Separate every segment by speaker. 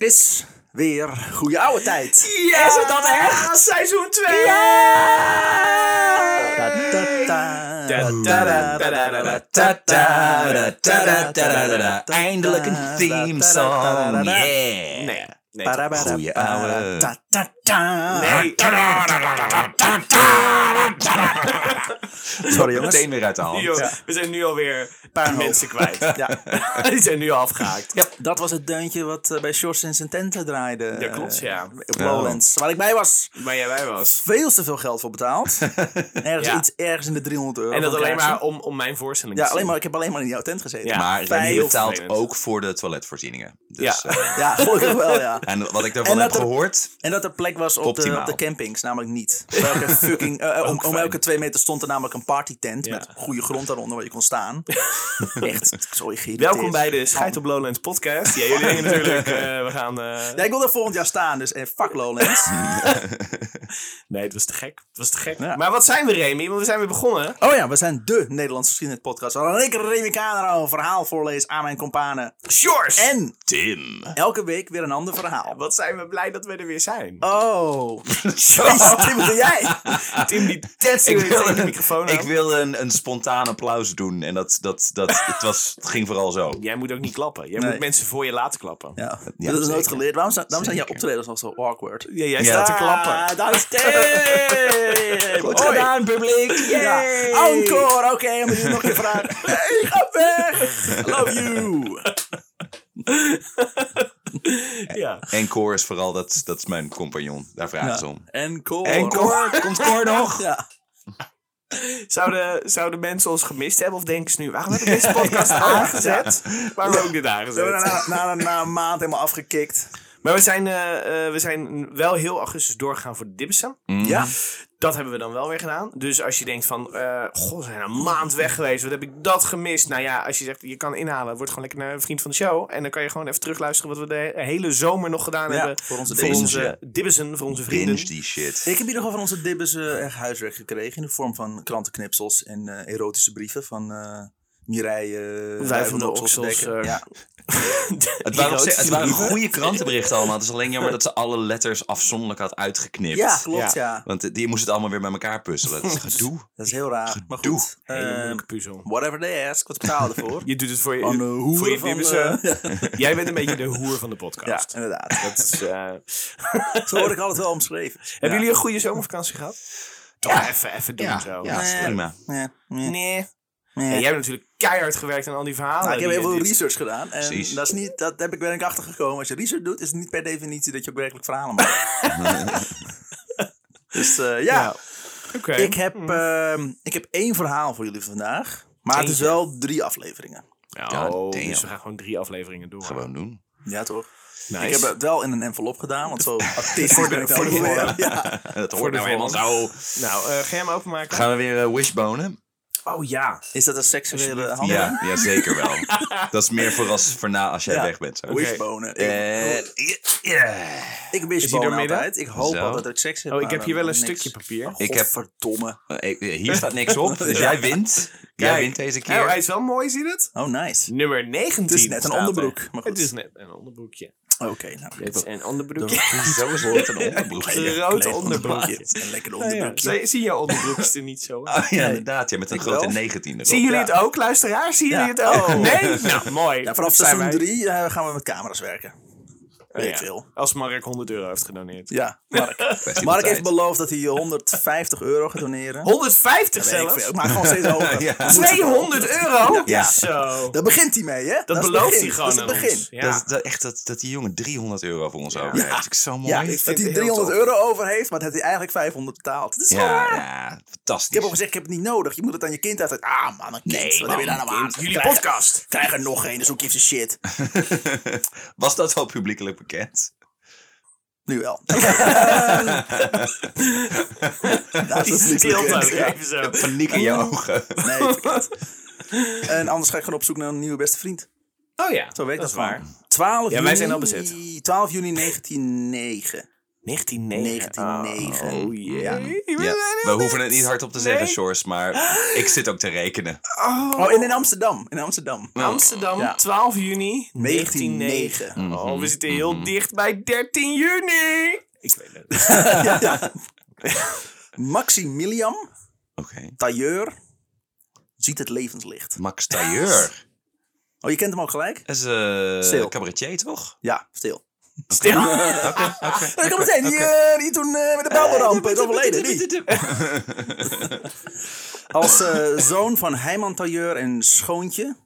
Speaker 1: is weer goede oude tijd.
Speaker 2: Ja!
Speaker 1: Is het dat echt?
Speaker 2: Seizoen 2!
Speaker 1: Eindelijk een
Speaker 3: Ah,
Speaker 1: theme song. Yeah.
Speaker 2: Nee. nee.
Speaker 1: Goeie oude.
Speaker 2: Nee.
Speaker 1: Sorry jongens.
Speaker 3: Meteen weer uit de hand.
Speaker 2: Nu al- We zijn nu alweer een paar mensen kwijt.
Speaker 1: Ja.
Speaker 2: Die zijn nu afgehaakt.
Speaker 1: Ja, dat was het deuntje wat eh, bij Shorts in zijn tenten draaide.
Speaker 2: Ja, klopt, ja.
Speaker 1: eh, Op Lowlands, waar ik bij was.
Speaker 2: Maar jij, wij was.
Speaker 1: Veel te veel geld voor betaald. Ergens,
Speaker 2: Ja.
Speaker 1: iets, ergens in de 300 euro.
Speaker 2: En dat
Speaker 1: van
Speaker 2: alleen
Speaker 1: kaarsen.
Speaker 2: maar om, om mijn voorstelling
Speaker 1: Ja,
Speaker 2: te
Speaker 1: alleen
Speaker 2: zien.
Speaker 1: maar, ik heb alleen maar in jouw tent gezeten.
Speaker 2: Ja.
Speaker 3: Maar Remy
Speaker 2: Heel
Speaker 3: betaalt
Speaker 2: vervelend.
Speaker 3: ook voor de toiletvoorzieningen. Dus,
Speaker 2: Ja.
Speaker 3: eh,
Speaker 1: Ja, gelukkig wel, ja.
Speaker 3: en wat ik
Speaker 1: En
Speaker 3: daarvan heb
Speaker 1: dat er-
Speaker 3: gehoord...
Speaker 1: En dat er plek was op de,
Speaker 3: Optimaal.
Speaker 1: op de campings, namelijk niet. Welke fucking, eh, om, om
Speaker 2: fijn.
Speaker 1: elke twee meter stond er namelijk een partytent met
Speaker 2: Ja.
Speaker 1: goede grond daaronder waar je kon staan. Echt, zo geïrriteerd.
Speaker 2: Welkom bij de Scheid op Lowlands podcast. Ja, jullie denken natuurlijk, eh, we gaan... eh,
Speaker 1: Ja, ik wil daar volgend jaar staan, dus eh, fuck Lowlands.
Speaker 2: Nee, het was te gek. Het was te gek.
Speaker 1: Ja.
Speaker 2: Maar wat zijn we, Remy? Want we zijn weer begonnen.
Speaker 1: Oh ja, we zijn de Nederlandse geschiedenispodcast. Waar een lekker Remy Camera een verhaal voorlees aan mijn kompanen.
Speaker 2: Shores!
Speaker 1: En
Speaker 3: Tim.
Speaker 1: elke week weer een ander verhaal.
Speaker 2: Wat zijn we blij dat we er weer zijn.
Speaker 1: Oh, jezus, Tim, wat doe jij?
Speaker 2: Tim die tetsen weer tegen de microfoon
Speaker 3: ik
Speaker 2: aan.
Speaker 3: wil een, een spontaan applaus doen. En dat, dat, dat, het, was, het ging vooral zo.
Speaker 2: Jij moet ook niet klappen. Jij
Speaker 1: Nee.
Speaker 2: moet mensen voor je laten klappen.
Speaker 1: Ja,
Speaker 3: Ja,
Speaker 1: dat is nooit
Speaker 3: zeker.
Speaker 1: geleerd. Waarom zijn, daarom zijn jouw
Speaker 3: Zeker.
Speaker 1: optredens al zo awkward?
Speaker 2: Ja, jij staat te klappen.
Speaker 1: Ah, daar is Tim!
Speaker 3: Goed
Speaker 1: Hoi.
Speaker 3: gedaan, publiek!
Speaker 1: Ja,
Speaker 2: Yay.
Speaker 1: encore, oké, maar die nog een vraag. Hey, ga weg! Love you!
Speaker 2: Ja.
Speaker 3: En Cor is vooral, dat, dat is mijn compagnon. Daar vragen ze om.
Speaker 1: Encore.
Speaker 3: En Cor, komt Cor nog?
Speaker 1: Ja.
Speaker 2: Zouden, zouden mensen ons gemist hebben? Of denken ze nu, waarom heb ik deze podcast aangezet? Waarom heb ik dit
Speaker 1: We hebben
Speaker 2: aangezet?
Speaker 1: na, na, na een maand helemaal afgekikt.
Speaker 2: Maar we zijn, eh, eh, we zijn wel heel augustus doorgegaan voor de Dibbissen.
Speaker 1: Ja.
Speaker 2: Dat hebben we dan wel weer gedaan. Dus als je denkt van, eh god, we zijn een maand weg geweest. Wat heb ik dat gemist? Nou ja, als je zegt, je kan inhalen. Word gewoon lekker naar een vriend van de show. En dan kan je gewoon even terugluisteren wat we de hele zomer nog gedaan
Speaker 1: Ja,
Speaker 2: hebben.
Speaker 1: voor onze
Speaker 2: voor
Speaker 1: Dibbissen.
Speaker 2: onze Dibbissen, voor onze vrienden.
Speaker 3: Binge die shit.
Speaker 1: Ik heb in ieder geval van onze dibbes eh, echt huiswerk gekregen. In de vorm van krantenknipsels en eh, erotische brieven van eh Mireille. eh,
Speaker 2: Wij van de Oksels.
Speaker 1: Dekker.
Speaker 2: eh,
Speaker 1: Ja.
Speaker 3: Het waren, op zich- het waren
Speaker 2: Erotische
Speaker 3: goede krantenberichten allemaal. Het is alleen jammer dat ze alle letters afzonderlijk had uitgeknipt.
Speaker 1: ja, klopt, ja.
Speaker 3: Want eh, die moest het allemaal weer bij elkaar puzzelen. Dat is gedoe.
Speaker 1: Dat is heel raar. Maar
Speaker 3: Gedoe.
Speaker 1: goed.
Speaker 2: Hele
Speaker 1: ehm,
Speaker 2: moeilijke puzzel.
Speaker 1: whatever they ask, wat betaal ervoor?
Speaker 2: Je doet het voor je,
Speaker 1: Van, eh, hoeren
Speaker 2: voor je
Speaker 1: van,
Speaker 2: Dibbissen.
Speaker 1: eh,
Speaker 2: Jij bent een beetje de hoer van de
Speaker 1: ja,
Speaker 2: podcast.
Speaker 1: inderdaad.
Speaker 2: Dat is, eh,
Speaker 1: Zo word ik altijd wel omschreven.
Speaker 2: Hebben jullie een goede zomervakantie gehad? Toch
Speaker 3: Ja.
Speaker 2: even, even doen zo.
Speaker 3: ja
Speaker 1: Nee.
Speaker 3: prima.
Speaker 1: Ja, Nou, ja,
Speaker 2: Nee.
Speaker 1: ja.
Speaker 2: En jij hebt natuurlijk keihard gewerkt aan al die verhalen.
Speaker 1: Nou, ik heb
Speaker 2: die
Speaker 1: heel veel
Speaker 2: je-
Speaker 1: research gedaan. En
Speaker 3: Precies.
Speaker 1: dat, is niet, dat heb ik ben ik achtergekomen. Als je research doet, is het niet per definitie dat je ook werkelijk verhalen maakt. dus eh, ja,
Speaker 2: Ja. Oké. Mhm.
Speaker 1: Ik, heb, ehm, ik heb één verhaal voor jullie vandaag. Maar het is
Speaker 2: Eentje.
Speaker 1: wel drie afleveringen.
Speaker 3: God
Speaker 2: Oh,
Speaker 3: damn.
Speaker 2: dus we gaan gewoon drie afleveringen door.
Speaker 3: Gewoon doen.
Speaker 1: Ja, toch?
Speaker 2: Nice.
Speaker 1: Ik heb het wel in een envelop gedaan, want zo artistisch
Speaker 2: Voor de-
Speaker 1: ben ik dan
Speaker 2: voor de
Speaker 1: niet
Speaker 2: vorm.
Speaker 1: meer. Ja.
Speaker 3: En dat
Speaker 2: Voor
Speaker 3: hoort
Speaker 2: de
Speaker 3: nou helemaal zo.
Speaker 2: Nou, eh, ga jij hem openmaken?
Speaker 3: Gaan we weer eh, wishbonen?
Speaker 2: Oh ja.
Speaker 1: Is dat een seksuele
Speaker 2: Alsjeblieft.
Speaker 1: handeling?
Speaker 3: Ja, ja, zeker wel. dat is meer voor als, voor na als jij
Speaker 1: Ja.
Speaker 3: weg bent. Zo.
Speaker 1: Wishbonen. Ik-
Speaker 3: Eh, yeah.
Speaker 1: ik
Speaker 2: hij
Speaker 1: wishbone
Speaker 2: doormidden?
Speaker 1: altijd. Ik hoop
Speaker 3: Zo.
Speaker 1: altijd dat ik seks heb.
Speaker 2: Oh, ik
Speaker 1: maar
Speaker 2: heb hier
Speaker 1: dan
Speaker 2: wel een
Speaker 1: niks.
Speaker 2: stukje papier.
Speaker 3: Ik heb-
Speaker 1: Godverdomme.
Speaker 3: Eh, eh, Hier staat niks op, dus jij wint. Jij
Speaker 2: Kijk.
Speaker 3: wint deze
Speaker 2: Oh, hij
Speaker 3: keer.
Speaker 2: is wel mooi, zie je het?
Speaker 1: Oh, nice.
Speaker 2: Nummer 19
Speaker 1: Het is net een
Speaker 2: staat er.
Speaker 1: onderbroek, maar goed.
Speaker 2: Het is net een onderbroekje.
Speaker 1: Oké, nou.
Speaker 2: Het is een onderbroekje.
Speaker 3: Zo is het een onderbroekje.
Speaker 2: Rood
Speaker 1: Klein
Speaker 2: onderbroekje.
Speaker 1: Een lekker
Speaker 2: Ja, ja.
Speaker 1: onderbroekje.
Speaker 2: Zie- Zie jouw onderbroekjes er niet zo Ah, uit?
Speaker 3: Oh, ja, inderdaad. Ja, met een
Speaker 1: Ik
Speaker 3: grote
Speaker 1: wel.
Speaker 3: 19 erop.
Speaker 2: Zien jullie
Speaker 1: Ja.
Speaker 2: het ook, luisteraars? Zien jullie
Speaker 1: Ja.
Speaker 2: het ook? Nee? Nou, mooi.
Speaker 1: Ja, vanaf
Speaker 2: Zijn
Speaker 1: seizoen
Speaker 2: wij- Oh,
Speaker 1: 3 gaan we met camera's werken. Weet
Speaker 2: Ja.
Speaker 1: ik veel.
Speaker 2: Als Mark 100 euro heeft gedoneerd.
Speaker 1: Ja, Mark.
Speaker 3: Best in de
Speaker 1: Mark heeft
Speaker 3: tijd.
Speaker 1: beloofd dat hij 150 euro gaat doneren.
Speaker 2: 150
Speaker 1: Weet ik
Speaker 2: zelfs?
Speaker 1: veel, maar gewoon steeds hoger.
Speaker 3: Ja.
Speaker 1: Dat is-
Speaker 2: 200 euro?
Speaker 3: Ja.
Speaker 2: Zo.
Speaker 1: Daar begint hij mee, hè?
Speaker 2: Dat
Speaker 1: is het
Speaker 2: belooft
Speaker 1: begin.
Speaker 2: hij gewoon
Speaker 1: Dat is
Speaker 2: aan
Speaker 1: het begin.
Speaker 2: ons. Ja.
Speaker 3: Dat, dat, echt dat, dat die jongen 300 euro voor ons over heeft. Dat is zo mooi.
Speaker 1: Ja,
Speaker 3: Ja,
Speaker 1: dat
Speaker 2: het
Speaker 1: hij
Speaker 2: heel
Speaker 1: 300
Speaker 2: tof.
Speaker 1: euro over heeft, maar dat hij eigenlijk 500 betaalt. Dat is gewoon raar.
Speaker 3: ja,
Speaker 1: Ik heb al
Speaker 3: fantastisch.
Speaker 1: gezegd, ik heb het niet nodig. Je moet het aan je kind uit. Ah, man, een kind.
Speaker 3: Nee,
Speaker 1: wat
Speaker 3: man,
Speaker 1: heb je daar nou
Speaker 2: kind.
Speaker 1: aan?
Speaker 2: Jullie
Speaker 1: Krijg er-
Speaker 2: podcast.
Speaker 1: Krijg er nog een, dus hoe geeft ze shit?
Speaker 3: Was dat wel publiekelijk bekend?
Speaker 1: Nu wel.
Speaker 2: Die stilte ook even zo.
Speaker 3: Paniek in je ogen.
Speaker 1: Nee, verkeerd. En anders ga ik gewoon op zoek naar een nieuwe beste vriend.
Speaker 2: Oh ja,
Speaker 1: Zo weet ik
Speaker 2: dat
Speaker 1: dat
Speaker 2: is waar.
Speaker 1: van. 12
Speaker 2: Ja, wij
Speaker 1: juni,
Speaker 2: zijn al bezet.
Speaker 1: 12 juni 1909.
Speaker 2: 1909.
Speaker 1: 1909.
Speaker 2: Oh, jee.
Speaker 3: Ja.
Speaker 2: Je
Speaker 3: Ja,
Speaker 2: bent er
Speaker 3: we
Speaker 2: heel
Speaker 3: hoeven
Speaker 2: net.
Speaker 3: het niet hardop te zeggen,
Speaker 2: Nee.
Speaker 3: Shores, maar ik zit ook te rekenen.
Speaker 2: Oh,
Speaker 1: Oh, en in Amsterdam. In Amsterdam.
Speaker 3: Oh.
Speaker 2: Amsterdam,
Speaker 1: Ja.
Speaker 2: 12 juni 1909.
Speaker 3: Mhm.
Speaker 1: 1909.
Speaker 2: Oh, we zitten heel dicht bij 13 juni. Ik weet het.
Speaker 1: ja. Maximilian,
Speaker 3: Oké.
Speaker 1: tailleur, ziet het levenslicht.
Speaker 3: Max Tailleur.
Speaker 1: Oh, je kent hem ook gelijk?
Speaker 3: Dat is een
Speaker 1: Stil.
Speaker 3: cabaretier, toch?
Speaker 1: Ja, stil.
Speaker 2: Stil.
Speaker 1: Ik kan meteen, die, eh, die toen eh, met de bouwramp is overleden. die. Als eh, zoon van Heiman Tailleur en schoontje,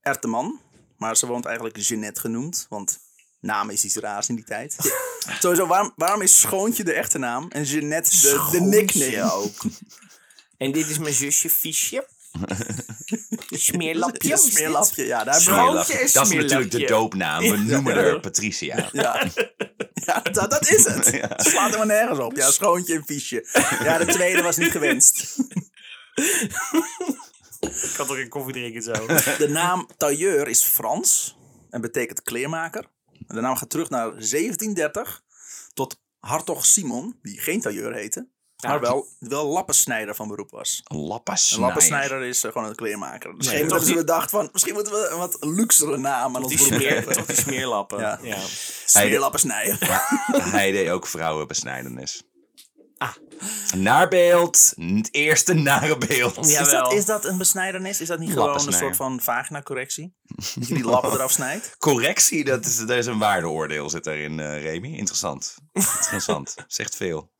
Speaker 1: Erteman. Maar ze woont eigenlijk Jeannette genoemd, want naam is iets raars in die tijd. Sowieso, waarom, waarom is schoontje de echte naam en Jeannette de, de nickname?
Speaker 2: ook. En dit is mijn zusje Fiesje. Smeerlapje.
Speaker 1: Ja,
Speaker 2: is dit?
Speaker 1: smeerlapje, ja, daar hebben we-
Speaker 2: Schoon-
Speaker 3: Smeerlapje.
Speaker 2: is
Speaker 3: Dat is
Speaker 2: smeerlapje.
Speaker 3: natuurlijk de doopnaam. We noemen haar Patricia.
Speaker 1: Ja, ja dat, dat is het. Het slaat helemaal nergens op. Ja, schoontje en viesje. Ja, de tweede was niet gewenst.
Speaker 2: Ik had toch een koffie drinken zo.
Speaker 1: Eh, De naam tailleur is Frans en betekent kleermaker. De naam gaat terug naar 1730 tot Hartog Simon, die geen tailleur heette, maar wel, wel lappensnijder van beroep was.
Speaker 3: Een
Speaker 1: Een
Speaker 3: lappensnijder.
Speaker 1: lappensnijder is eh, gewoon een kleermaker. Dus
Speaker 2: Ja,
Speaker 1: geen
Speaker 2: toch
Speaker 1: dat ze
Speaker 2: die-
Speaker 1: bedacht van, misschien moeten we een wat luxere naam aan ons
Speaker 2: Die
Speaker 1: beroep
Speaker 2: smeer,
Speaker 1: geven.
Speaker 2: toch die smeerlappen.
Speaker 1: Ja.
Speaker 2: Ja.
Speaker 1: Smeerlappensnijder.
Speaker 3: Hij deed ook vrouwenbesnijdenis.
Speaker 2: Ah.
Speaker 3: Naar beeld. Het eerste nare beeld.
Speaker 2: Ja.
Speaker 1: Is
Speaker 2: Jawel.
Speaker 1: dat, is dat een besnijdernis? Is dat niet gewoon een
Speaker 3: Lappensnijder.
Speaker 1: soort van vagina-correctie? Dat je die lappen eraf snijdt?
Speaker 3: Correctie, dat is, daar is een waardeoordeel zit daarin, eh Remy. Interessant. Interessant. Zegt veel.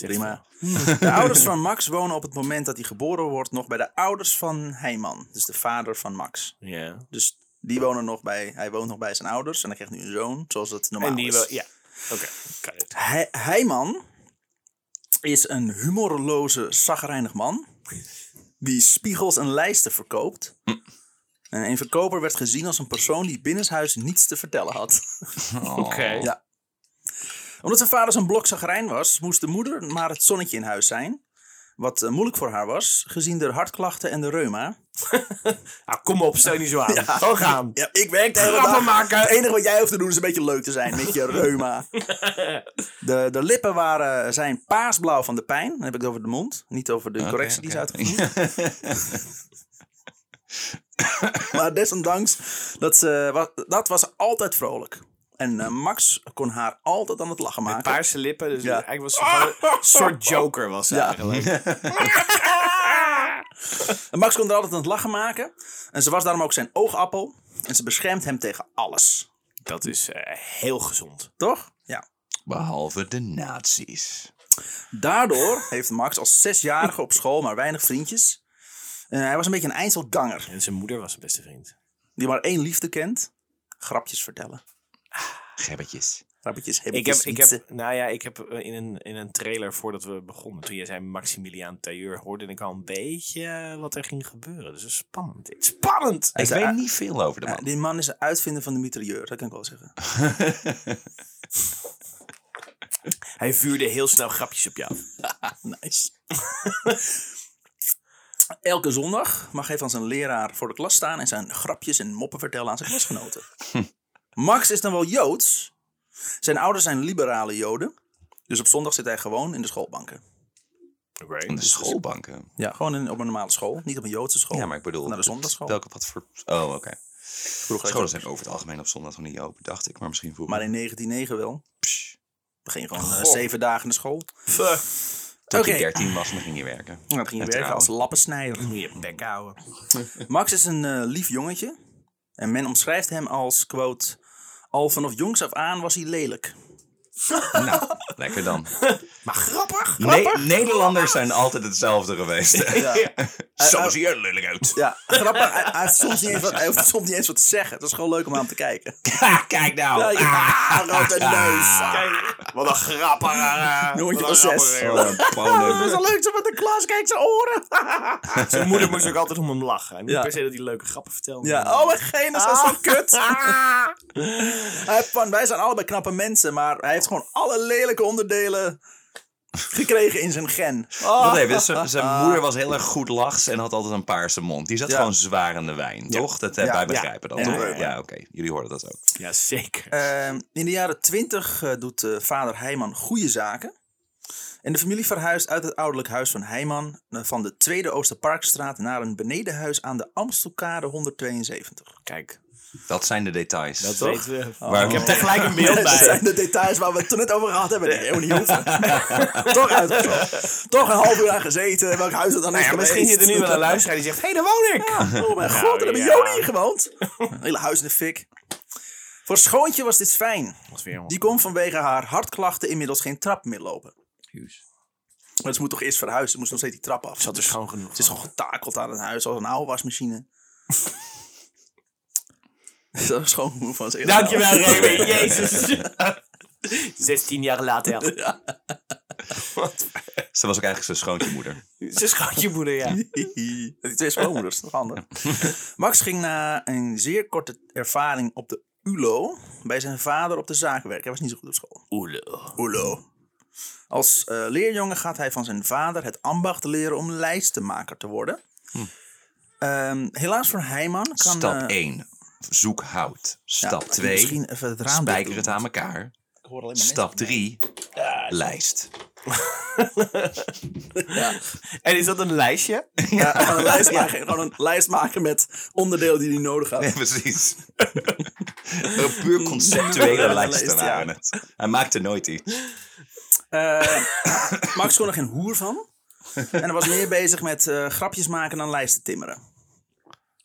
Speaker 1: Prima. De ouders van Max wonen op het moment dat hij geboren wordt nog bij de ouders van Heiman. Dus de vader van Max.
Speaker 2: Ja.
Speaker 1: Dus die wonen nog bij, hij woont nog bij zijn ouders en hij krijgt nu een zoon, zoals het normaal
Speaker 2: En die
Speaker 1: is.
Speaker 2: wel, ja. Oké, kan het.
Speaker 1: He- Heiman is een humorloze, zagrijnig man die spiegels en lijsten verkoopt.
Speaker 2: Hm.
Speaker 1: En een verkoper werd gezien als een persoon die binnenshuis niets te vertellen had.
Speaker 3: Oh.
Speaker 2: Oké.
Speaker 1: Ja. Omdat zijn vader zo'n blok zagrijn was, moest de moeder maar het zonnetje in huis zijn. Wat eh, moeilijk voor haar was, gezien de hartklachten en de reuma.
Speaker 2: Ah, kom op, stel je niet zo aan. Gewoon gaan.
Speaker 1: Ja, ik werk de hele
Speaker 2: Grappen
Speaker 1: dag.
Speaker 2: maken.
Speaker 1: Het enige wat jij hoeft te doen is een beetje leuk te zijn met je reuma. De, de lippen waren, eh, zijn paarsblauw van de pijn. Dan heb ik het over de mond, niet over de correctie die is
Speaker 3: oké.
Speaker 1: uitgevoerd. Maar desondanks, dat, ze, wa- dat was ze altijd vrolijk. En eh, Max kon haar altijd aan het lachen maken.
Speaker 2: Paarse lippen, dus
Speaker 1: Ja.
Speaker 2: eigenlijk was ze gewoon een soort joker was ze
Speaker 1: Ja.
Speaker 2: eigenlijk.
Speaker 1: En Max kon er altijd aan het lachen maken. En ze was daarom ook zijn oogappel. En ze beschermt hem tegen alles.
Speaker 2: Dat is eh, heel gezond.
Speaker 1: Toch? Ja.
Speaker 3: Behalve de nazi's.
Speaker 1: Daardoor heeft Max als zesjarige op school maar weinig vriendjes. Eh, hij was een beetje een eindselganger.
Speaker 2: En zijn moeder was zijn beste vriend.
Speaker 1: Die maar één liefde kent. Grapjes vertellen.
Speaker 3: Gebbetjes.
Speaker 1: Grapjes
Speaker 2: Ik heb,
Speaker 1: hebbertjes,
Speaker 2: ik
Speaker 1: wietsen.
Speaker 2: heb, nou ja, ik heb eh, in een, in een trailer voordat we begonnen, toen jij zei Maximiliaan Tailleur, hoorde ik al een beetje eh, wat er ging gebeuren. Dus dat is spannend. dit. Spannend!
Speaker 3: Ik
Speaker 1: zei,
Speaker 3: weet
Speaker 1: ah,
Speaker 3: niet veel over de
Speaker 1: Ja,
Speaker 3: man.
Speaker 1: die man is een uitvinder van de mitrailleur. Dat kan ik wel zeggen.
Speaker 2: Hij vuurde heel snel grapjes op jou.
Speaker 1: Nice. Elke zondag mag hij van zijn leraar voor de klas staan en zijn grapjes en moppen vertellen aan zijn klasgenoten. Max is dan wel joods. Zijn ouders zijn liberale joden. Dus op zondag zit hij gewoon in de schoolbanken.
Speaker 3: In de
Speaker 2: Dus
Speaker 3: schoolbanken.
Speaker 1: Ja, gewoon in, op een normale school. Niet op een joodse school.
Speaker 3: Ja, maar ik bedoel...
Speaker 1: oh, Naar de zondagschool.
Speaker 3: Welke, wat voor... Oh, oké.
Speaker 1: Vroeger
Speaker 3: Scholen zijn over het algemeen op zondag nog niet open, dacht ik. Maar misschien vroeger.
Speaker 1: Maar in 1909 wel.
Speaker 3: Psh,
Speaker 1: We gingen gewoon eh,
Speaker 2: Goh.
Speaker 1: zeven dagen naar school.
Speaker 3: Toen
Speaker 1: Oké.
Speaker 3: ik 13 was, dan ging je werken.
Speaker 1: En dan ging je
Speaker 3: En
Speaker 1: werken als
Speaker 3: trouwen.
Speaker 1: lappensnijder.
Speaker 2: Moet je bek houden.
Speaker 1: Max is een eh, lief jongetje. En men omschrijft hem als, quote... Al vanaf jongs af aan was hij lelijk.
Speaker 3: Nou, lekker dan.
Speaker 2: Maar grappig!
Speaker 3: Ne- Nederlanders zijn altijd hetzelfde geweest.
Speaker 1: Ja.
Speaker 3: Zo zie je er lelijk uit.
Speaker 1: Ja, grappig. Hij, hij, heeft soms niet eens wat, hij hoeft soms niet eens wat te zeggen. Het is gewoon leuk om aan te kijken.
Speaker 3: Kijk nou.
Speaker 1: Ah, rotte neus.
Speaker 2: Kijk, wat een grappig. eh,
Speaker 1: Jongetje
Speaker 2: wat een
Speaker 1: Ah. van
Speaker 2: grappig,
Speaker 1: zes.
Speaker 2: joh.
Speaker 1: Dat is wel leuk, zo met de klas. Kijk zijn oren.
Speaker 2: Zijn moeder moest ook altijd om hem lachen. Hij moest
Speaker 1: Ja.
Speaker 2: per se dat hij leuke grappen vertelde.
Speaker 1: Ja, oh mijn genus is zo
Speaker 2: Ah.
Speaker 1: kut. Hij heeft van, wij zijn allebei knappe mensen, maar hij heeft gewoon alle lelijke onderdelen gekregen in zijn gen.
Speaker 3: Wacht even, z- zijn moeder was heel erg goed lachs en had altijd een paarse mond. Die zat
Speaker 1: Ja.
Speaker 3: gewoon zwaar in de wijn, toch? Dat, eh,
Speaker 1: Ja.
Speaker 3: Wij
Speaker 1: Ja.
Speaker 3: begrijpen dat,
Speaker 1: Ja.
Speaker 3: toch?
Speaker 1: Ja,
Speaker 3: Ja,
Speaker 1: ja, ja.
Speaker 3: oké. Jullie hoorden dat ook.
Speaker 2: Jazeker.
Speaker 1: Ehm, in de jaren 20 eh, doet eh, vader Heijman goede zaken. En de familie verhuist uit het ouderlijk huis van Heijman eh, van de Tweede Oosterparkstraat naar een benedenhuis aan de Amstelkade 172.
Speaker 2: Kijk,
Speaker 3: Dat zijn de details.
Speaker 2: dat
Speaker 1: Toch? Oh.
Speaker 2: weten we.
Speaker 3: Waar-
Speaker 2: Ik heb er gelijk een beeld
Speaker 1: Dat
Speaker 2: bij.
Speaker 1: zijn de details waar we het toen net over gehad hebben. Nee, helemaal niet hoeven. Toch uitgezocht. Toch een half uur aan gezeten. Welk huis het dan
Speaker 2: Nou
Speaker 1: is
Speaker 2: ja, misschien
Speaker 1: geweest.
Speaker 2: zit er nu wel een luisteraar die zegt: hé, hey, daar woon ik.
Speaker 1: Oh mijn god, daar
Speaker 2: ja.
Speaker 1: hebben Joni gewoond. Een hele huis in de fik. Voor Schoontje was dit fijn.
Speaker 2: Wat weer,
Speaker 1: Die kon vanwege haar hartklachten inmiddels geen trap meer lopen. Maar ze moet toch eerst verhuizen. Ze moest nog steeds die trap af. Ze
Speaker 2: Dat is schoon genoeg.
Speaker 1: het is al getakeld aan een huis als een oude wasmachine. Dat is gewoon moe van ze.
Speaker 2: Dankjewel, Remy. Jezus. 16 jaar later.
Speaker 3: Ze was ook eigenlijk zijn schoontje moeder.
Speaker 2: Ze schat je moeder, ja.
Speaker 1: Die twee schoonmoeders, toch handig. Max ging na een zeer korte ervaring op de ULO bij zijn vader op de zaak werken. Hij was niet zo goed op school.
Speaker 2: Oelo.
Speaker 1: Oelo. Als eh, leerjongen gaat hij van zijn vader het ambacht leren om lijstenmaker te worden. Ehm, helaas voor Heijman kan...
Speaker 3: Stap
Speaker 1: eh,
Speaker 3: 1. Zoek hout.
Speaker 1: ja,
Speaker 3: Stap
Speaker 1: kan je
Speaker 3: 2.
Speaker 1: Misschien even het raam
Speaker 3: Spijker
Speaker 1: dicht
Speaker 3: het
Speaker 1: doen?
Speaker 3: aan elkaar.
Speaker 1: Ik hoor alleen maar
Speaker 3: Stap
Speaker 1: mensen.
Speaker 3: 3. Lijst.
Speaker 2: En is dat een lijstje?
Speaker 1: Ja, gewoon een lijst maken. Gewoon een lijst maken met onderdelen die hij nodig had.
Speaker 3: Nee, precies. een puur conceptuele lijst waren het. Hij maakte nooit iets.
Speaker 1: Eh, Max kon er geen hoer van. En hij was meer bezig met eh, grapjes maken dan lijsten timmeren.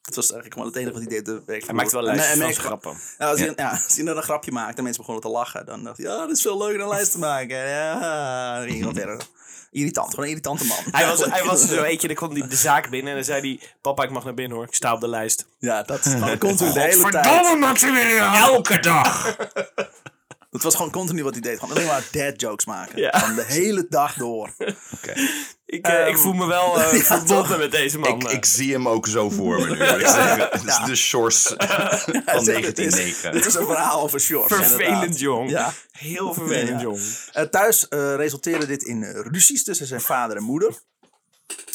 Speaker 1: Dat was eigenlijk gewoon het enige wat hij deed. De hij
Speaker 2: maakt wel lijstjes van zijn grappen.
Speaker 1: Ja, als, Hij, ja, als hij dan een grapje maakte en mensen begonnen te lachen, dan dacht hij, ja, dat is veel leuker dan lijsten maken. Ja, dan ging hij gewoon verder. Irritant, gewoon een irritante man.
Speaker 2: Hij was, hij was zo eentje, dan kwam hij de zaak binnen en dan zei hij... Papa, ik mag naar binnen hoor, ik sta op de lijst.
Speaker 1: Ja, dat is gewoon continu de hele tijd.
Speaker 2: Maximilian! Elke dag!
Speaker 1: Dat was gewoon continu wat hij deed. Gewoon alleen maar dad jokes maken.
Speaker 2: Ja.
Speaker 1: Gewoon de hele dag door.
Speaker 3: Oké.
Speaker 2: Ik, eh,
Speaker 1: Ehm,
Speaker 2: ik voel me wel eh
Speaker 1: ja,
Speaker 2: verbonden met deze man. eh.
Speaker 3: Ik, ik zie hem ook zo voor me nu. moet ik zeggen. Het is de shores van
Speaker 1: Zeker, dit is- Dit
Speaker 3: 1909.
Speaker 1: is een verhaal over short.
Speaker 2: Vervelend jong.
Speaker 1: Ja.
Speaker 2: Heel vervelend
Speaker 1: Ja.
Speaker 2: jong.
Speaker 1: Eh, thuis eh, resulteerde dit in eh, ruzies tussen zijn vader en moeder.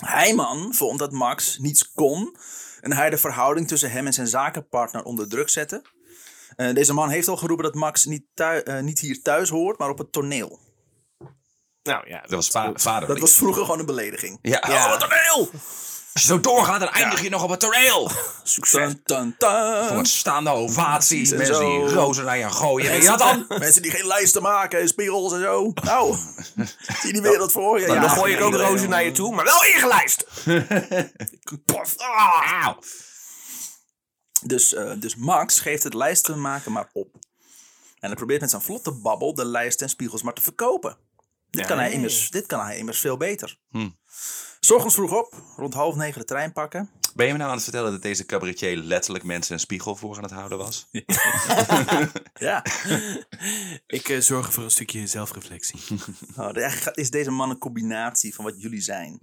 Speaker 1: Heiman vond dat Max niets kon en hij de verhouding tussen hem en zijn zakenpartner onder druk zette. Eh, deze man heeft al geroepen dat Max niet, thui- eh, niet hier thuis hoort, maar op het toneel.
Speaker 2: Nou ja,
Speaker 3: Dat was va- vader.
Speaker 1: Dat was vroeger gewoon een belediging.
Speaker 3: Ja.
Speaker 1: Oh, het toneel!
Speaker 3: Als je zo doorgaat, dan eindig je nog op het toneel.
Speaker 1: Succes. Tan, tan,
Speaker 3: Een
Speaker 1: tan.
Speaker 3: staande ovaties.
Speaker 1: en
Speaker 3: Mensen die
Speaker 1: zo.
Speaker 3: rozen naar je gooien. Weet je dat dan?
Speaker 1: Mensen die geen lijsten maken en spiegels en zo. Nou, zie die wereld voor je.
Speaker 2: Nou, dan gooi
Speaker 1: ja,
Speaker 2: ik ook
Speaker 1: iedereen,
Speaker 2: rozen naar je
Speaker 1: jongen.
Speaker 2: toe, maar wel ingelijst. Pof. Ah.
Speaker 3: Auw.
Speaker 1: Dus, eh, dus Max geeft het lijsten maken maar op. En hij probeert met zijn vlotte babbel de lijsten en spiegels maar te verkopen. Dit, kan, hij immers, dit kan hij immers veel beter. S ochtends vroeg op, rond half negen de trein pakken.
Speaker 3: Ben je me nou aan het vertellen dat deze cabaretier letterlijk mensen een spiegel voor aan het houden was?
Speaker 1: Ja,
Speaker 2: Ik eh, zorg voor een stukje zelfreflectie.
Speaker 1: oh, eigenlijk is deze man een combinatie van wat jullie zijn.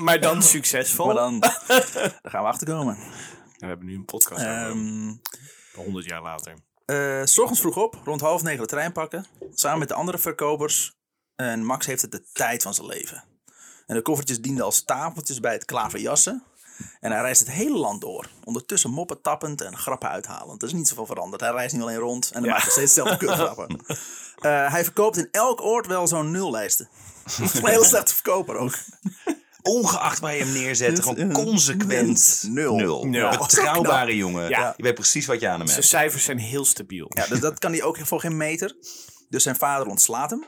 Speaker 2: maar dan succesvol.
Speaker 1: Maar dan, daar gaan we achter komen.
Speaker 2: We hebben nu een podcast
Speaker 1: Ehm
Speaker 2: 100 jaar later.
Speaker 1: eh, s ochtends vroeg op, rond half negen de trein pakken. Samen met de andere verkopers. En Max heeft het de tijd van zijn leven. En de koffertjes dienden als tafeltjes bij het klaverjassen. En hij reist het hele land door. Ondertussen moppen tappend en grappen uithalend. Er is niet zoveel veranderd. Hij reist nu alleen rond en hij maakt nog steeds dezelfde kutgrappen. Eh, hij verkoopt in elk oord wel zo'n nullijsten. Dat is een hele slechte verkoper ook.
Speaker 3: Ongeacht waar je hem neerzet, gewoon consequent
Speaker 1: Nul.
Speaker 2: Nul.
Speaker 3: Betrouwbare jongen.
Speaker 2: Ja.
Speaker 3: Je weet precies wat je aan hem
Speaker 2: De
Speaker 3: hebt.
Speaker 2: cijfers zijn heel stabiel.
Speaker 1: Ja, dus dat kan hij ook voor geen meter. Dus zijn vader ontslaat hem.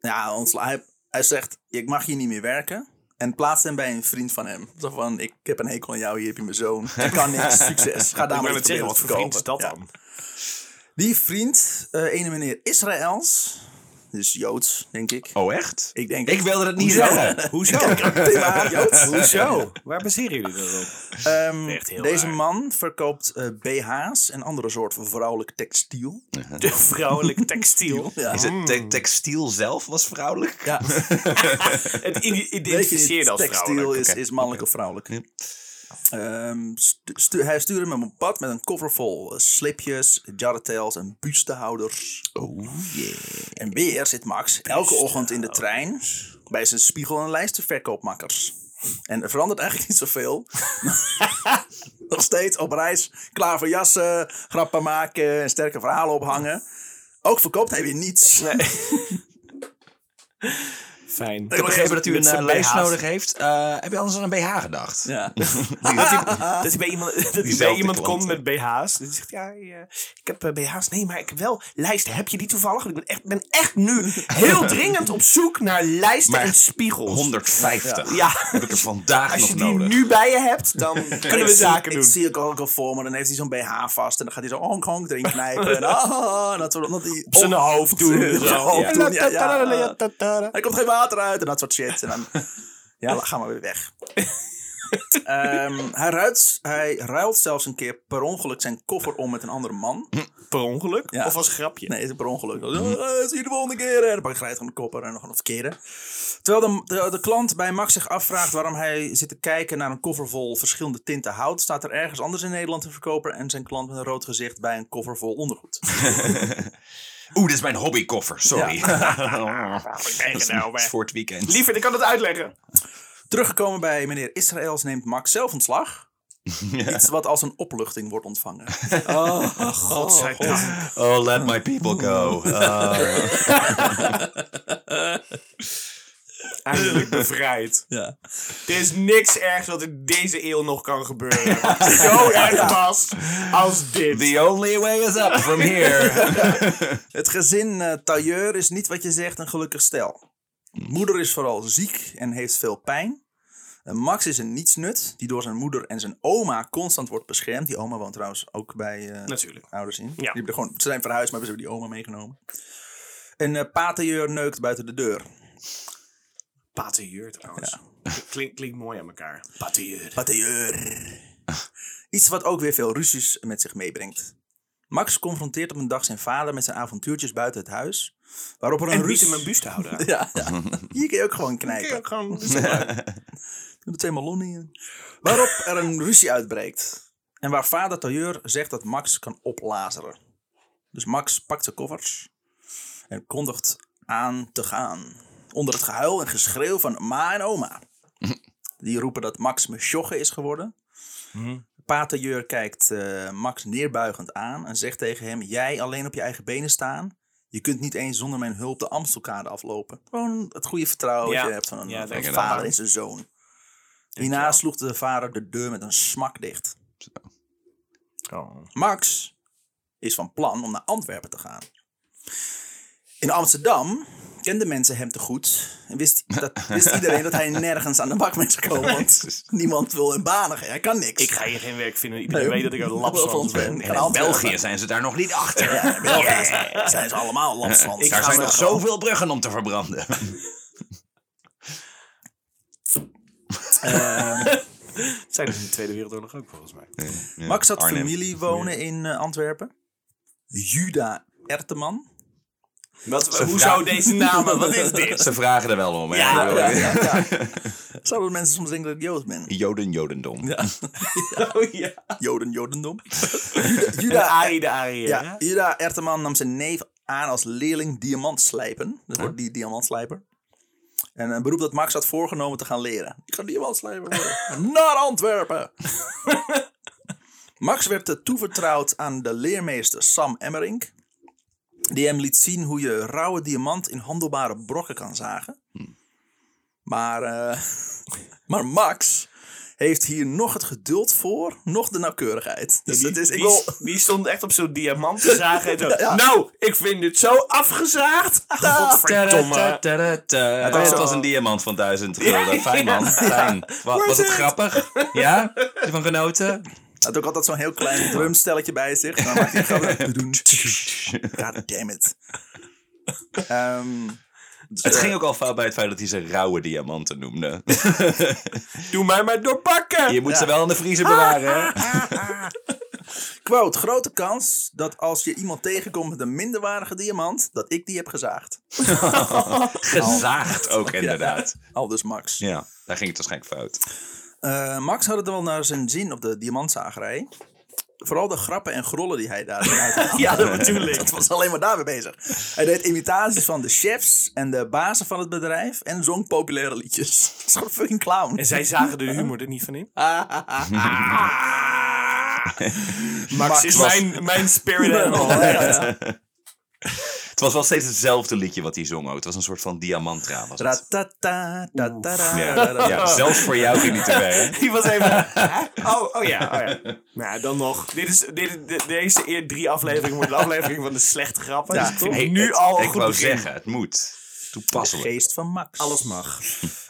Speaker 1: Ja, ontsla hij, hij zegt, ik mag hier niet meer werken. En plaatst hem bij een vriend van hem. Zo van, ik heb een hekel aan jou, hier heb je mijn zoon. Ik kan niks, succes. Ga daar
Speaker 2: Ik
Speaker 1: maar
Speaker 2: wil
Speaker 1: eens
Speaker 2: het zeggen,
Speaker 1: proberen
Speaker 2: wat voor
Speaker 1: verkopen.
Speaker 2: vriend is dat
Speaker 1: Ja.
Speaker 2: dan?
Speaker 1: Die vriend, eh ene meneer Israëls. Dus Joods, denk ik.
Speaker 3: Oh, echt?
Speaker 1: Ik denk-
Speaker 3: ik wilde dat niet zeggen.
Speaker 2: Hoezo?
Speaker 1: Prima, Joods.
Speaker 2: Hoezo? Waar baseren jullie dat op?
Speaker 1: Ehm,
Speaker 2: Echt heel
Speaker 1: deze
Speaker 2: raar.
Speaker 1: man verkoopt eh, BH's en andere soort van vrouwelijk textiel.
Speaker 2: De vrouwelijke textiel.
Speaker 1: Ja.
Speaker 3: Is het te- textiel zelf was vrouwelijk?
Speaker 1: Ja,
Speaker 2: Het i-
Speaker 1: weet je niet,
Speaker 2: identificeerde als
Speaker 1: textiel
Speaker 2: vrouwelijk.
Speaker 1: is, is mannelijk of vrouwelijk. Ehm, stu- stu- hij stuurde me op pad met een koffer vol eh, slipjes, jarretails en bustehouders.
Speaker 3: Oh
Speaker 1: En weer zit Max elke ochtend in de trein bij zijn spiegel en lijstenverkoopmakkers. En er verandert eigenlijk niet zoveel. Nog steeds op reis, klaar voor jassen, grappen maken en sterke verhalen ophangen. Ook verkoopt hij weer niets.
Speaker 2: Fijn.
Speaker 3: Ik heb begrepen dat u een
Speaker 2: Met zijn
Speaker 3: eh, lijst
Speaker 2: BH's.
Speaker 3: nodig heeft. Eh, heb je anders aan een BH gedacht?
Speaker 1: Ja.
Speaker 2: dat, hij, dat hij bij iemand, dat hij bij
Speaker 3: Diezelfde
Speaker 2: iemand
Speaker 3: klant,
Speaker 2: komt
Speaker 3: hè.
Speaker 2: met BH's. Dat hij zegt, ja, eh, ik heb eh, BH's. Nee, maar ik heb wel lijsten. Heb je die toevallig? Want Ik ben echt, ben echt nu heel dringend op zoek naar lijsten
Speaker 3: Maar
Speaker 2: en spiegels.
Speaker 3: 150.
Speaker 2: Ja.
Speaker 3: Heb ik er vandaag
Speaker 2: Als je
Speaker 3: nog
Speaker 2: die
Speaker 3: nodig.
Speaker 2: nu bij je hebt, dan kunnen
Speaker 1: Ik
Speaker 2: we
Speaker 1: zie-
Speaker 2: zaken
Speaker 1: Ik
Speaker 2: doen.
Speaker 1: zie ook al voor me. Dan heeft hij zo'n BH vast. En dan gaat hij zo honk honk erin knijpen. en ah, dat soort dat hij
Speaker 2: Op zijn hoofd doen.
Speaker 1: Op zijn
Speaker 2: Zo.
Speaker 1: hoofd doen, ja, ja.
Speaker 2: Ja.
Speaker 1: Er komt geen water uit en dat soort shit. En dan, ja, dan gaan we weer weg. Ehm, hij, ruilt, hij ruilt zelfs een keer per ongeluk zijn koffer om met een andere man.
Speaker 2: Per ongeluk?
Speaker 1: Ja.
Speaker 2: Of als grapje?
Speaker 1: Nee, het is per ongeluk. Dan, eh, eh, zie je de volgende keer. En dan pak ik gewoon de koffer en nog een verkeerde. Terwijl de, de, de klant bij Max zich afvraagt waarom hij zit te kijken naar een koffer vol verschillende tinten hout, staat er ergens anders in Nederland een verkoper en zijn klant met een rood gezicht bij een koffer vol ondergoed.
Speaker 3: Oeh, dit is mijn hobbykoffer. Sorry.
Speaker 2: Kijk
Speaker 3: Dat
Speaker 2: er
Speaker 3: is
Speaker 2: nou bij.
Speaker 3: voor het weekend.
Speaker 2: Liever, ik kan het uitleggen.
Speaker 1: Teruggekomen bij meneer Israëls neemt Max zelf ontslag. Iets wat als een opluchting wordt ontvangen.
Speaker 2: Oh, godzijdank.
Speaker 3: Oh, let my people go. Uh,
Speaker 2: Eindelijk bevrijd.
Speaker 1: Ja.
Speaker 2: Er is niks ergs wat in deze eeuw nog kan gebeuren. Zo erg was als dit.
Speaker 3: the only way is up from here.
Speaker 1: Het gezin eh, Tailleur is niet wat je zegt een gelukkig stel. Moeder is vooral ziek en heeft veel pijn. En Max is een nietsnut die door zijn moeder en zijn oma constant wordt beschermd. Die oma woont trouwens ook bij eh,
Speaker 2: Natuurlijk.
Speaker 1: ouders in. Die
Speaker 2: Ja.
Speaker 1: hebben gewoon, ze zijn verhuisd, maar ze hebben die oma meegenomen. En eh pa Tailleur neukt buiten de deur.
Speaker 2: Patilleur trouwens. Klinkt klinkt mooi aan elkaar. Patilleur.
Speaker 1: Pa Tailleur. Iets wat ook weer veel ruzies met zich meebrengt. Max confronteert op een dag zijn vader met zijn avontuurtjes buiten het huis. Waarop er een
Speaker 2: En
Speaker 1: ruzie...
Speaker 2: niet in mijn buste houden. Ik
Speaker 1: Ja, ja. Hier kun je ook gewoon knijpen.
Speaker 2: heb gewoon-
Speaker 1: Doe er twee ballonnen in. Waarop er een ruzie uitbreekt. En waar vader Tailleur zegt dat Max kan oplazeren. Dus Max pakt zijn koffers en kondigt aan te gaan. Onder het gehuil en geschreeuw van ma en oma. Die roepen dat Max mesjogge is geworden.
Speaker 2: Mhm.
Speaker 1: Pa Tailleur kijkt eh, Max neerbuigend aan en zegt tegen hem... Jij alleen op je eigen benen staan? Je kunt niet eens zonder mijn hulp de Amstelkade aflopen. Gewoon het goede vertrouwen dat
Speaker 2: Ja.
Speaker 1: je hebt van een
Speaker 2: Ja,
Speaker 1: een
Speaker 2: denk
Speaker 1: vader
Speaker 2: ik.
Speaker 1: en zijn zoon. Hierna sloeg de vader de deur met een smak dicht.
Speaker 2: Oh.
Speaker 1: Max is van plan om naar Antwerpen te gaan. In Amsterdam kenden mensen hem te goed. En wist, dat, wist iedereen dat hij nergens aan de bak mee zou komen. Want
Speaker 3: Jezus.
Speaker 1: niemand wil hem banen. Hij kan niks.
Speaker 2: Ik ga hier geen werk vinden. Iedereen
Speaker 1: Nee.
Speaker 2: weet dat ik een
Speaker 1: Lapsland
Speaker 2: lapsland ben.
Speaker 1: ben.
Speaker 3: En in België zijn ze daar nog niet achter.
Speaker 1: Ja, in België zijn- zijn ze allemaal lapsland.
Speaker 2: Ik
Speaker 3: daar
Speaker 2: ga
Speaker 3: zijn
Speaker 2: maar
Speaker 3: nog
Speaker 2: gewoon-
Speaker 3: zoveel bruggen om te verbranden.
Speaker 2: Dat zijn er in de Tweede Wereldoorlog ook volgens mij.
Speaker 1: Max had
Speaker 3: Arnhem.
Speaker 1: familie wonen in eh, Antwerpen. Juda Erteman.
Speaker 2: Wat,
Speaker 3: Ze
Speaker 2: hoezo
Speaker 3: vragen-
Speaker 2: deze namen? Wat is dit?
Speaker 3: Ze vragen er wel om. hè.
Speaker 2: Ja,
Speaker 3: Ik bedoel,
Speaker 1: Zouden mensen soms denken dat ik Joost ben?
Speaker 3: Joden, Jodendom.
Speaker 2: Oh ja.
Speaker 1: Joden, Jodendom.
Speaker 2: De
Speaker 1: Juda,
Speaker 2: Arie, de Arie. hè?
Speaker 1: ja, Juda Erteman nam zijn neef aan als leerling diamantslijpen. Dus wordt die diamantslijper. En een beroep dat Max had voorgenomen te gaan leren. Ik ga diamantslijper worden. Naar Antwerpen! Max werd eh, toevertrouwd aan de leermeester Sam Emmerink. Die hem liet zien hoe je rauwe diamant in handelbare brokken kan zagen.
Speaker 2: Hm.
Speaker 1: Maar, eh, maar Max heeft hier nog het geduld voor, nog de nauwkeurigheid. Dus
Speaker 2: Die,
Speaker 1: het is, ik
Speaker 2: die,
Speaker 1: wil,
Speaker 2: die stond echt op zo'n diamant te zagen. En zo,
Speaker 1: Ja.
Speaker 2: Nou, ik vind dit zo afgezaagd. Godverdomme.
Speaker 3: Het
Speaker 1: Oh.
Speaker 2: was-
Speaker 3: was als een diamant van duizend gulden. Fijn man,
Speaker 2: Ja.
Speaker 3: fijn. Wa-
Speaker 2: Worth
Speaker 3: was het
Speaker 2: it.
Speaker 3: grappig? Ja? Heb je van genoten?
Speaker 1: Hij had ook altijd zo'n heel klein drumstelletje bij zich. Dan maakt hij gewoon- God damn it. Ehm, dus,
Speaker 3: Het
Speaker 1: eh,
Speaker 3: ging ook al fout bij het feit dat hij ze rauwe diamanten noemde.
Speaker 2: Doe mij maar doorpakken.
Speaker 3: Je moet ze wel in de vriezer
Speaker 1: Ah.
Speaker 3: bewaren. hè?
Speaker 1: quote, grote kans dat als je iemand tegenkomt met een minderwaardige diamant, dat ik die heb gezaagd.
Speaker 3: Gezaagd ook inderdaad.
Speaker 1: Aldus Max.
Speaker 3: Ja, daar ging het waarschijnlijk fout.
Speaker 1: dus Eh, Max had het wel naar zijn zin op de diamantzagerij. Vooral de grappen en grollen die hij daarin uithaalde.
Speaker 2: Ja, dat bedoel ik.
Speaker 1: Dat was alleen maar daarmee bezig. Hij deed imitaties van de chefs en de bazen van het bedrijf. En zong populaire liedjes. Dat is gewoon een fucking clown.
Speaker 2: En zij zagen de humor er niet van in. Max
Speaker 1: Max
Speaker 2: is
Speaker 1: was-
Speaker 2: mijn, mijn spirit animal.
Speaker 3: Het was wel steeds hetzelfde liedje wat hij zong ook. Het was een soort van diamantra. Was het.
Speaker 1: Ratata, tatara,
Speaker 3: Ja. ja, zelfs voor jou ging niet erbij. Hè?
Speaker 2: Die was even. Hè? Oh, oh ja, oh ja. Nou, dan nog. Dit is, dit, is- de- deze eer drie afleveringen wordt de aflevering van de slechte grappen.
Speaker 1: Ja,
Speaker 2: Dus ik vind
Speaker 3: Hey,
Speaker 2: nu
Speaker 3: het-
Speaker 2: al een
Speaker 3: Ik
Speaker 2: goed
Speaker 3: wou
Speaker 2: begin.
Speaker 3: zeggen, het moet.
Speaker 1: De
Speaker 3: Toepasselijk.
Speaker 1: geest van Max.
Speaker 2: Alles mag.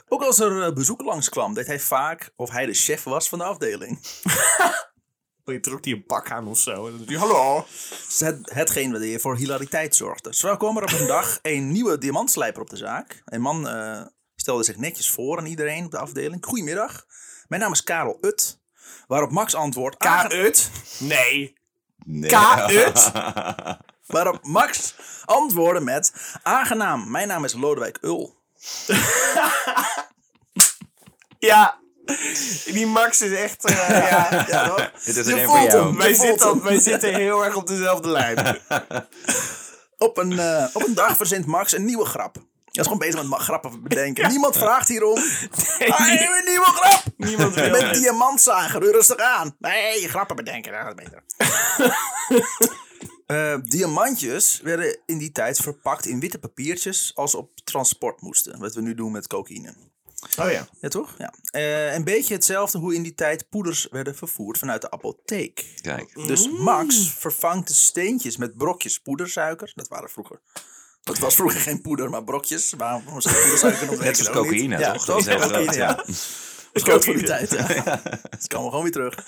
Speaker 1: Ook als er eh, bezoek langskwam, deed hij vaak of hij de chef was van de afdeling.
Speaker 2: Je trok die een pak aan of zo. En dan doet hij, Hallo.
Speaker 1: Dus Het, hetgeen weer voor hilariteit zorgde. Zo kwam er op een dag een nieuwe diamantslijper op de zaak. Een man eh, stelde zich netjes voor aan iedereen op de afdeling. Goedemiddag, mijn naam is Karel Ut. Waarop Max antwoordt... aange-
Speaker 2: K-ut? Nee.
Speaker 3: Nee.
Speaker 2: K-ut?
Speaker 1: waarop Max antwoordde met... Aangenaam, mijn naam is Lodewijk Ul.
Speaker 2: Ja. Die Max is echt. eh, ja.
Speaker 1: Ja, toch?
Speaker 3: Dit is
Speaker 1: Je
Speaker 3: er één
Speaker 1: voelt
Speaker 3: voor jou.
Speaker 1: hem.
Speaker 2: Wij,
Speaker 1: Je voelt
Speaker 2: zitten,
Speaker 1: hem.
Speaker 2: wij zitten heel erg op dezelfde lijn.
Speaker 1: Op een, eh, op een dag verzint Max een nieuwe grap. Hij is gewoon bezig met ma- grappen bedenken. Niemand vraagt hierom. Ah,
Speaker 2: Nee,
Speaker 1: even een nieuwe grap!
Speaker 2: Niemand
Speaker 1: Je
Speaker 2: wil
Speaker 1: bent
Speaker 2: het.
Speaker 1: diamantzager, doe rustig aan. Nee, je grappen bedenken, dat gaat beter. Eh, diamantjes werden in die tijd verpakt in witte papiertjes als ze op transport moesten. Wat we nu doen met cocaïne.
Speaker 2: Oh ja.
Speaker 1: Ja, toch? Ja. Eh, een beetje hetzelfde hoe in die tijd poeders werden vervoerd vanuit de apotheek.
Speaker 3: Kijk.
Speaker 1: Dus Max vervangt de steentjes met brokjes poedersuiker. Dat waren vroeger. Dat was vroeger geen poeder, maar brokjes. Waarom waarom zou je poedersuiker nog
Speaker 3: Net als
Speaker 1: weten, ook niet.
Speaker 3: cocaïne,
Speaker 1: Ja,
Speaker 3: toch?
Speaker 1: dat was
Speaker 3: Diezelfde
Speaker 1: cocaïne,
Speaker 3: draad,
Speaker 1: ja. Dat is goed voor die tijd, ja. Het kan gewoon weer terug.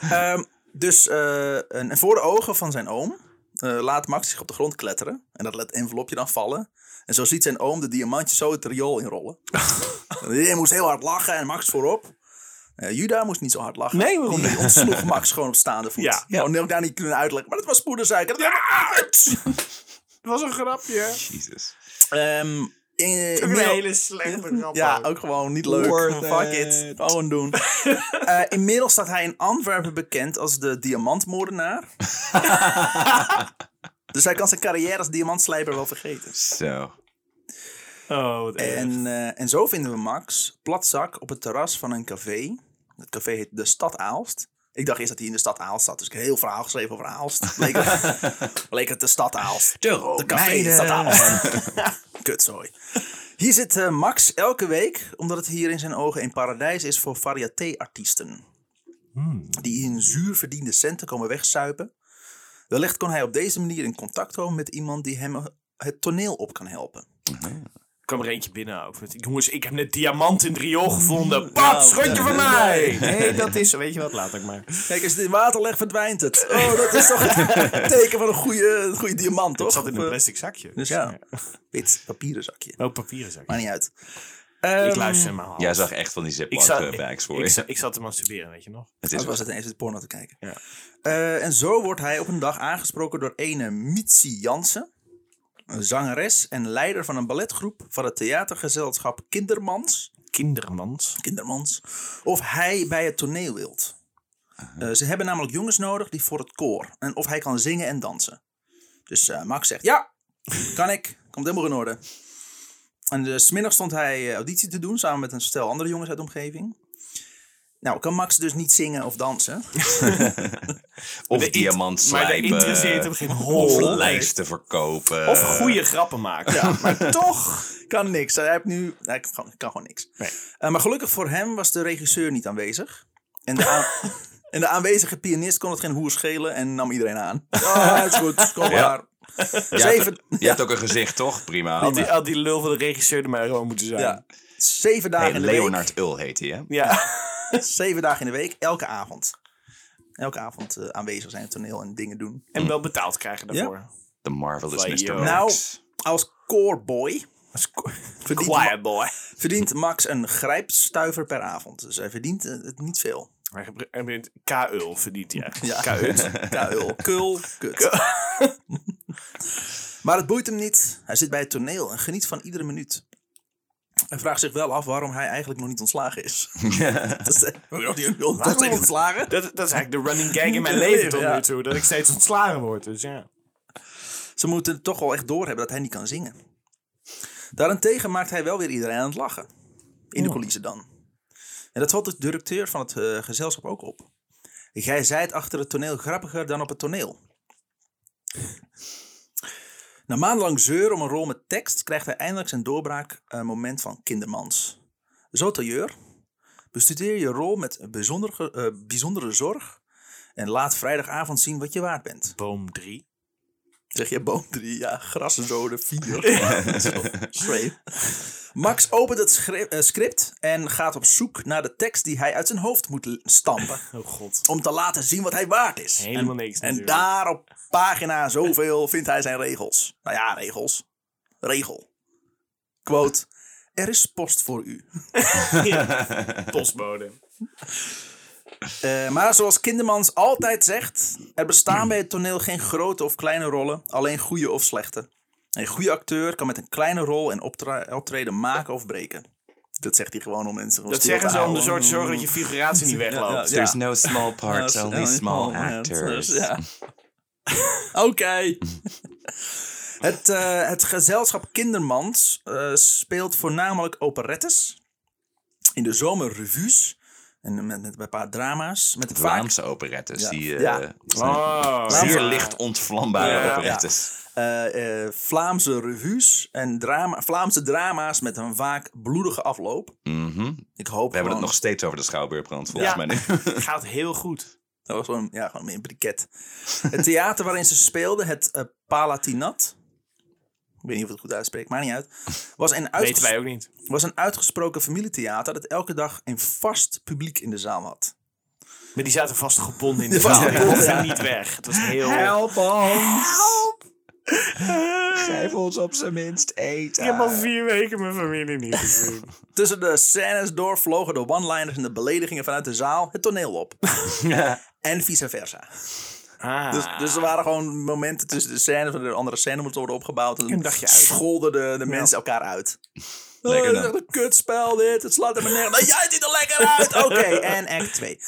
Speaker 1: Ehm, dus eh, en, en voor de ogen van zijn oom eh, laat Max zich op de grond kletteren. En dat laat het envelopje dan vallen. En zo ziet zijn oom de diamantjes zo het riool inrollen. En Iedereen moest heel hard lachen en Max voorop. Eh, Juda moest niet zo hard lachen.
Speaker 2: Nee, waarom
Speaker 1: Die
Speaker 2: niet?
Speaker 1: ontsloeg Max gewoon op staande voet.
Speaker 2: Ja.
Speaker 1: Gewoon heel daar niet kunnen uitleggen. Maar dat was poedersuiker. Dat
Speaker 2: Het was een grapje.
Speaker 3: Jezus.
Speaker 1: Ehm, in-
Speaker 2: Ook
Speaker 1: in-
Speaker 2: een hele slechte grap.
Speaker 1: Ja,
Speaker 2: ook.
Speaker 1: ook gewoon niet leuk.
Speaker 3: Worth
Speaker 1: Fuck
Speaker 3: it.
Speaker 1: it. Gewoon doen. Eh, inmiddels staat hij in Antwerpen bekend als de diamantmoordenaar. dus hij kan zijn carrière als diamantslijper wel vergeten.
Speaker 3: Zo.
Speaker 2: Oh, wat erg.
Speaker 1: En, eh, en zo vinden we Max platzak op het terras van een café. Het café heet De Stad Aalst. Ik dacht eerst dat hij in de stad Aalst zat. Dus ik heb een heel verhaal geschreven over Aalst. Leek het, leek het de stad Aalst.
Speaker 3: De
Speaker 1: De café is dat aan. Kutzooi. Hier zit eh, Max elke week, omdat het hier in zijn ogen een paradijs is voor variété-artiesten. Die in zuur verdiende centen komen wegzuipen. Wellicht kon hij op deze manier in contact komen met iemand die hem eh, het toneel op kan helpen.
Speaker 2: Er kwam er eentje binnen ook. Met, Jongens, ik heb net diamant in het riool gevonden. Pap, schotje van mij! Mm, nou, Nee, dat is... Weet je wat, laat ik maar.
Speaker 1: Kijk, als het in water legt, verdwijnt het. Oh, dat is toch het teken van een goede, een goede diamant, toch?
Speaker 2: Het zat in een
Speaker 1: Of, eh,
Speaker 2: plastic zakje.
Speaker 1: Dus ja, wit papieren zakje.
Speaker 2: Ook papieren zakje.
Speaker 1: Maakt niet uit.
Speaker 2: Ik
Speaker 1: Ehm,
Speaker 2: luister hem al.
Speaker 3: Jij zag echt van die
Speaker 2: ik
Speaker 3: ziplock
Speaker 2: zat,
Speaker 3: eh, bags voor
Speaker 2: ik,
Speaker 3: je.
Speaker 2: zat- ik zat te masturberen, weet je nog?
Speaker 3: Het
Speaker 1: Dat
Speaker 3: is
Speaker 1: Oh, was het ineens het porno te kijken.
Speaker 2: Ja.
Speaker 1: Eh, en zo wordt hij op een dag aangesproken door ene Mitsi Jansen. Een zangeres en leider van een balletgroep van het theatergezelschap Kindermans.
Speaker 2: Kindermans.
Speaker 1: Kindermans. Of hij bij het toneel wilt. Eh, ze hebben namelijk jongens nodig die voor het koor. En of hij kan zingen en dansen. Dus eh, Max zegt, ja, kan ik. Komt helemaal in orde. En dus 's middags stond hij eh, auditie te doen samen met een stel andere jongens uit de omgeving. Nou, kan Max dus niet zingen of dansen.
Speaker 3: Of
Speaker 2: De int-
Speaker 3: diamant
Speaker 2: Maar dat interesseert hem
Speaker 3: slijpen.
Speaker 2: geen
Speaker 3: Of Eh.
Speaker 2: hol.
Speaker 3: lijsten verkopen.
Speaker 2: Of goede grappen maken.
Speaker 1: Ja, maar toch kan niks. Hij heeft nu, hij kan, kan gewoon niks.
Speaker 2: Nee.
Speaker 1: Eh, maar gelukkig voor hem was de regisseur niet aanwezig. En de, aan- en de aanwezige pianist kon het geen hoer schelen en nam iedereen aan. Oh, het is goed, kom
Speaker 3: Ja.
Speaker 1: maar.
Speaker 3: Je
Speaker 1: Zeven,
Speaker 3: hebt, je hebt ook een gezicht, toch? Prima.
Speaker 2: Had die, had die lul van de regisseur er maar gewoon moeten zijn.
Speaker 1: ja, zeven dagen
Speaker 3: Hey,
Speaker 1: in de week.
Speaker 3: Leonard Ul heet hij, hè?
Speaker 2: Ja.
Speaker 1: Zeven dagen in de week, elke avond. Elke avond eh, aanwezig zijn op toneel en dingen doen.
Speaker 2: En wel betaald krijgen daarvoor.
Speaker 3: The Marvelous
Speaker 2: Van,
Speaker 3: Mr.
Speaker 2: yo.
Speaker 1: Nou,
Speaker 3: Max.
Speaker 1: als coreboy verdient, Ma-
Speaker 2: Quiet boy.
Speaker 1: verdient Max een grijpstuiver per avond. Dus hij verdient eh, het niet veel.
Speaker 2: Maar hij gebru- hij bent K-ul verdient hij eigenlijk.
Speaker 1: Ja.
Speaker 2: K-ut.
Speaker 1: Kuil. Kul. Kut. maar het boeit hem niet. Hij zit bij het toneel en geniet van iedere minuut. Hij vraagt zich wel af waarom hij eigenlijk nog niet ontslagen is. dat is eh, waarom die nog niet ontslagen?
Speaker 2: Dat, dat is eigenlijk de running gag in mijn
Speaker 1: Ja.
Speaker 2: leven tot
Speaker 1: Ja.
Speaker 2: nu toe. Dat ik steeds ontslagen word. Dus ja.
Speaker 1: Ze moeten het toch wel echt doorhebben dat hij niet kan zingen. Daarentegen maakt hij wel weer iedereen aan het lachen. In de coulissen dan. En dat valt de directeur van het eh, gezelschap ook op. Gij zijt achter het toneel grappiger dan op het toneel. Na maandenlang zeur om een rol met tekst krijgt hij eindelijk zijn doorbraakmoment van kindermans. Zo tailleur, bestudeer je rol met bijzonder ge- eh, bijzondere zorg en laat vrijdagavond zien wat je waard bent.
Speaker 2: Boom 3.
Speaker 1: Zeg je boom 3, ja, grassenzoden 4. Zweep. Max opent het schri- eh, script en gaat op zoek naar de tekst die hij uit zijn hoofd moet l- stampen.
Speaker 2: Oh god.
Speaker 1: Om te laten zien wat hij waard is.
Speaker 2: Helemaal
Speaker 1: en,
Speaker 2: niks
Speaker 1: En
Speaker 2: natuurlijk.
Speaker 1: daar op pagina zoveel vindt hij zijn regels. Nou ja, regels. Regel. Quote. Er is post voor u.
Speaker 2: Postbode.
Speaker 1: Eh, maar zoals Kindermans altijd zegt, er bestaan bij het toneel geen grote of kleine rollen, alleen goede of slechte. Een goede acteur kan met een kleine rol en optra- optreden maken of breken. Dat zegt hij gewoon om mensen gewoon
Speaker 2: Dat
Speaker 1: stil
Speaker 2: zeggen
Speaker 1: te
Speaker 2: ze om
Speaker 1: houden.
Speaker 2: de soort te zorgen dat je figuratie niet wegloopt.
Speaker 1: Ja.
Speaker 3: There's no small
Speaker 1: Ja,
Speaker 3: parts,
Speaker 1: dat is-
Speaker 3: only
Speaker 1: ja,
Speaker 3: small
Speaker 1: ja, dat is-
Speaker 3: actors.
Speaker 1: dus ja. Oké. het, eh, het gezelschap Kindermans eh, speelt voornamelijk operettes. In de zomer revues. En met, met, met een paar drama's. Met vaak
Speaker 3: Vlaamse operettes.
Speaker 1: Ja.
Speaker 3: Die, eh,
Speaker 1: Ja.
Speaker 3: zijn
Speaker 2: Oh,
Speaker 3: Zeer licht ontvlambare
Speaker 2: Ja.
Speaker 3: operettes.
Speaker 1: eh, eh, Vlaamse revues en drama, Vlaamse drama's met een vaak bloedige afloop.
Speaker 3: Mhm.
Speaker 1: Ik hoop
Speaker 3: We hebben het
Speaker 1: gewoon-
Speaker 3: nog steeds over de Schouwburgbrand, volgens
Speaker 2: Ja.
Speaker 3: mij. nu.
Speaker 2: Gaat heel goed.
Speaker 1: Dat was gewoon, ja, gewoon meer een briket. het theater waarin ze speelden, het eh, Palatinat. Ik weet niet of ik het goed uitspreek, maakt niet uit. Was een, uitges-
Speaker 2: Weten wij ook niet.
Speaker 1: was een uitgesproken familietheater dat elke dag een vast publiek in de zaal had.
Speaker 2: Maar die zaten vast gebonden in de
Speaker 1: Ja.
Speaker 2: zaal. Die
Speaker 1: Ja.
Speaker 2: mochten niet weg. Het was heel...
Speaker 3: Geef ons op zijn minst eten.
Speaker 2: vier weken mijn familie niet gezien.
Speaker 1: Tussen de scènes door vlogen de one-liners en de beledigingen vanuit de zaal het toneel op. en vice versa.
Speaker 2: Ah.
Speaker 1: Dus, dus er waren gewoon momenten tussen de scène van de andere scène moest worden opgebouwd. En
Speaker 2: Een
Speaker 1: dan
Speaker 2: dagje uit.
Speaker 1: scholden de, de mensen elkaar uit. Oh,
Speaker 3: Lekker
Speaker 1: dit is
Speaker 3: dan.
Speaker 1: echt een kutspel dit. Het slaat er maar nergens. Jij ziet er lekker uit. Oké, en act 2.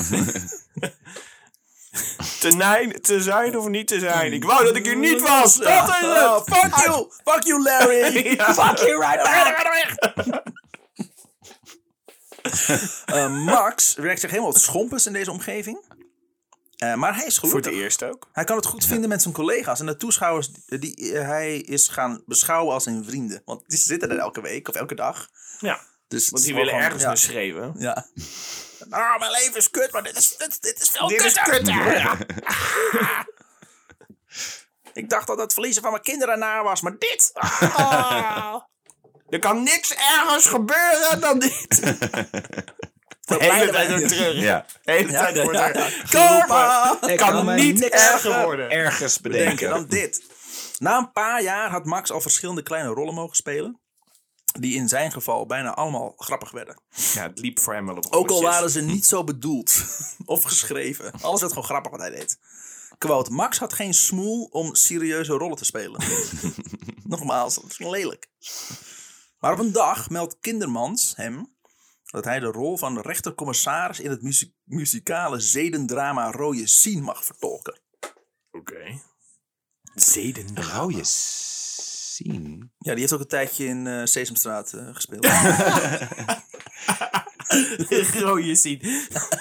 Speaker 2: te, nijn, te zijn of niet te zijn. Ik wou dat ik hier niet was. Dat is
Speaker 1: Oh,
Speaker 2: het.
Speaker 1: fuck you. Fuck you, Larry.
Speaker 2: Ja.
Speaker 1: Fuck you right back. Eh, Max werkt zich helemaal op schompens in deze omgeving. Eh, maar hij is
Speaker 2: Voor het
Speaker 1: gelukkig.
Speaker 2: eerst ook.
Speaker 1: Hij kan het goed vinden met zijn collega's en de toeschouwers die eh, hij is gaan beschouwen als zijn vrienden. Want die zitten er elke week of elke dag.
Speaker 2: Ja.
Speaker 1: Dus
Speaker 2: Want die willen ergens
Speaker 1: ja.
Speaker 2: naar schreeuwen.
Speaker 1: Ja. Ah, mijn leven is kut, maar dit is, dit, dit is veel
Speaker 2: Dit is
Speaker 1: kutter.
Speaker 2: kut, hè?
Speaker 1: Ik dacht dat het verliezen van mijn kinderen naar was, maar dit. Ah.
Speaker 2: Er kan niks ergens gebeuren dan dit. De hele
Speaker 1: leiden
Speaker 2: tijd
Speaker 1: wij-
Speaker 2: ook terug.
Speaker 3: Ja.
Speaker 2: De hele tijd
Speaker 1: ja,
Speaker 2: wordt er
Speaker 1: ja.
Speaker 2: geroepen.
Speaker 1: Karma!
Speaker 2: Het kan niet erger worden.
Speaker 3: Ergens
Speaker 1: denken
Speaker 3: bedenken.
Speaker 1: dan dit. Na een paar jaar had Max al verschillende kleine rollen mogen spelen. Die in zijn geval bijna allemaal grappig werden.
Speaker 2: Ja, het liep voor hem wel op
Speaker 1: Ook al
Speaker 2: rolletjes.
Speaker 1: waren ze niet zo bedoeld of geschreven. Alles werd gewoon grappig wat hij deed. Quote, Max had geen smoel om serieuze rollen te spelen. Nogmaals, dat is lelijk. Maar op een dag meldt Kindermans hem dat hij de rol van rechtercommissaris in het muzie- muzikale zedendrama Rode Sien mag vertolken.
Speaker 2: Oké. Zeden.
Speaker 3: Rauwe zien.
Speaker 1: Ja, die heeft ook een tijdje in eh, Sesamstraat eh, gespeeld.
Speaker 2: Rode zien.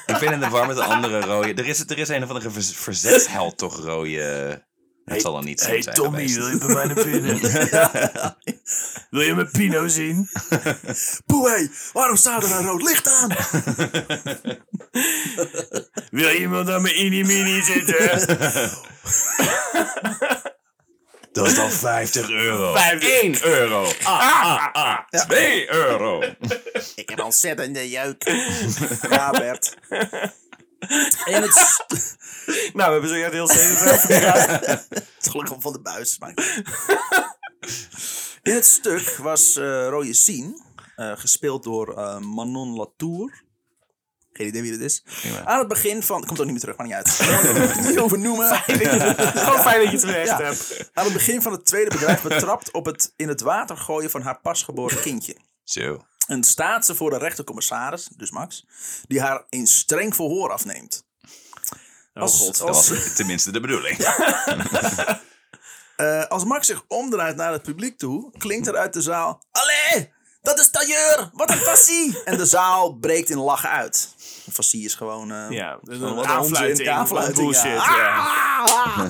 Speaker 3: Ik ben in de war met de andere rode. Er is, er is een of andere ver, verzetsheld toch rode... Het zal dan niet zo
Speaker 2: Hey
Speaker 3: zijn
Speaker 2: Tommy,
Speaker 3: geweest.
Speaker 2: wil je bij mij naar binnen? wil je mijn Pino zien?
Speaker 1: Poeh, hé, waarom staat er een rood licht aan?
Speaker 2: Wil iemand aan mijn inimini zitten?
Speaker 3: Dat is dan 50 euro.
Speaker 2: 50.
Speaker 3: 1 euro. 2
Speaker 2: Ah,
Speaker 3: euro.
Speaker 1: Ik heb ontzettende jeuk. Ja, Bert. En het st-
Speaker 2: nou, we hebben zo heel zeven.
Speaker 1: het gelukkig van de buis. Maar... In het stuk was eh Roye Sien, eh, gespeeld door eh, Manon Latour. Geen idee wie dat is.
Speaker 3: Prima.
Speaker 1: Aan het begin van... Komt ook niet meer terug, maar niet uit. Ik moet het niet over noemen.
Speaker 2: Gewoon fijn dat je het recht
Speaker 1: Ja.
Speaker 2: hebt.
Speaker 1: Aan het begin van het tweede bedrijf betrapt op het in het water gooien van haar pasgeboren kindje.
Speaker 3: Zo.
Speaker 1: En staat ze voor de rechtercommissaris, dus Max, die haar in streng verhoor afneemt. als,
Speaker 2: Oh, god,
Speaker 3: Oh Dat
Speaker 1: als,
Speaker 3: was tenminste de bedoeling.
Speaker 1: eh, als Max zich omdraait naar het publiek toe, klinkt er uit de zaal: Allee, dat is tailleur, wat een fascie! en de zaal breekt in lachen uit. Een fascie is gewoon. eh,
Speaker 2: Ja, dat is
Speaker 1: gewoon
Speaker 2: een
Speaker 1: wat onzin,
Speaker 2: aanfluiting,
Speaker 1: een aanfluiting,
Speaker 2: bullshit,
Speaker 1: ja.
Speaker 2: ja.
Speaker 1: Ah!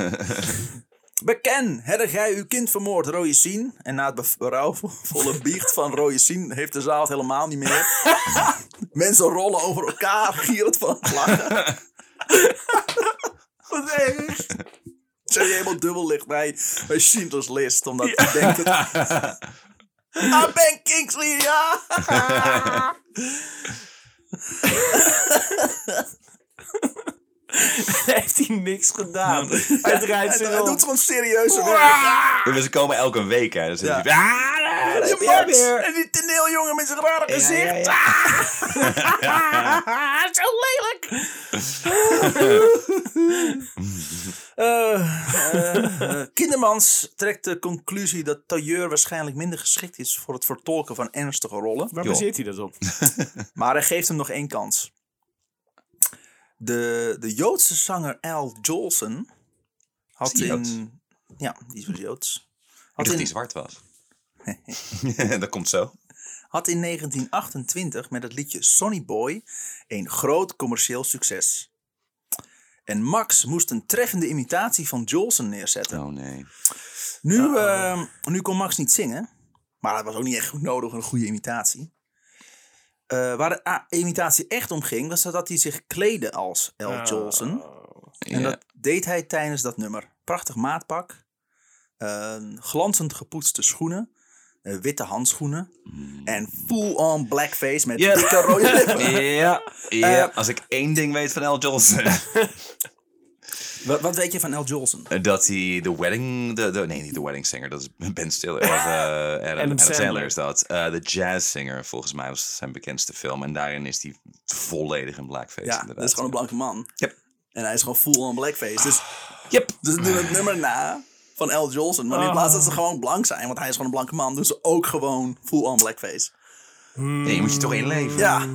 Speaker 1: Beken, hebben gij uw kind vermoord, Royesien? En na het bev- berouwvolle biecht van Royesien heeft de zaal het helemaal niet meer. Mensen rollen over elkaar, gierend van het lachen.
Speaker 2: Wat erg.
Speaker 1: Zijn je helemaal dubbel ligt bij, bij Schindler's List, omdat hij denkt het... Ah, Ben Kingsley, ja!
Speaker 2: heeft hij niks gedaan. Hij draait
Speaker 1: Hij,
Speaker 2: zich
Speaker 1: hij
Speaker 2: om.
Speaker 1: doet gewoon serieuze werk.
Speaker 2: Ah!
Speaker 3: Ja, maar ze komen elke week, hè. Dus
Speaker 1: Ja.
Speaker 3: het is- Ah, daar heb
Speaker 1: Je
Speaker 3: je
Speaker 1: mort!
Speaker 3: weer.
Speaker 1: En die toneeljongen met zijn rare gezicht.
Speaker 2: ja, Ah, Zo lelijk!
Speaker 1: Eh, eh, Kindermans trekt de conclusie dat Tailleur waarschijnlijk minder geschikt is voor het vertolken van ernstige rollen.
Speaker 2: Waar
Speaker 3: Joh.
Speaker 2: baseert hij dat op?
Speaker 1: Maar hij geeft hem nog één kans. De, de Joodse zanger Al Jolson had
Speaker 3: Is die
Speaker 1: in...
Speaker 3: Joods?
Speaker 1: Ja, die was Joods.
Speaker 3: Ik
Speaker 1: Had
Speaker 3: dacht die
Speaker 1: in,
Speaker 3: zwart was. dat komt zo.
Speaker 1: had in 1928 met het liedje Sonny Boy een groot commercieel succes. En Max moest een treffende imitatie van Jolson neerzetten.
Speaker 3: Oh nee.
Speaker 1: Nu, ehm, nu kon Max niet zingen. Maar het was ook niet echt goed nodig, een goede imitatie. Eh, waar de ah, imitatie echt om ging, was dat hij zich kleedde als L.
Speaker 2: Nou, Ah.
Speaker 1: Jolson. En
Speaker 3: Ja.
Speaker 1: dat deed hij tijdens dat nummer. Prachtig maatpak, eh, glanzend gepoetste schoenen, eh, witte handschoenen en full-on blackface met
Speaker 2: Ja.
Speaker 1: dikke rode lippen.
Speaker 3: Mm. Ja, ja. Eh, als ik één ding weet van L. Johnson.
Speaker 1: Wat, wat weet je van L. Jolson?
Speaker 3: dat hij de wedding... De, de- nee, niet de wedding singer. Dat is Ben Stiller. Of, eh, Adam, Adam Sandler.
Speaker 2: Sandler.
Speaker 3: is dat. Eh, de jazz singer, volgens mij, was zijn bekendste film. En daarin is hij volledig in blackface.
Speaker 1: Ja,
Speaker 3: inderdaad.
Speaker 1: dat is gewoon een blanke man.
Speaker 3: Yep. Ah.
Speaker 1: En hij is gewoon full-on blackface. Dus
Speaker 3: Yep. Ah.
Speaker 1: Dus doe het nummer na van L. Jolson. Maar in
Speaker 2: Oh.
Speaker 1: plaats dat ze gewoon blank zijn, want hij is gewoon een blanke man, doen ze ook gewoon full-on blackface.
Speaker 3: Nee, je moet je toch inleven.
Speaker 1: Ja,
Speaker 3: You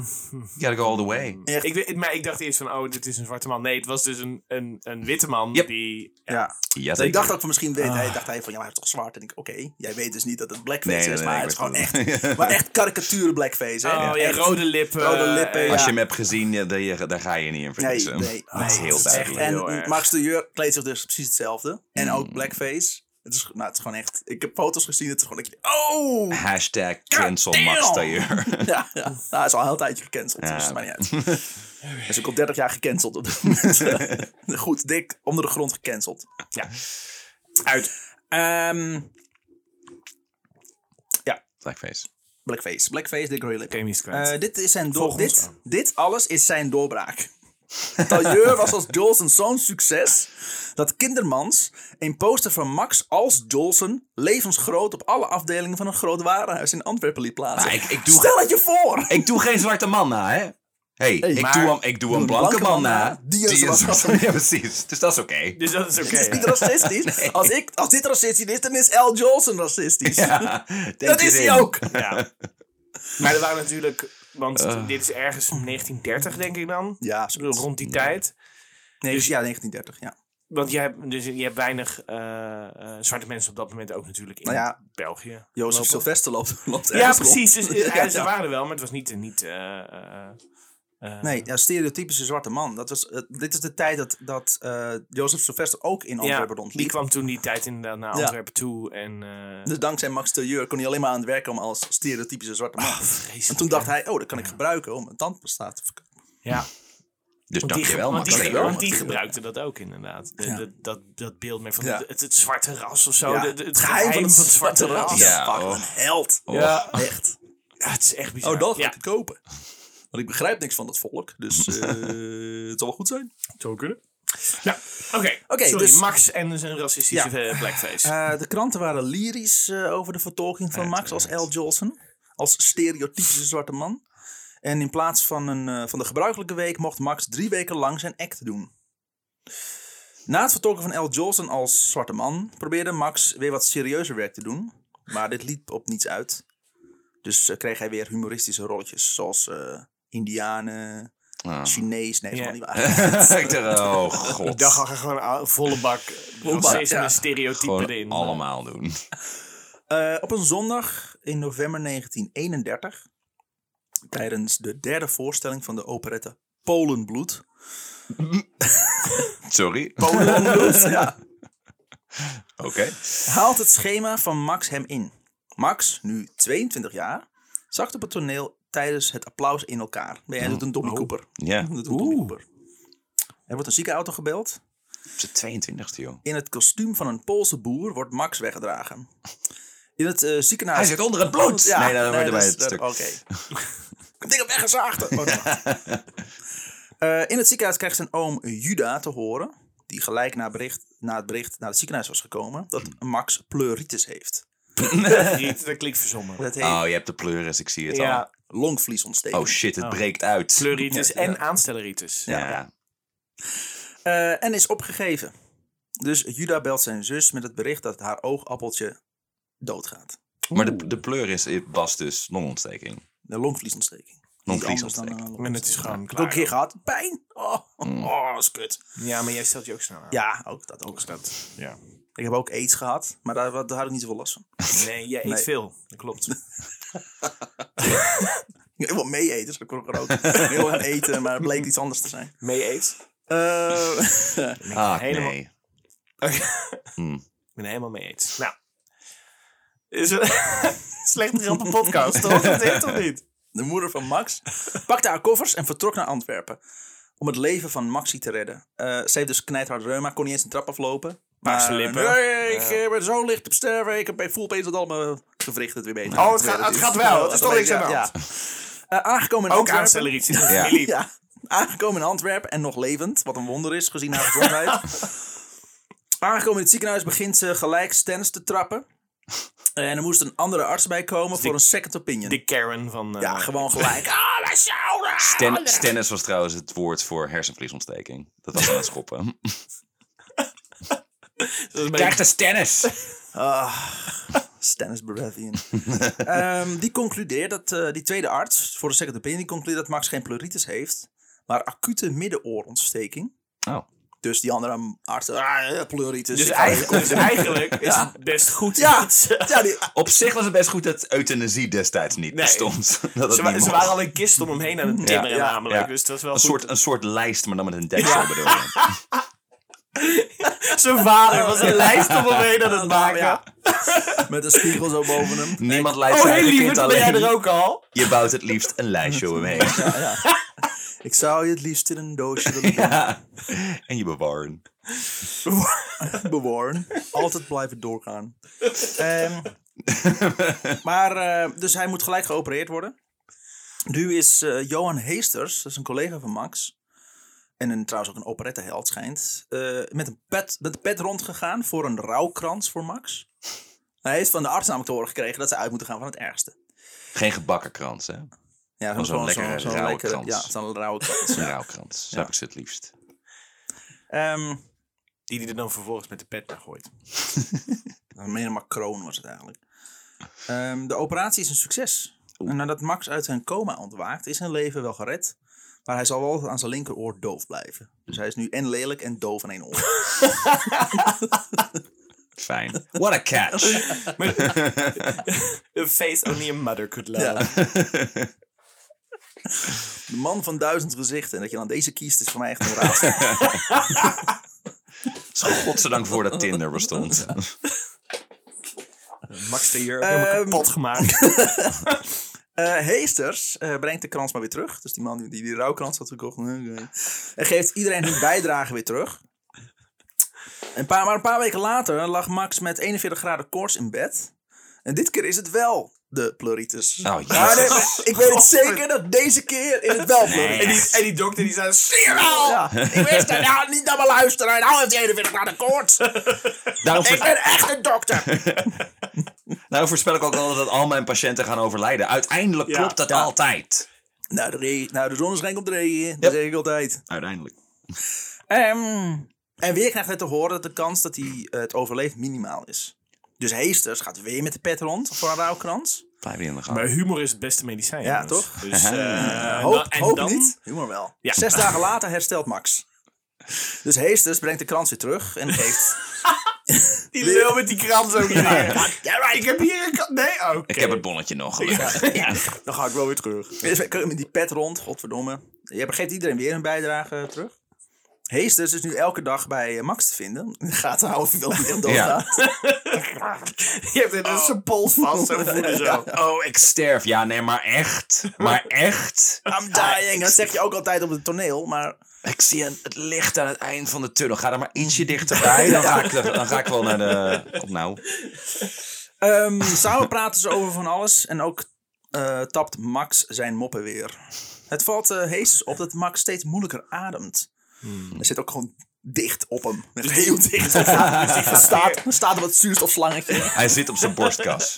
Speaker 3: gotta go all the way.
Speaker 1: echt.
Speaker 2: Ik, weet- maar ik dacht eerst van, oh, dit is een zwarte man. Nee, het was dus een, een, een witte man
Speaker 3: Yep.
Speaker 2: die...
Speaker 1: ja.
Speaker 3: Ja,
Speaker 1: Dus ik dacht ook van misschien weet hij, dacht hij van ja, maar hij is toch zwart? En ik, oké, jij weet dus niet dat het blackface
Speaker 3: Ah. Nee, nee,
Speaker 1: is,
Speaker 3: nee,
Speaker 1: maar
Speaker 3: ik
Speaker 1: het is gewoon
Speaker 3: weet
Speaker 1: echt,
Speaker 3: het.
Speaker 1: maar echt karikatuur blackface. Hè?
Speaker 2: Oh, ja,
Speaker 1: Echt.
Speaker 2: rode lippen.
Speaker 1: Rode lippen,
Speaker 2: eh,
Speaker 1: ja.
Speaker 3: Als je hem hebt gezien, ja, daar, je- daar ga je niet in
Speaker 1: Nee,
Speaker 3: vergissen.
Speaker 1: nee, nee.
Speaker 3: dat is heel Hmm.
Speaker 1: het echt-
Speaker 3: duidelijk.
Speaker 2: heel erg.
Speaker 1: En Max de Jeur kleedt zich dus precies hetzelfde. En ook blackface. Het is, nou, het is gewoon echt, ik heb foto's gezien, het is gewoon dat je, oh!
Speaker 3: Hashtag cancel Max
Speaker 1: damn!
Speaker 3: Tailleur.
Speaker 1: Ja, ja. Nou, hij is al een heel tijdje gecanceld.
Speaker 3: Ja.
Speaker 1: Dus het maakt niet uit. Hij is ook al 30 jaar gecanceld op dit moment. Goed, dik onder de grond gecanceld. Ja. Uit. Ehm,
Speaker 3: Blackface.
Speaker 1: blackface. Blackface, Dick Rayleigh.
Speaker 2: Chemisch kwijt.
Speaker 1: Eh dit, is zijn door-
Speaker 2: Volg ons
Speaker 1: dit,
Speaker 2: aan.
Speaker 1: dit alles is zijn doorbraak. Tailleur was als Jolson zo'n succes dat Kindermans een poster van Max als Jolson levensgroot op alle afdelingen van een groot warenhuis in Antwerpen liet plaatsen.
Speaker 3: Maar ik- ik doe-
Speaker 1: Stel het je voor!
Speaker 3: Ik doe geen zwarte man na, hè? hey, ik,
Speaker 2: maar-
Speaker 3: doe hem, ik doe een blanke, man na.
Speaker 1: die een zwarte
Speaker 3: man. Ja, precies. Dus dat is oké.
Speaker 2: dus dat is oké.
Speaker 1: Het is niet
Speaker 2: ja.
Speaker 1: racistisch. Als, ik, als dit racistisch is, dan is L. Jolson racistisch.
Speaker 3: Ja, denk
Speaker 1: dat is
Speaker 3: erin.
Speaker 1: hij ook.
Speaker 2: Ja. Maar er waren natuurlijk... Want dit is ergens 1930, denk ik dan.
Speaker 1: Eh. Ja,
Speaker 2: Zo Rond die tijd.
Speaker 1: nee, dus ja, 1930. Ja.
Speaker 2: Want je hebt, dus je hebt weinig eh, eh, zwarte mensen op dat moment ook natuurlijk in
Speaker 1: Nou ja.
Speaker 2: België.
Speaker 1: Jozef
Speaker 2: lopen.
Speaker 1: Sylvester loopt, loopt
Speaker 2: Ja,
Speaker 1: ergens
Speaker 2: precies.
Speaker 1: rond.
Speaker 2: Dus, eh,
Speaker 1: Ja,
Speaker 2: Ze
Speaker 1: ja.
Speaker 2: waren er wel, maar het was niet... niet eh, eh, eh,
Speaker 1: Nee, ja, stereotypische zwarte man. Dat was, eh, dit is de tijd dat, dat eh, Jozef Sylvester ook in
Speaker 2: ja,
Speaker 1: Antwerpen rondliep.
Speaker 2: die kwam toen die tijd inderdaad naar
Speaker 1: Ja.
Speaker 2: Antwerpen toe. En, eh,
Speaker 1: Dus dankzij Max Terjeur kon hij alleen maar aan het werk komen als stereotypische zwarte man.
Speaker 2: vreselijk,
Speaker 1: en toen dacht hij, oh, dat kan ik gebruiken om mijn tandpastaat te verkopen.
Speaker 2: ja.
Speaker 3: Dus
Speaker 2: Want die,
Speaker 3: dankjewel,
Speaker 2: want
Speaker 3: Max
Speaker 2: die,
Speaker 1: Taylor.
Speaker 2: want
Speaker 3: Tailleur.
Speaker 2: die gebruikte dat ook inderdaad. De- de- dat, dat beeld meer van
Speaker 1: Ja.
Speaker 2: het, het zwarte ras of zo.
Speaker 1: Ja,
Speaker 2: Oh, de- de- het geheim van het zwarte ras.
Speaker 3: Ja,
Speaker 1: Fuck,
Speaker 3: oh.
Speaker 1: een held.
Speaker 3: Ja.
Speaker 1: Echt.
Speaker 2: Ja, het is echt bizar.
Speaker 1: Oh, dat ga
Speaker 2: ja.
Speaker 1: ik het kopen. Want ik begrijp niks van dat volk, dus eh, het zal wel goed zijn.
Speaker 2: zou kunnen. Ja, oké.
Speaker 1: Oké,
Speaker 2: Sorry,
Speaker 1: dus-
Speaker 2: Max en zijn racistische eh, blackface.
Speaker 1: Eh, de kranten waren lyrisch eh, over de vertolking van Max als L. Jolson. Als stereotypische zwarte man. En in plaats van, een, eh, van de gebruikelijke week mocht Max drie weken lang zijn act doen. Na het vertolken van L. Jolson als zwarte man probeerde Max weer wat serieuzer werk te doen. Maar dit liep op niets uit. Dus eh, kreeg hij weer humoristische rolletjes, zoals eh, Indianen,
Speaker 3: Ah.
Speaker 1: Chinees. Nee,
Speaker 2: Ja.
Speaker 1: gewoon niet waar.
Speaker 3: ik dacht, oh god.
Speaker 2: Ik dacht al gewoon ah, volle bak
Speaker 1: bak,
Speaker 2: racisme,
Speaker 1: ja.
Speaker 2: stereotypen
Speaker 3: Gewoon
Speaker 2: erin.
Speaker 3: allemaal doen.
Speaker 1: Eh, op een zondag in november 1931, tijdens de derde voorstelling van de operette Polenbloed.
Speaker 3: Sorry.
Speaker 1: Polenbloed, ja.
Speaker 3: Oké.
Speaker 1: haalt het schema van Max hem in. Max, nu 22 jaar, zakt op het toneel tijdens het applaus in elkaar. Nee, hij doet een Dommy Cooper.
Speaker 3: Ja.
Speaker 1: Hij doet een Dommy Cooper. Er wordt een ziekenauto gebeld.
Speaker 3: Op zijn 22e, joh.
Speaker 1: In het kostuum van een Poolse boer wordt Max weggedragen. In het eh, ziekenhuis...
Speaker 3: Hij zit onder het bloed!
Speaker 1: Ja,
Speaker 3: nee, dat wordt
Speaker 1: dat
Speaker 3: bij
Speaker 1: is-
Speaker 3: het
Speaker 1: dat-
Speaker 3: stuk.
Speaker 1: Oké. Ik denk dat weggezaagd. Oh, nee. Eh, in het ziekenhuis krijgt zijn oom Juda te horen, die gelijk na, bericht, na het bericht naar het ziekenhuis was gekomen, dat
Speaker 3: Hmm.
Speaker 1: Max pleuritis heeft.
Speaker 2: Niet, dat klinkt verzonnen.
Speaker 1: Dat heet
Speaker 3: Oh, je hebt de pleuris, ik zie het
Speaker 2: Ja,
Speaker 1: longvliesontsteking.
Speaker 3: al. Oh shit, het breekt uit.
Speaker 2: pleuritis en aanstelleritis.
Speaker 3: Ja.
Speaker 1: Eh, en is opgegeven. Dus Juda belt zijn zus met het bericht dat haar oogappeltje doodgaat.
Speaker 3: Maar de, de pleuris was dus longontsteking.
Speaker 1: De longvliesontsteking.
Speaker 3: Longvliesontsteking.
Speaker 2: En het is gewoon
Speaker 1: Ook een
Speaker 2: klaar.
Speaker 1: keer gehad. Pijn. Oh, oh, dat is kut.
Speaker 2: Ja, maar jij stelt je ook snel aan.
Speaker 1: Ja, ook dat ook.
Speaker 2: Dat, ja.
Speaker 1: Ik heb ook aids gehad, maar daar, daar had ik niet zoveel last van.
Speaker 2: Nee, jij eet
Speaker 1: Nee.
Speaker 2: veel. Dat klopt.
Speaker 1: Ik heb wel mee eten, dus ik kon er ook heel aan eten, maar het bleek iets anders te zijn.
Speaker 2: Mee eet?
Speaker 1: Eh,
Speaker 3: Ah,
Speaker 2: Helemaal-
Speaker 3: nee.
Speaker 2: Ik ben helemaal mee eet. Nou. Is het slecht rampen podcast, toch? Dat heet toch niet?
Speaker 1: de moeder van Max pakte haar koffers en vertrok naar Antwerpen. Om het leven van Maxi te redden. Eh, ze heeft dus knijthard reuma, kon niet eens een trap aflopen.
Speaker 2: Paarse lippen.
Speaker 1: Nee, ik eh, ben zo licht op sterven. Ik heb bij voel opeens dat allemaal gewricht het weer beter.
Speaker 2: Oh, het gaat- het gaat wel. Het is toch niks aan de hand.
Speaker 1: Eh, aangekomen in
Speaker 2: Ook
Speaker 1: Antwerpen.
Speaker 2: aanstelleritis. in de
Speaker 3: Ja.
Speaker 2: familie.
Speaker 1: Ja, aangekomen in Antwerpen en nog levend. Wat een wonder is, gezien haar gezondheid. aangekomen in het ziekenhuis begint ze gelijk stens te trappen. En er moest een andere arts bij komen voor een second opinion.
Speaker 2: De Karen van... eh,
Speaker 1: ja, gewoon gelijk. Ah, mijn schouder!
Speaker 3: Sten- stennis was trouwens het woord voor hersenvliesontsteking. Dat was aan het schoppen.
Speaker 2: dat is een
Speaker 3: Krijg
Speaker 2: beetje-
Speaker 3: de stennis!
Speaker 1: Stennis Ah. Baratheon. Ehm, die concludeert dat eh, die tweede arts voor de second opinion die concludeert dat Max geen pleuritis heeft, maar acute middenoorontsteking.
Speaker 3: Oh.
Speaker 1: Dus die andere arts, ah, pleuritis.
Speaker 2: Dus
Speaker 1: ik ga
Speaker 2: eigenlijk, dus
Speaker 1: even-
Speaker 2: eigenlijk is het best goed.
Speaker 1: ja,
Speaker 2: dat ze-
Speaker 1: ja, die,
Speaker 3: Op zich was het best goed dat euthanasie destijds niet
Speaker 2: Nee.
Speaker 3: bestond. Dat het
Speaker 2: Ze, wa-
Speaker 3: niet
Speaker 2: ze
Speaker 3: mocht.
Speaker 2: waren al een kist om hem heen aan het timmeren
Speaker 1: ja,
Speaker 2: namelijk.
Speaker 3: ja.
Speaker 2: Dus dat is wel
Speaker 3: een,
Speaker 2: goed.
Speaker 3: soort, een soort lijst, maar dan met een deksel bedoel je.
Speaker 2: Zijn vader was een lijst om hem heen aan het maken.
Speaker 1: Ja. Met een spiegel zo boven hem.
Speaker 3: Niemand lijst
Speaker 2: Oh,
Speaker 3: zijn
Speaker 2: hey
Speaker 3: eigen
Speaker 2: lieverd,
Speaker 3: kind
Speaker 2: ben jij
Speaker 3: alleen.
Speaker 2: er ook al?
Speaker 3: Je bouwt het liefst een lijstje omheen.
Speaker 1: Ik zou je het liefst in een doosje willen
Speaker 3: En je bewaren.
Speaker 1: bewaren. Altijd blijven doorgaan. Ehm, maar, eh, dus hij moet gelijk geopereerd worden. Nu is eh, Johan Heesters, dat is een collega van Max. En een, trouwens ook een operetteheld schijnt. eh, met, een pet, met de pet rondgegaan voor een rouwkrans voor Max. Hij heeft van de arts namelijk te horen gekregen dat ze uit moeten gaan van het ergste.
Speaker 3: Geen gebakken krans, hè?
Speaker 1: Ja,
Speaker 3: zo'n
Speaker 1: gewoon
Speaker 3: lekkere
Speaker 1: zo'n
Speaker 3: rauwe
Speaker 1: lekkere-
Speaker 3: krans.
Speaker 1: Ja, zo'n rauwe krans.
Speaker 3: Een rouwkrans. Zo heb ik ze het liefst.
Speaker 1: Ehm,
Speaker 2: Die die er dan vervolgens met de pet naar gooit.
Speaker 1: Een Meer een macroon was het eigenlijk. Ehm, de operatie is een succes. En nadat Max uit zijn coma ontwaakt, is zijn leven wel gered. Maar hij zal wel aan zijn linkeroor doof blijven. Dus hij is nu en lelijk en doof in één oor.
Speaker 3: Fijn. What a catch.
Speaker 2: A face only a mother could love.
Speaker 1: De man van duizend gezichten. En dat je dan deze kiest, is voor mij echt een raadsel.
Speaker 3: Zo Godzijdank voordat Tinder bestond.
Speaker 2: Oh,
Speaker 3: Oh,
Speaker 2: Max de Jur helemaal
Speaker 1: Ehm.
Speaker 2: kapot gemaakt.
Speaker 1: Eh, Heesters eh, brengt de krans maar weer terug. Dus die man die die, die rouwkrans had gekocht. oké. En geeft iedereen hun bijdrage weer terug. Een paar, maar een paar weken later lag Max met 41 graden koorts in bed. En dit keer is het wel de pleuritis.
Speaker 3: Oh, jezus.
Speaker 1: Ja, nee, maar ik weet het zeker dat deze keer is het wel pleuritis.
Speaker 2: en, die, en die dokter die zei...
Speaker 1: Jawel! Nou, Ik wist het. Nou, niet naar me luisteren. Nou heeft hij 41 graden koorts.
Speaker 3: Daarom,
Speaker 1: Ik
Speaker 3: voorspel,
Speaker 1: ben echt een dokter.
Speaker 3: daarom voorspel Nou, ik ook altijd dat al mijn patiënten gaan overlijden. Uiteindelijk
Speaker 2: Ja.
Speaker 3: klopt dat altijd.
Speaker 1: nou, de, re- nou, de zonneschijn komt de regen. Dat zeg ik altijd.
Speaker 3: Uiteindelijk.
Speaker 1: Ehm, en weer krijgt hij te horen dat de kans dat hij eh, het overleeft minimaal is. Dus Heesters gaat weer met de pet rond voor een rouwkrans.
Speaker 3: Blijf die aan de gang.
Speaker 2: Maar humor is het beste medicijn.
Speaker 1: Ja,
Speaker 2: jongens.
Speaker 1: toch?
Speaker 2: Dus, eh, en
Speaker 1: hoop,
Speaker 2: dan- en
Speaker 1: hoop
Speaker 2: dan-
Speaker 1: niet. Humor wel.
Speaker 2: Ja.
Speaker 1: Zes dagen later herstelt Max. Dus Heesters brengt de krans weer terug en geeft...
Speaker 2: Die lul met die krant ook niet meer. Ja, maar ik heb hier een krant. Nee, oké.
Speaker 3: Ik heb het bonnetje nog, gelukkig. Ja.
Speaker 2: Dan ga ik wel weer terug.
Speaker 1: met die pet rond, godverdomme. Je geeft iedereen weer een bijdrage eh, terug. Heesters is nu elke dag bij eh, Max te vinden. In de gaten houden of hij wel weer doodgaat.
Speaker 2: Je hebt er zijn pols vast, zo voelen zo.
Speaker 3: Oh, ik sterf. Ja, nee, maar echt. Maar echt.
Speaker 1: I'm dying. Dat zeg je ook altijd op het toneel, maar...
Speaker 3: Ik zie een, het licht aan het eind van de tunnel. Ga er maar ietsje dichterbij. Dan ga ik, er- dan ga ik wel naar de... Kom nou.
Speaker 1: Ehm, samen praten ze over van alles en ook eh, tapt Max zijn moppen weer. Het valt eh Hees op dat Max steeds moeilijker ademt. Hij zit ook gewoon dicht op hem. Echt Heel dicht op hem. Dus hij staat, staat op het zuurstofslangetje.
Speaker 3: Hij zit op zijn borstkas.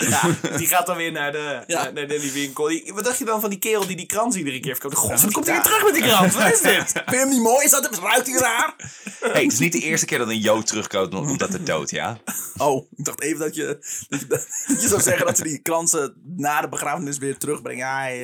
Speaker 2: Die gaat dan weer naar de,
Speaker 1: Ja.
Speaker 2: naar, naar die winkel. Die- wat dacht je dan van die kerel die die krant iedere keer verkoopt? God, wat komt hij weer
Speaker 1: Ja.
Speaker 2: terug met die krant? Wat is dit?
Speaker 1: Vind je hem niet mooi? Is dat, ruikt hij raar?
Speaker 3: Hey, het is niet de eerste keer dat een Jood terugkomt omdat de dood, ja?
Speaker 1: Oh, ik dacht even dat je, dat je, dat je zou zeggen dat ze die kransen na de begrafenis weer terugbrengen. Ja, eh,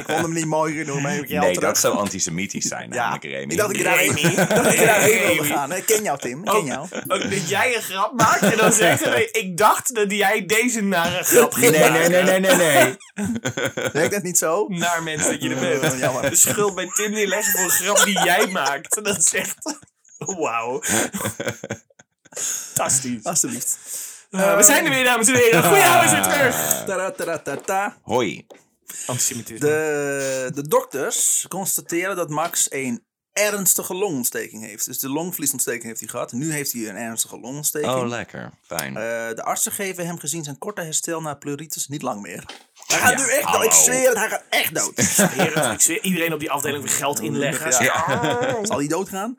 Speaker 1: ik vond hem niet mooi genoeg, maar heb ik je al
Speaker 3: Nee,
Speaker 1: terug.
Speaker 3: dat zou antisemitisch zijn,
Speaker 1: Ja,
Speaker 3: namelijk, Remy.
Speaker 1: ik dacht dat ik daarheen
Speaker 2: Remy.
Speaker 1: ik dacht dat ik daarheen wilde
Speaker 2: Remy.
Speaker 1: gaan. Ik ken jou, Tim. Ik
Speaker 2: Oh.
Speaker 1: ken jou.
Speaker 2: Ook dat jij een grap maakt en dan zegt hij... Ik dacht dat jij deze nare grap ging
Speaker 3: Nee, nee, nee, nee, nee, nee.
Speaker 1: Werkt dat niet zo?
Speaker 2: Naar mensen dat je er bent.
Speaker 1: Oh, jammer.
Speaker 2: De schuld bij Tim neerleggen voor een grap die jij maakt. Dat is echt... Wauw.
Speaker 1: Oh.
Speaker 2: Fantastisch.
Speaker 1: Alsjeblieft.
Speaker 2: Eh, we zijn er weer, dames en heren. Goedenavond, Oh we zijn terug.
Speaker 1: Eh, Taratatata.
Speaker 3: Hoi.
Speaker 2: Antisemitisme.
Speaker 1: De, de dokters constateren dat Max een ernstige longontsteking heeft. Dus de longvliesontsteking heeft hij gehad. Nu heeft hij een ernstige longontsteking.
Speaker 3: Oh, lekker. Fijn.
Speaker 1: Eh, de artsen geven hem gezien zijn korte herstel na pleuritis niet lang meer. Hij gaat
Speaker 3: Ja,
Speaker 1: nu echt dood.
Speaker 3: hallo.
Speaker 1: Ik zweer het, hij gaat echt dood.
Speaker 2: Heren, ik zweer, iedereen op die afdeling weer geld inleggen.
Speaker 1: Zal hij doodgaan?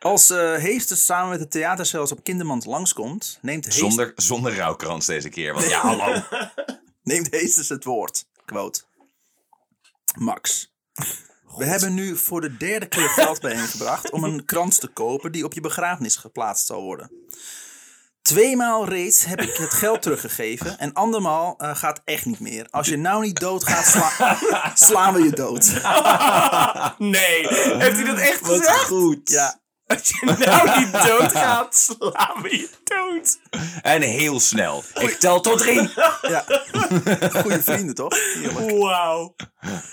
Speaker 1: Als eh Heesters samen met de theatercels op Kindermans langskomt, neemt Heesters,
Speaker 3: Zonder, zonder rouwkrans deze keer. Want ja, hallo.
Speaker 1: neemt Heesters het woord. Quote. Max. We hebben nu voor de derde keer geld bijeengebracht om een krans te kopen die op je begrafenis geplaatst zal worden. Tweemaal reeds heb ik het geld teruggegeven en andermaal eh, gaat echt niet meer. Als je nou niet doodgaat, sla- slaan we je dood.
Speaker 2: Nee, heeft hij dat echt gezegd?
Speaker 1: goed. Ja.
Speaker 2: Als je nou niet doodgaat, slaan we je dood.
Speaker 3: En heel snel. Ik tel tot drie.
Speaker 1: ja. Goede vrienden, toch? Heerlijk.
Speaker 2: Wauw.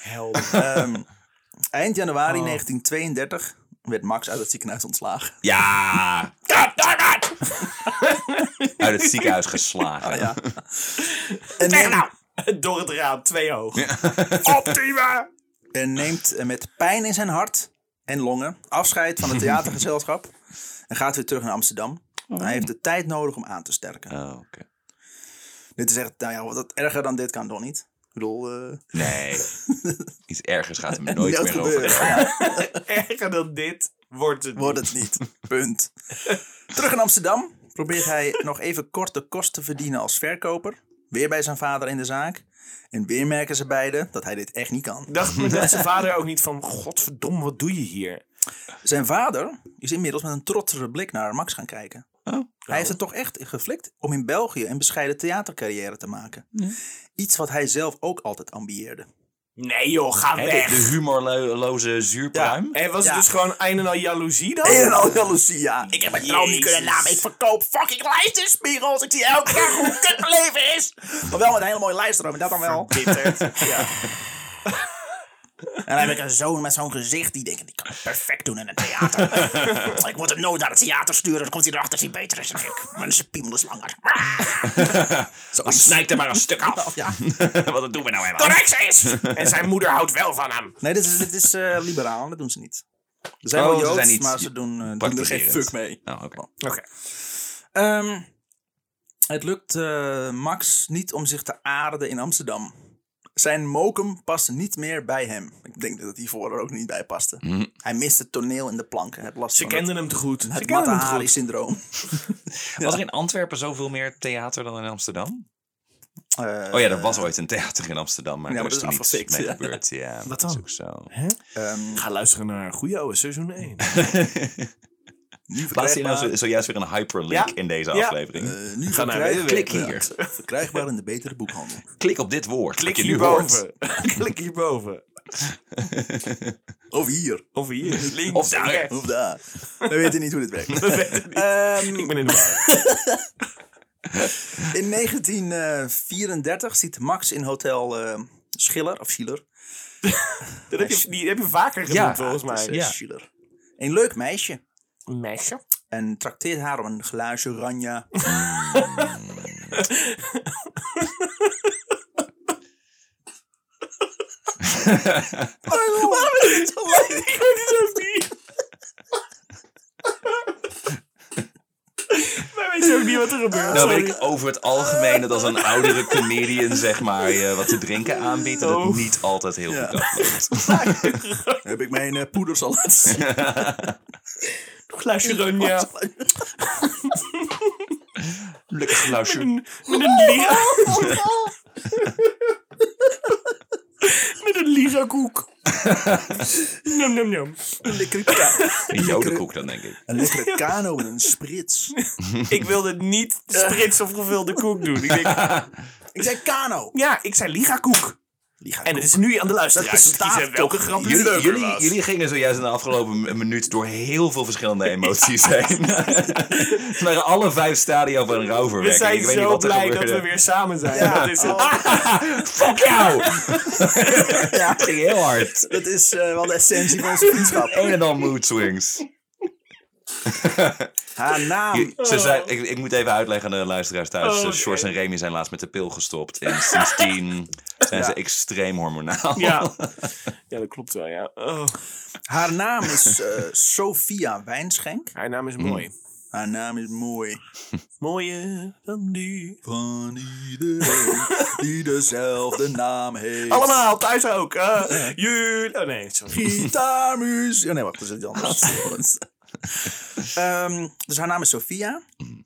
Speaker 2: Help.
Speaker 1: Ehm, eind januari 1932 werd Max uit het ziekenhuis ontslagen.
Speaker 3: Ja.
Speaker 2: God damn it.
Speaker 3: Uit het ziekenhuis geslagen.
Speaker 1: Ja.
Speaker 2: Zeg
Speaker 1: En neemt,
Speaker 2: nou. Door het raam, twee hoog. Optima.
Speaker 1: en neemt eh, met pijn in zijn hart en longen afscheid van het theatergezelschap. En gaat weer terug naar Amsterdam. Hij heeft de tijd nodig om aan te sterken.
Speaker 3: Oh, oké.
Speaker 1: Dit is echt, nou ja, wat erger dan dit kan toch niet? Ik bedoel, eh,
Speaker 3: Nee. Iets ergers gaat er me nooit meer
Speaker 1: gebeuren.
Speaker 3: over.
Speaker 1: Ja.
Speaker 2: Erger dan dit wordt het.
Speaker 1: wordt het niet. Punt. Terug in Amsterdam probeert hij nog even kort de kost te verdienen als verkoper. Weer bij zijn vader in de zaak. En weer merken ze beiden dat hij dit echt niet kan.
Speaker 2: Dacht me dat zijn vader ook niet van, godverdomme, wat doe je hier?
Speaker 1: Zijn vader is inmiddels met een trotsere blik naar Max gaan kijken. Hij heeft het toch echt geflikt om in België een bescheiden theatercarrière te maken. Iets wat hij zelf ook altijd ambieerde.
Speaker 2: Nee joh, ga
Speaker 3: Hè,
Speaker 2: weg.
Speaker 3: de, de humorloze zuurpruim.
Speaker 2: En was het
Speaker 1: Ja.
Speaker 2: dus gewoon een en al jaloezie dan?
Speaker 1: En al jaloezie, ja.
Speaker 2: heb mijn
Speaker 1: droom niet kunnen laten. Ik
Speaker 2: verkoop fucking lijstenspiegels. Ik zie elke dag hoe kut mijn leven is.
Speaker 1: Maar wel met een hele mooie lijstroom, dat dan wel.
Speaker 2: ja.
Speaker 1: En dan heb ik een zoon met zo'n gezicht die denkt, ik kan het perfect doen in het theater. ik moet hem nooit naar het theater sturen, dan komt hij erachter dat hij beter is dan ik. Maar zijn piemel is langer. Zo
Speaker 3: Snijd er maar een stuk af.
Speaker 1: Ja.
Speaker 3: Want dat doen we nou helemaal.
Speaker 2: Correct is. En zijn moeder houdt wel van hem.
Speaker 1: Nee, dit is, dit is eh, liberaal, dat doen ze niet. Ze zijn
Speaker 3: Oh,
Speaker 1: wel
Speaker 3: ze
Speaker 1: joods,
Speaker 3: zijn niet
Speaker 1: maar ze doen, eh, doen er geen
Speaker 3: praktiserend.
Speaker 1: fuck mee.
Speaker 3: Nou, oké.
Speaker 2: Oké.
Speaker 1: Ehm, het lukt eh, Max niet om zich te aarden in Amsterdam. Zijn mokum past niet meer bij hem. Ik denk dat het hiervoor er ook niet bij paste. Hij mist het toneel in de planken. Het last
Speaker 2: Ze
Speaker 1: van het,
Speaker 2: kenden hem te goed. Ze
Speaker 1: het
Speaker 2: kenden hem te goed.
Speaker 1: Matahari-syndroom.
Speaker 3: Was er in Antwerpen zoveel meer theater dan in Amsterdam?
Speaker 1: Eh,
Speaker 3: Oh ja, er was ooit een theater in Amsterdam, maar
Speaker 1: ja,
Speaker 3: daar
Speaker 1: maar
Speaker 3: is
Speaker 1: dat
Speaker 3: toen
Speaker 1: is
Speaker 3: niets
Speaker 1: afgefikt,
Speaker 3: mee
Speaker 1: ja.
Speaker 3: gebeurd. Ja,
Speaker 2: Wat
Speaker 3: dat is
Speaker 2: dan?
Speaker 3: ook zo.
Speaker 2: Ga luisteren naar Goeie Oude seizoen 1.
Speaker 1: Nu
Speaker 3: Plaats je nou
Speaker 1: verkrijgbaar,
Speaker 3: zo- zojuist weer een hyperlink
Speaker 2: Ja.
Speaker 3: in deze
Speaker 2: Ja.
Speaker 3: aflevering?
Speaker 1: eh, nu
Speaker 3: Ga naar
Speaker 1: verkrijgbaar-
Speaker 3: www. Klik hier.
Speaker 1: Ja, Verkrijgbaar in de betere boekhandel.
Speaker 3: Klik op dit woord.
Speaker 2: Klik
Speaker 3: dat je nu hoort.
Speaker 2: hierboven. Klik hierboven.
Speaker 1: Of hier.
Speaker 2: Of hier, links.
Speaker 3: Of daar.
Speaker 2: rechts.
Speaker 1: Of daar. We weten niet hoe dit werkt.
Speaker 2: We weten het niet.
Speaker 1: Ehm,
Speaker 2: Ik ben in de war.
Speaker 1: in 1934 ziet Max in hotel eh, Schiller, of Schiller,
Speaker 2: Dat heb je, die heb je vaker genoemd,
Speaker 3: Ja,
Speaker 2: volgens
Speaker 1: Het is,
Speaker 2: mij.
Speaker 1: eh,
Speaker 3: Ja.
Speaker 1: Schiller. Een leuk meisje.
Speaker 2: Een Meisje.
Speaker 1: En trakteert haar op een glaasje ranja. Waarom is dit zo lang?
Speaker 2: Ik weet het ook niet. Wij weten ook niet wat er gebeurt.
Speaker 3: Nou
Speaker 2: sorry.
Speaker 3: weet ik over het algemeen dat als een oudere comedian zeg maar je wat te drinken aanbiedt, dat het
Speaker 2: Oh.
Speaker 3: niet altijd heel
Speaker 1: Ja.
Speaker 3: goed afloopt.
Speaker 1: Heb ik mijn eh, poeders al laten zien?
Speaker 2: Glaasje Ronja.
Speaker 3: Lekker glaasje.
Speaker 2: Een- Met een lira. Met een lira koek. Nom nom nom.
Speaker 1: Een lekkere, ka-
Speaker 3: Een jodenkoek dan denk ik.
Speaker 1: een lekkere kano en een sprits.
Speaker 2: Ik wilde niet sprits of gevulde koek doen. Ik denk,
Speaker 1: Ik zei kano.
Speaker 2: ja, ik zei lira koek.
Speaker 1: Die gaat
Speaker 2: En het is nu aan de luisteraars. te
Speaker 1: Dat bestaat
Speaker 2: kiezen welke
Speaker 1: toch
Speaker 2: grap
Speaker 1: niet?
Speaker 2: jullie
Speaker 3: Jullie,
Speaker 2: leuker
Speaker 3: jullie,
Speaker 2: was.
Speaker 3: jullie gingen zojuist in de afgelopen m- minuut door heel veel verschillende emoties heen. Het waren alle vijf stadia van een
Speaker 2: We
Speaker 3: rouwverwerking.
Speaker 2: zijn
Speaker 3: Ik weet niet
Speaker 2: zo
Speaker 3: wat er
Speaker 2: blij dat we
Speaker 3: gebeurde.
Speaker 2: weer samen zijn. Dat is het. Ah,
Speaker 3: Fuck jou! ja, ging heel hard.
Speaker 1: Dat is eh, wel de essentie van onze vriendschap.
Speaker 3: Een en al mood swings.
Speaker 1: Haar naam.
Speaker 3: Je- Ze zei, ik, ik moet even uitleggen aan de luisteraars thuis.
Speaker 2: Oh,
Speaker 3: Eh,
Speaker 2: oké.
Speaker 3: Sjors en Remy zijn laatst met de pil gestopt. En sindsdien zijn ze extreem hormonaal.
Speaker 2: Ja. ja, dat klopt wel, ja. Oh.
Speaker 1: Haar naam is eh Sophia Wijnschenk.
Speaker 2: Haar naam
Speaker 3: Mm.
Speaker 2: is mooi.
Speaker 1: Haar naam is mooi.
Speaker 2: Mooier dan die.
Speaker 1: Van iedereen die dezelfde naam heeft.
Speaker 2: Allemaal, thuis ook. Eh jullie... Oh nee, sorry.
Speaker 1: Gitaarmuziek. Oh nee, wacht, dat is iets anders. Ehm, dus haar naam is Sophia.
Speaker 2: Mm.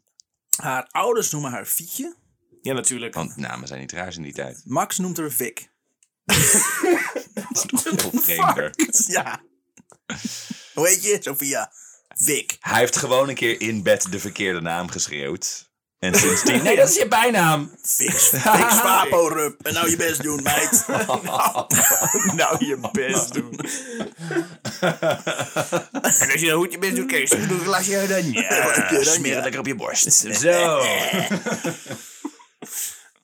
Speaker 1: Haar ouders noemen haar Fietje.
Speaker 2: Ja, natuurlijk.
Speaker 3: Want namen zijn niet raars in die tijd.
Speaker 1: Max noemt haar Vic.
Speaker 3: Dat is toch veel vreemder.
Speaker 1: Ja. Hoe heet je? Sophia. Vic.
Speaker 3: Hij heeft gewoon een keer in bed de verkeerde naam geschreeuwd. En sindsdien... Nee, dat is je bijnaam.
Speaker 1: Fix. Fix Papo Rup. En nou je best doen, meid.
Speaker 2: nou, je best doen. en als je dan goed je best doet, Kees, doe een glasje dan. Ja,
Speaker 1: smeer het
Speaker 2: lekker op je borst.
Speaker 3: Zo.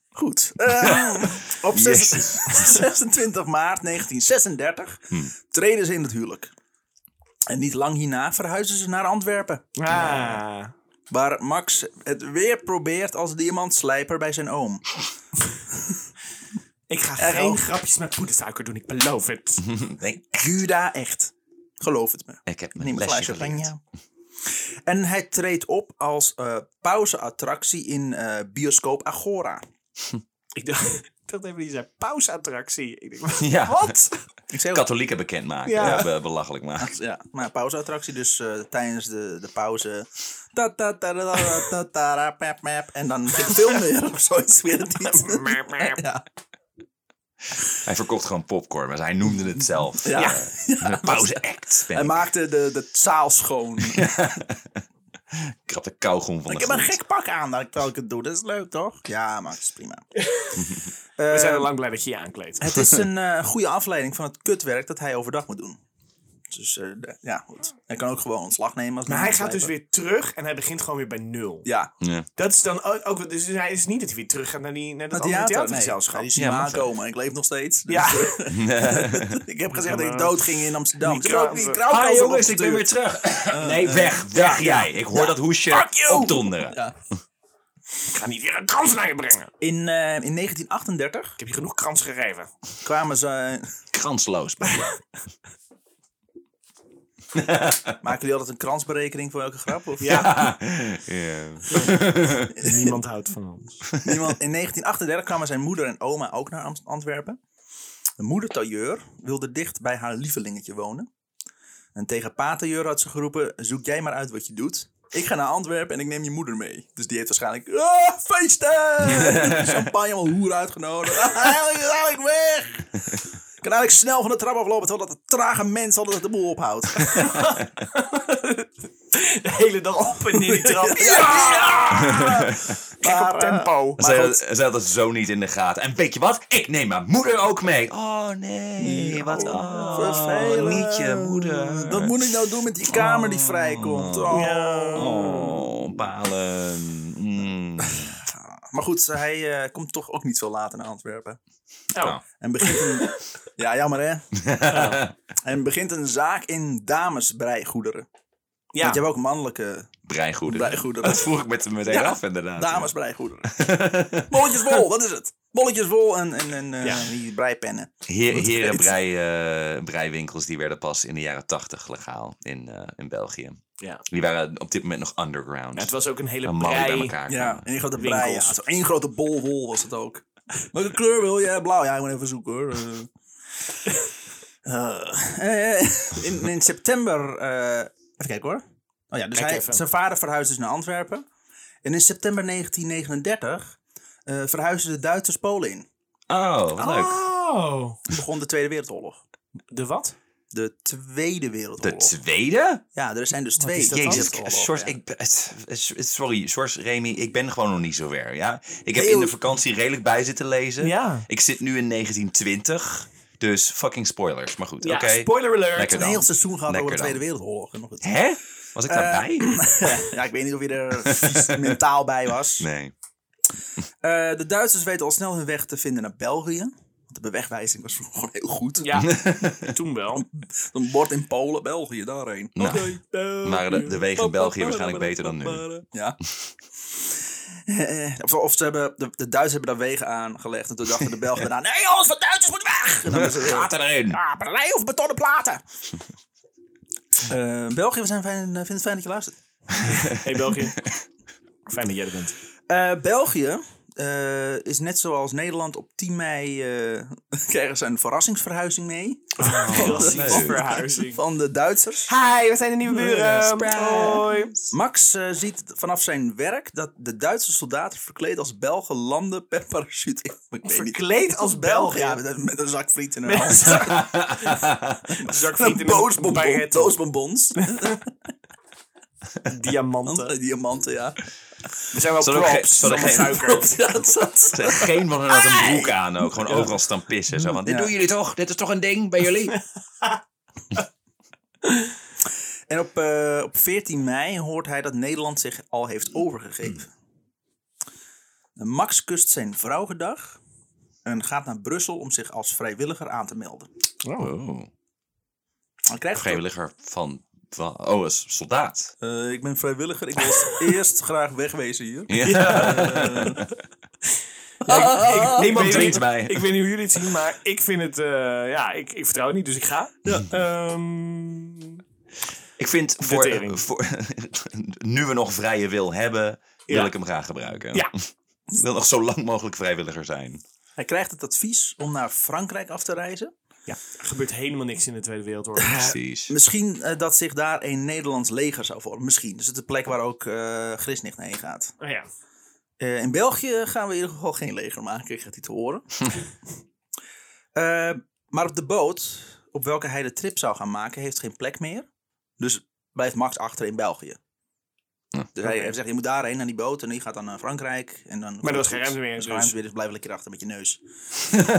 Speaker 1: Goed. Eh, op zes-
Speaker 3: Jezus. Hmm.
Speaker 1: 26 maart 1936 treden ze in het huwelijk. En niet lang hierna verhuizen ze naar Antwerpen.
Speaker 2: Ah.
Speaker 1: Waar Max het weer probeert als diamantslijper bij zijn oom.
Speaker 2: Ik ga
Speaker 1: Er
Speaker 2: geen
Speaker 1: ook.
Speaker 2: grapjes met poedersuiker doen, ik beloof het.
Speaker 3: Mhm. Nee,
Speaker 1: Juda echt. Geloof het me.
Speaker 3: ik heb mijn
Speaker 1: Neem een
Speaker 3: lesje
Speaker 1: glaasje
Speaker 3: geleerd.
Speaker 1: champagne. En hij treedt op als eh, pauzeattractie in eh, bioscoop Agora.
Speaker 2: ik dacht, ik dacht even, die zei pauzeattractie. Ik denk,
Speaker 3: Ja.
Speaker 2: wat?
Speaker 1: Ik zei ook-
Speaker 3: Katholieken bekendmaken.
Speaker 2: Ja.
Speaker 3: Ja. be- belachelijk maken.
Speaker 1: Ja, maar pauzeattractie, dus eh, tijdens de, de pauze. Ta ta ta ta ta ta ta ra, pep, pep. En dan begint de film weer of zoiets. Weer het niet.
Speaker 2: Eh,
Speaker 1: Ja,
Speaker 3: Hij verkocht gewoon popcorn, maar hij noemde het zelf. eh,
Speaker 1: ja.
Speaker 3: Een pauze act. Ben
Speaker 1: Hij
Speaker 3: ik.
Speaker 1: maakte de, de zaal schoon.
Speaker 3: Ik krap de kauwgom van
Speaker 1: Ik
Speaker 3: de
Speaker 1: heb een
Speaker 3: grond.
Speaker 1: gek pak aan dat ik terwijl ik het doe. Dat is leuk, toch? Ja, maar het is prima.
Speaker 2: We zijn al lang blij dat je je aankleedt.
Speaker 1: Het is een eh, goede afleiding van het kutwerk dat hij overdag moet doen. Dus eh, de- ja, goed. Hij kan ook gewoon ontslag nemen. Als
Speaker 2: Maar hij gaat
Speaker 1: manslijper.
Speaker 2: dus weer terug en hij begint gewoon weer bij nul.
Speaker 1: Ja,
Speaker 3: Ja.
Speaker 2: Dat is dan ook, ook- dus hij is niet dat hij weer terug gaat naar, die, naar dat
Speaker 1: het
Speaker 2: andere
Speaker 1: theater. Nee,
Speaker 2: theatergezelschap.
Speaker 1: hij is niet
Speaker 3: Ja,
Speaker 1: meer
Speaker 3: mag wel.
Speaker 1: aankomen. Ik leef nog steeds. Dus,
Speaker 2: Ja.
Speaker 1: eh, ik heb gezegd dat ik dood ging in Amsterdam.
Speaker 2: Die
Speaker 1: Toen ook
Speaker 2: kraan-
Speaker 1: die
Speaker 2: Hi,
Speaker 1: kraankas
Speaker 3: Hi
Speaker 1: op
Speaker 3: jongens, ik ben weer
Speaker 1: opgestuurd.
Speaker 3: terug. Nee, weg. Weg jij. Ik hoor dat hoesje
Speaker 2: Fuck you.
Speaker 3: opdonderen.
Speaker 1: Ja.
Speaker 2: Ik ga niet weer een krans naar je brengen.
Speaker 1: In, eh, in 1938
Speaker 2: Ik heb je genoeg krans gegeven.
Speaker 1: kwamen ze...
Speaker 3: Kransloos. ben je.
Speaker 1: Maken jullie altijd een kransberekening voor elke grap? Of?
Speaker 3: Ja. Ja.
Speaker 2: Niemand houdt van ons.
Speaker 1: Niemand- in 1938 kwamen zijn moeder en oma ook naar Amst- Antwerpen. De moeder Tailleur wilde dicht bij haar lievelingetje wonen. En tegen pa Tailleur had ze geroepen, zoek jij maar uit wat je doet. Ik ga naar Antwerpen en ik neem je moeder mee. Dus die heeft waarschijnlijk, ah, feesten! Champagne, allemaal hoer uitgenodigd. Ah, ik ga ik weg! Ik kan eigenlijk snel van de trap aflopen, terwijl dat de trage mens altijd de boel ophoudt.
Speaker 2: de hele dag op en in die trap. Kijk op
Speaker 1: Maar, eh,
Speaker 2: tempo.
Speaker 3: Ze
Speaker 2: Maar goed,
Speaker 3: had- ze had het zo niet in de gaten. En weet je wat? Ik neem mijn moeder ook mee. Oh nee, wat oh,
Speaker 1: Vervelend.
Speaker 3: Niet je moeder.
Speaker 1: Wat moet ik nou doen met die kamer die vrijkomt? Oh.
Speaker 3: Oh, balen. Mm.
Speaker 1: Maar goed, hij eh, komt toch ook niet veel later naar Antwerpen.
Speaker 2: oh.
Speaker 1: En begint een... ja, jammer hè. En begint een zaak in damesbreigoederen.
Speaker 2: ja.
Speaker 1: Want je hebt ook mannelijke
Speaker 3: Breigoederen.
Speaker 1: Breigoederen.
Speaker 3: Dat vroeg ik met meteen
Speaker 1: Ja.
Speaker 3: af inderdaad.
Speaker 1: damesbreigoederen. Bolletjes vol, dat is het. Bolletjes vol en, en, en eh,
Speaker 2: Ja.
Speaker 1: die breipennen.
Speaker 3: Heer, heren brei, eh, breiwinkels die werden pas in de jaren tachtig legaal in, eh, in België.
Speaker 2: Ja.
Speaker 3: Die waren op dit moment nog underground.
Speaker 2: Ja, het was ook een hele
Speaker 3: een mooi bij
Speaker 2: brei.
Speaker 3: elkaar.
Speaker 1: Ja,
Speaker 3: kwamen.
Speaker 1: één grote
Speaker 2: Winkels.
Speaker 1: brei. Ja, zo één grote bol wol was het ook. Welke kleur wil je? Blauw. Ja, ik moet even zoeken hoor. Eh. Eh, eh, in, in september... eh, even kijken hoor. Oh ja, dus
Speaker 2: Kijk
Speaker 1: hij,
Speaker 2: even.
Speaker 1: zijn vader verhuisde dus naar Antwerpen. En in september 1939 eh verhuisden de Duitsers Polen in.
Speaker 3: Oh, wat leuk.
Speaker 2: Oh.
Speaker 1: Begon de Tweede Wereldoorlog.
Speaker 2: De wat?
Speaker 1: De Tweede
Speaker 3: De
Speaker 1: Wereldoorlog.
Speaker 3: tweede?
Speaker 1: ja, er zijn dus twee.
Speaker 2: is dat dan?
Speaker 3: Jezus, eh,
Speaker 1: wereldoorlogen,
Speaker 3: Sjors,
Speaker 1: ja.
Speaker 3: ik, ben- het- het- sorry, Sjors, Remy, ik ben gewoon nog niet zo ver, ja? Ik heb
Speaker 1: Heel-
Speaker 3: in de vakantie redelijk bij zitten lezen.
Speaker 2: Ja.
Speaker 3: Ik zit nu in 1920, dus fucking spoilers. Maar goed,
Speaker 2: Ja,
Speaker 3: oké.
Speaker 2: spoiler alert.
Speaker 3: Lekker
Speaker 1: Een
Speaker 3: dan.
Speaker 1: heel seizoen gehad
Speaker 3: Lekker
Speaker 1: over de
Speaker 3: dan.
Speaker 1: Tweede Wereldoorlog. En nog het-
Speaker 3: Hè? Was ik daarbij?
Speaker 1: Eh,
Speaker 2: Eh,
Speaker 1: ja, ik weet niet of je er vies mentaal bij was.
Speaker 3: nee.
Speaker 1: Eh, de Duitsers weten al snel hun weg te vinden naar België. Want de bewegwijzing was vroeger gewoon heel goed.
Speaker 2: Ja, toen wel.
Speaker 1: Een bord in Polen, België, daarheen.
Speaker 3: Nou,
Speaker 2: Maar
Speaker 3: waren de- de wegen in België waarschijnlijk beter dan nu.
Speaker 1: Ja. Eh, of, of ze hebben, de, de Duitsers hebben daar wegen aangelegd. En toen dachten de Belgen daarna, nee jongens, van Duitsers moet weg! En dan is het,
Speaker 3: Gaat erin.
Speaker 1: ah, brei of betonnen platen! Eh, België, we zijn fijn, vinden het fijn dat je luistert.
Speaker 2: Hey België. Fijn dat jij er bent.
Speaker 1: Eh, België eh, is net zoals Nederland op 10 mei... eh, krijgen ze een verrassingsverhuizing mee.
Speaker 2: Verhuizing.
Speaker 1: Van de Duitsers.
Speaker 2: Hi, we zijn de nieuwe buren. Hoi.
Speaker 1: Max eh, ziet vanaf zijn werk dat de Duitse soldaten verkleed als Belgen landen per parachute. Ik weet niet.
Speaker 2: Verkleed als Belgen?
Speaker 1: Ja, met, met een zak friet in hun hand.
Speaker 2: Zak
Speaker 1: Een
Speaker 2: frieten
Speaker 1: boosbonbon-
Speaker 2: met
Speaker 1: doosbonbons.
Speaker 2: diamanten.
Speaker 1: Diamanten, ja.
Speaker 2: We zijn wel
Speaker 3: Zal ook
Speaker 2: props.
Speaker 3: geen- zal ook
Speaker 2: zonder
Speaker 3: geen-
Speaker 2: suiker.
Speaker 1: Ja, dat zat.
Speaker 3: Ze had Eh, geen van hen had een broek aan ook. Gewoon overal staan pissen. Zo van, dit
Speaker 1: Ja.
Speaker 3: doen jullie toch? Dit is toch een ding bij jullie?
Speaker 1: En op, eh, op 14 mei hoort hij dat Nederland zich al heeft overgegeven. En Max kust zijn vrouw gedag en gaat naar Brussel om zich als vrijwilliger aan te melden.
Speaker 3: Oh.
Speaker 1: Dan krijgt hij
Speaker 3: Vrijwilliger van, van... Oh, als soldaat.
Speaker 1: Eh, ik ben vrijwilliger. Ik wil als eerst graag wegwezen hier.
Speaker 3: Ja.
Speaker 2: Ik- Oh. ik weet
Speaker 3: drinkt
Speaker 2: niet-
Speaker 3: mij.
Speaker 2: Ik weet niet hoe jullie het zien, maar ik vind het... eh, ja, ik, ik vertrouw het niet, dus ik ga. Ehm,
Speaker 3: Ik vind, voor, eh,
Speaker 2: tering.
Speaker 3: voor, nu we nog vrije wil hebben, wil
Speaker 2: Ja.
Speaker 3: ik hem graag gebruiken.
Speaker 2: Ja.
Speaker 3: Ik wil nog zo lang mogelijk vrijwilliger zijn.
Speaker 1: Hij krijgt het advies om naar Frankrijk af te reizen.
Speaker 2: ja, er gebeurt helemaal niks in de Tweede Wereldoorlog.
Speaker 3: Precies.
Speaker 1: Misschien eh, dat zich daar een Nederlands leger zou vormen. Misschien. Dus het is de plek waar ook eh Grisnicht naar heen gaat.
Speaker 2: Oh ja.
Speaker 1: Eh, in België gaan we in ieder geval geen leger maken, krijgt hij te horen. Eh, maar op de boot op welke hij de trip zou gaan maken, heeft geen plek meer. Dus blijft Max achter in België. Dus hij hij zegt, je moet daarheen naar die boot en die gaat dan naar Frankrijk. En dan
Speaker 2: Maar er was geen ruimte meer,
Speaker 1: Er was geen
Speaker 2: dus.
Speaker 1: ruimte meer, dus blijf lekker achter met je neus.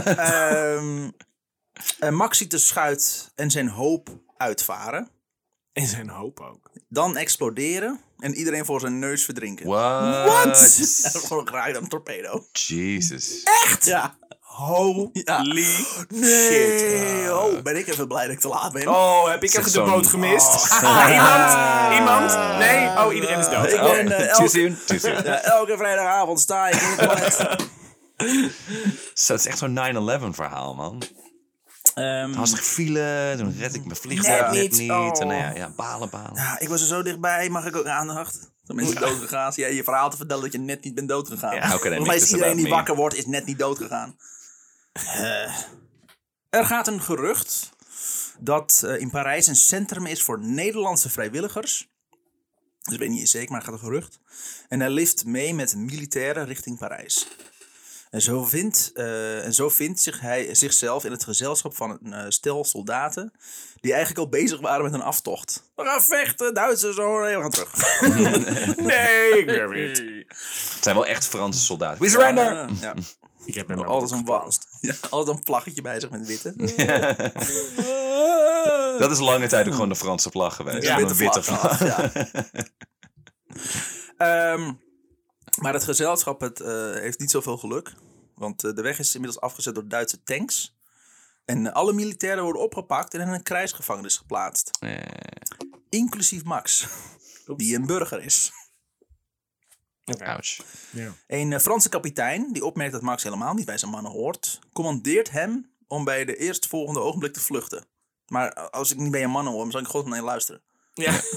Speaker 1: Ehm, en Max ziet de schuit en zijn hoop uitvaren.
Speaker 2: En zijn hoop ook.
Speaker 1: Dan exploderen en iedereen voor zijn neus verdrinken.
Speaker 3: What?
Speaker 1: Ja, dat is gewoon raak dan een torpedo.
Speaker 3: Jesus.
Speaker 1: Echt? Ja.
Speaker 2: Holy
Speaker 1: Nee.
Speaker 2: shit.
Speaker 1: Oh, ben ik even blij dat ik te laat ben.
Speaker 2: Oh, heb ik even de
Speaker 3: zo'n-
Speaker 2: boot gemist? Ah, iemand? Iemand? Nee? Oh, iedereen is dood.
Speaker 1: Ik
Speaker 2: Oh.
Speaker 1: ben eh,
Speaker 3: Too
Speaker 1: elke,
Speaker 3: soon? Too soon.
Speaker 1: ja, elke vrijdagavond sta ik in het toilet.
Speaker 3: Zo, het is echt zo'n 9-11 verhaal, man.
Speaker 1: Ehm,
Speaker 3: Als ik vielen, toen red ik mijn vliegtuig
Speaker 1: Net
Speaker 3: net,
Speaker 1: niet.
Speaker 3: niet.
Speaker 1: Oh.
Speaker 3: En nou ja, ja, balen, balen.
Speaker 1: ja, ik was er zo dichtbij, mag ik ook aandacht? Dan ben je doodgegaan. Ja, je verhaal te vertellen dat je net niet bent doodgegaan.
Speaker 3: how can I
Speaker 1: Volgens
Speaker 3: make
Speaker 1: mij is
Speaker 3: this
Speaker 1: iedereen
Speaker 3: about
Speaker 1: die
Speaker 3: me?
Speaker 1: wakker wordt, is net niet doodgegaan. Eh, er gaat een gerucht dat eh, in Parijs een centrum is voor Nederlandse vrijwilligers. Dus ik weet niet zeker, maar het gaat een gerucht. En hij lift mee met militairen richting Parijs. En En zo vindt, eh, en zo vindt zich hij zichzelf in het gezelschap van een eh, stel soldaten. die eigenlijk al bezig waren met een aftocht. We gaan vechten, Duitsers, zo, nee, we gaan terug.
Speaker 2: Oh, Nee, ik ben niet.
Speaker 3: Het zijn wel echt Franse soldaten. We surrender!
Speaker 1: Ja, ja.
Speaker 2: Ik heb hem
Speaker 1: Nou,
Speaker 3: Nou,
Speaker 1: Altijd een wa- ja, altijd een vlaggetje bij zich met witte.
Speaker 3: Dat is lange tijd ook gewoon de Franse vlag geweest.
Speaker 1: Ja,
Speaker 3: Ja, een witte
Speaker 1: vlag.
Speaker 3: vlag.
Speaker 1: Ja. Ehm, maar het gezelschap het, eh, heeft niet zoveel geluk. Want eh, de weg is inmiddels afgezet door Duitse tanks. En eh, alle militairen worden opgepakt en in een krijgsgevangenis geplaatst. Inclusief Max, die een burger is.
Speaker 3: Ouch.
Speaker 1: Een eh, Franse kapitein, die opmerkt dat Max helemaal niet bij zijn mannen hoort, commandeert hem om bij de eerstvolgende ogenblik te vluchten. Maar eh, als ik niet bij je mannen hoor, dan zal ik gewoon naar je luisteren.
Speaker 2: Ja.
Speaker 1: Fuck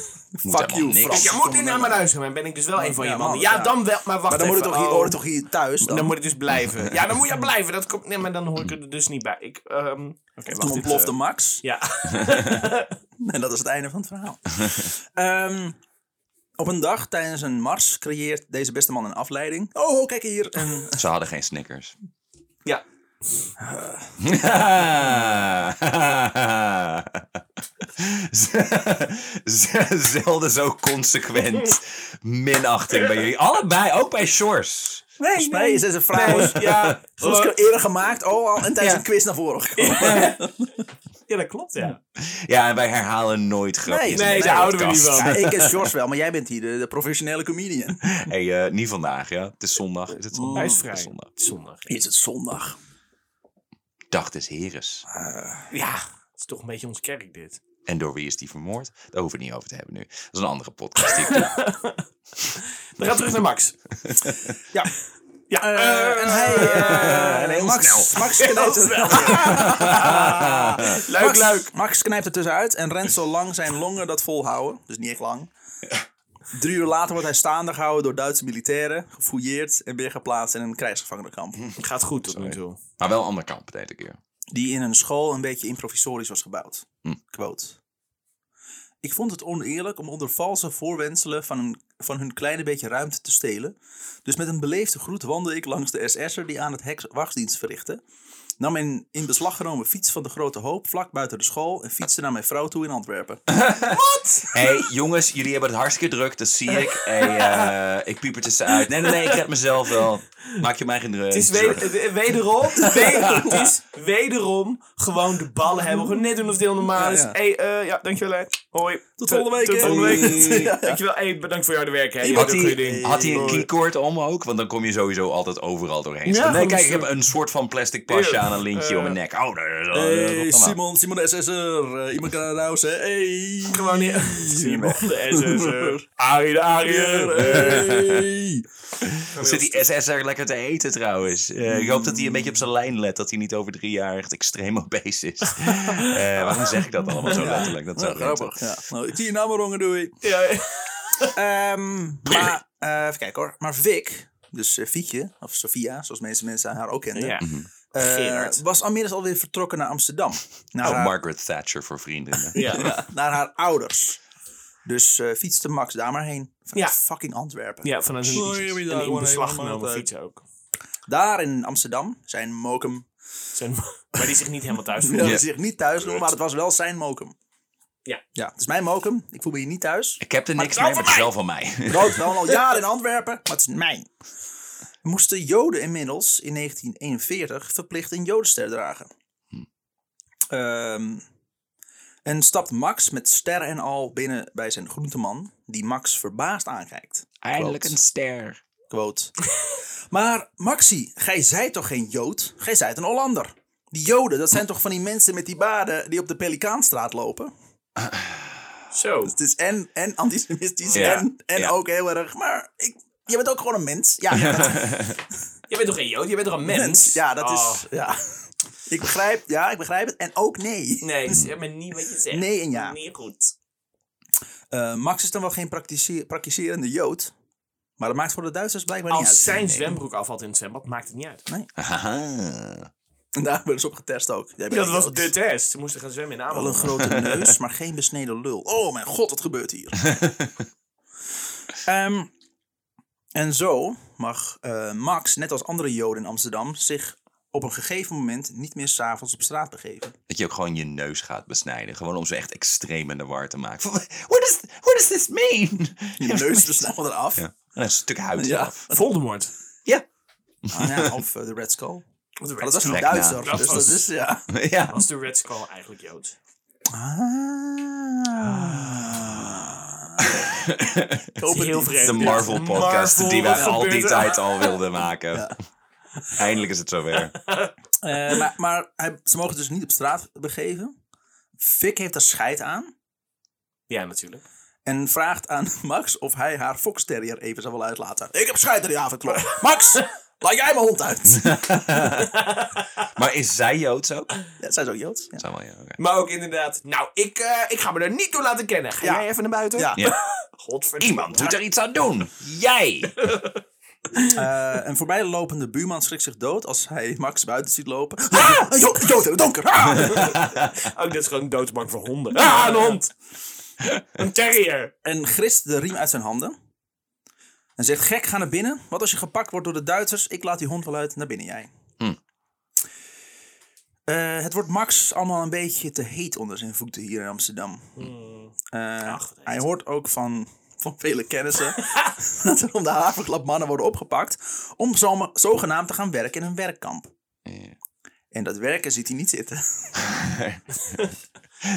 Speaker 3: helemaal
Speaker 1: you,
Speaker 3: niks.
Speaker 1: Frans.
Speaker 2: Je moet nu naar me luisteren, maar ben ik dus wel een van
Speaker 1: Ja,
Speaker 2: je mannen.
Speaker 1: man,
Speaker 2: Ja,
Speaker 1: ja.
Speaker 2: dan wel, maar wacht
Speaker 1: Maar dan moet je
Speaker 2: even.
Speaker 1: toch hier,
Speaker 2: Oh.
Speaker 1: hoor je toch hier thuis
Speaker 2: Dan,
Speaker 1: dan?
Speaker 2: moet ik dus blijven. Ja, dan moet je blijven. Dat komt, nee, maar dan hoor ik er dus niet bij. Ik, ehm Oké,
Speaker 1: Toen
Speaker 2: wacht. dit,
Speaker 1: ontplofte
Speaker 2: eh,
Speaker 1: Max.
Speaker 2: Ja.
Speaker 1: En dat is het einde van het verhaal. Ehm, op een dag tijdens een mars creëert deze beste man een afleiding. Oh, oh, kijk hier. En
Speaker 3: Ze hadden geen Snickers.
Speaker 2: ja.
Speaker 3: Z- z- Zelden zo consequent minachting bij jullie. Allebei, ook bij Shores.
Speaker 1: volgens mij is deze vrouw
Speaker 2: Nee, ja.
Speaker 1: goed
Speaker 2: eh,
Speaker 1: eerder gemaakt. Oh, al, en tijdens
Speaker 2: Ja.
Speaker 1: een quiz naar voren gekomen.
Speaker 2: ja, dat klopt, ja.
Speaker 3: Ja, en wij herhalen nooit grapjes.
Speaker 1: Nee,
Speaker 3: in
Speaker 1: nee,
Speaker 3: deze
Speaker 1: daar
Speaker 2: houden we
Speaker 3: podcast.
Speaker 2: niet van.
Speaker 1: Ja, ik en George wel, maar jij bent hier de, de professionele comedian.
Speaker 3: Hey, eh, niet vandaag, ja. Het is zondag. Is het zondag?
Speaker 2: Hij is
Speaker 3: Het
Speaker 2: vrij.
Speaker 3: is zondag.
Speaker 2: Zondag.
Speaker 1: Is het zondag?
Speaker 3: Dag des Heres.
Speaker 2: Ja, het is toch een beetje ons kerk dit.
Speaker 3: En door wie is die vermoord? Daar hoeven we het niet over te hebben nu. Dat is een andere podcast. Die ik doe.
Speaker 2: We gaan terug naar Max.
Speaker 1: Ja.
Speaker 2: Ja,
Speaker 1: Eh, en hij, eh,
Speaker 3: heel
Speaker 1: Max,
Speaker 3: snel.
Speaker 1: Max knijpt
Speaker 2: Heel snel.
Speaker 1: Max,
Speaker 2: leuk, leuk.
Speaker 1: Max knijpt er tussenuit en rent zo lang zijn longen dat volhouden. Dus niet echt lang. Drie uur later wordt hij staande gehouden door Duitse militairen, gefouilleerd en weer geplaatst in een krijgsgevangenenkamp.
Speaker 2: Gaat goed tot nu toe.
Speaker 3: maar wel een ander kamp deze keer.
Speaker 1: Die in een school een beetje improvisorisch was gebouwd.
Speaker 3: Hm.
Speaker 1: Quote. Ik vond het oneerlijk om onder valse voorwendselen van, een, van hun kleine beetje ruimte te stelen. Dus met een beleefde groet wandelde ik langs de SS'er die aan het heks wachtdienst verrichtte. Nam mijn in beslag genomen fiets van de grote hoop vlak buiten de school en fietste naar mijn vrouw toe in Antwerpen.
Speaker 3: Hé, hey, jongens, jullie hebben het hartstikke druk, dat zie ik. Hey, eh, ik piep er tussenuit. Nee, nee, nee, ik red mezelf wel. Maak je mij geen druk.
Speaker 2: Het is wed- eh, wederom, we- het is wederom gewoon de ballen hebben. Gewoon net doen of het heel normaal is.
Speaker 1: Ja, ja.
Speaker 2: hey, eh, ja, dankjewel. hè. Hoi.
Speaker 1: Tot volgende week,
Speaker 2: Tot
Speaker 1: hè.
Speaker 2: volgende week.
Speaker 1: Ja.
Speaker 2: Dankjewel. Hey, bedankt voor jouw werk. Hè. Je
Speaker 3: had
Speaker 2: doet een goed
Speaker 3: hij,
Speaker 2: ding.
Speaker 3: had hij een keycord om ook? Want dan kom je sowieso altijd overal doorheen.
Speaker 2: Ja,
Speaker 3: nee,
Speaker 2: gewoon
Speaker 3: kijk, ik
Speaker 2: zo.
Speaker 3: heb een soort van plastic pasje aan een lintje om mijn nek. Oh, nee, nee, nee, nee, wat dan ook.
Speaker 1: Simon de SS'er. Eh, iemand kan naar huis, hè? Hey.
Speaker 2: Gewoon niet. Simon de SS'er. Arie Eh, de Ariër.
Speaker 3: Zit die SS'er lekker te eten trouwens. Eh, ik hoop dat hij een beetje op zijn lijn let. Dat hij niet over drie jaar echt extreem obese is. Eh, waarom zeg ik dat allemaal zo letterlijk? Dat is
Speaker 1: Ja,
Speaker 3: ook
Speaker 1: grappig. Ja. Nou, ik zie je naam rongen, doei.
Speaker 2: Ja,
Speaker 1: Ehm, maar, eh, even kijken hoor. Maar Vic, dus eh, Fietje, of Sofia, zoals mensen, mensen haar ook kenden,
Speaker 2: ja.
Speaker 1: eh,
Speaker 2: Gerard.
Speaker 1: was inmiddels alweer vertrokken naar Amsterdam. Naar,
Speaker 3: Oh,
Speaker 1: haar,
Speaker 3: Margaret Thatcher voor vrienden.
Speaker 2: ja.
Speaker 1: naar haar ouders. Dus eh, fietste Max daar maar heen. Vanuit
Speaker 2: Ja.
Speaker 1: fucking Antwerpen.
Speaker 2: Ja, vanuit een,
Speaker 1: Sorry, we
Speaker 2: een
Speaker 1: daar
Speaker 2: in
Speaker 1: gewoon
Speaker 2: beslag
Speaker 1: helemaal
Speaker 2: genomen
Speaker 1: uit.
Speaker 2: fiets ook.
Speaker 1: Daar in Amsterdam, zijn mokum.
Speaker 2: Zijn, maar die zich niet helemaal thuis voelt.
Speaker 1: Ja. zich niet thuis noemen, maar het was wel zijn mokum.
Speaker 2: Ja.
Speaker 1: ja. Het is mijn mokum, ik voel me hier niet thuis.
Speaker 3: Ik heb er niks
Speaker 2: het
Speaker 3: mee,
Speaker 2: is
Speaker 3: maar het is wel van mij.
Speaker 1: Rood wel al jaren in Antwerpen, maar het is mijn. Moesten Joden inmiddels in 1941 verplicht een Jodenster dragen. Ehm, en stapt Max met ster en al binnen bij zijn groenteman, die Max verbaasd aankijkt.
Speaker 3: Eindelijk een ster.
Speaker 1: Quote. maar Maxi, gij zijt toch geen Jood? Gij zijt een Hollander. Die Joden, dat zijn toch van die mensen met die baden die op de Pelikaanstraat lopen?
Speaker 2: Zo.
Speaker 1: Het is en, en antisemitisch
Speaker 3: Ja,
Speaker 1: en, en
Speaker 3: ja.
Speaker 1: ook heel erg, maar ik, je bent ook gewoon een mens. Ja, ja, dat-
Speaker 2: Je bent toch geen jood? Je bent toch een mens?
Speaker 1: Ja, dat
Speaker 2: Oh.
Speaker 1: is. Ja. Ik begrijp, ja, ik begrijp het. En ook nee.
Speaker 2: Nee, zeg maar niet wat je zegt.
Speaker 1: Dus Nee en ja.
Speaker 2: Niet goed.
Speaker 1: Eh, Max is dan wel geen praktice- praktiserende Jood. Maar dat maakt voor de Duitsers blijkbaar niet uit.
Speaker 2: Als zijn zwembroek afvalt in het zwembad, maakt het niet uit.
Speaker 3: Haha.
Speaker 1: En daar hebben ze op getest ook. Jij bent
Speaker 2: Dat was
Speaker 1: Jood.
Speaker 2: de test. Ze moesten gaan zwemmen in
Speaker 1: Wel een
Speaker 2: Ameland.
Speaker 1: grote neus, maar geen besneden lul. Oh mijn god, wat gebeurt hier? Ehm, en zo mag eh, Max, net als andere Joden in Amsterdam, zich op een gegeven moment niet meer s'avonds op straat begeven.
Speaker 3: Dat je ook gewoon je neus gaat besnijden. Gewoon om ze echt extreem in de war te maken. Van, What does, what does this mean?
Speaker 1: Je neus besnijden eraf.
Speaker 3: Ja. En een stuk huid
Speaker 1: Ja.
Speaker 3: eraf.
Speaker 2: Voldemort.
Speaker 3: Ja.
Speaker 1: Ah, ja, of eh, de Red Skull.
Speaker 2: Wat
Speaker 1: Maar dat was een
Speaker 3: Skull.
Speaker 1: Duitser.
Speaker 2: Dat
Speaker 1: dus
Speaker 2: was- Ah.
Speaker 1: dat is, ja.
Speaker 3: ja.
Speaker 2: Was de Red Skull eigenlijk Joods?
Speaker 1: Ik hoop het
Speaker 2: Heel
Speaker 1: niet.
Speaker 2: vreemd.
Speaker 3: De Marvel podcast
Speaker 2: Marvel,
Speaker 3: die wij
Speaker 2: wat
Speaker 3: al die
Speaker 2: gebeurt er?
Speaker 3: tijd al wilden maken. Eindelijk is het zover.
Speaker 1: Eh, maar maar hij- ze mogen dus niet op straat begeven. Vic heeft er scheid aan.
Speaker 2: Ja, natuurlijk.
Speaker 1: En vraagt aan Max of hij haar Fox Terrier even zou willen uitlaten. Ik heb scheid aan die avondklok. Max, laat jij mijn hond uit.
Speaker 3: Maar is zij Joods ook?
Speaker 1: Ja, zij is ook Joods. Ja.
Speaker 3: Zou wel, ja, oké.
Speaker 2: Maar ook inderdaad, nou, ik, eh, ik ga me er niet door laten kennen. Ga
Speaker 1: Ja.
Speaker 2: jij even naar buiten?
Speaker 1: Ja.
Speaker 3: Ja.
Speaker 2: Godverdomme.
Speaker 3: Iemand moet er iets aan doen. Jij.
Speaker 1: Eh, een voorbijlopende buurman schrikt zich dood als hij Max buiten ziet lopen. Ah, een jo- een Jood in het donker. Ah!
Speaker 2: Ook dit is gewoon een doodsbank voor honden. Ah, een hond! een terrier!
Speaker 1: En grist de riem uit zijn handen. En zegt, gek, ga naar binnen. Wat als je gepakt wordt door de Duitsers? Ik laat die hond wel uit, naar binnen jij.
Speaker 3: Hm.
Speaker 1: Eh, het wordt Max allemaal een beetje te heet onder zijn voeten hier in Amsterdam. Eh,
Speaker 2: Hmm. Ach, wat heet.
Speaker 1: hij hoort ook van, van vele kennissen dat er om de havenklap mannen worden opgepakt om zoma- zogenaamd te gaan werken in een werkkamp.
Speaker 3: Ja.
Speaker 1: En dat werken ziet hij niet zitten.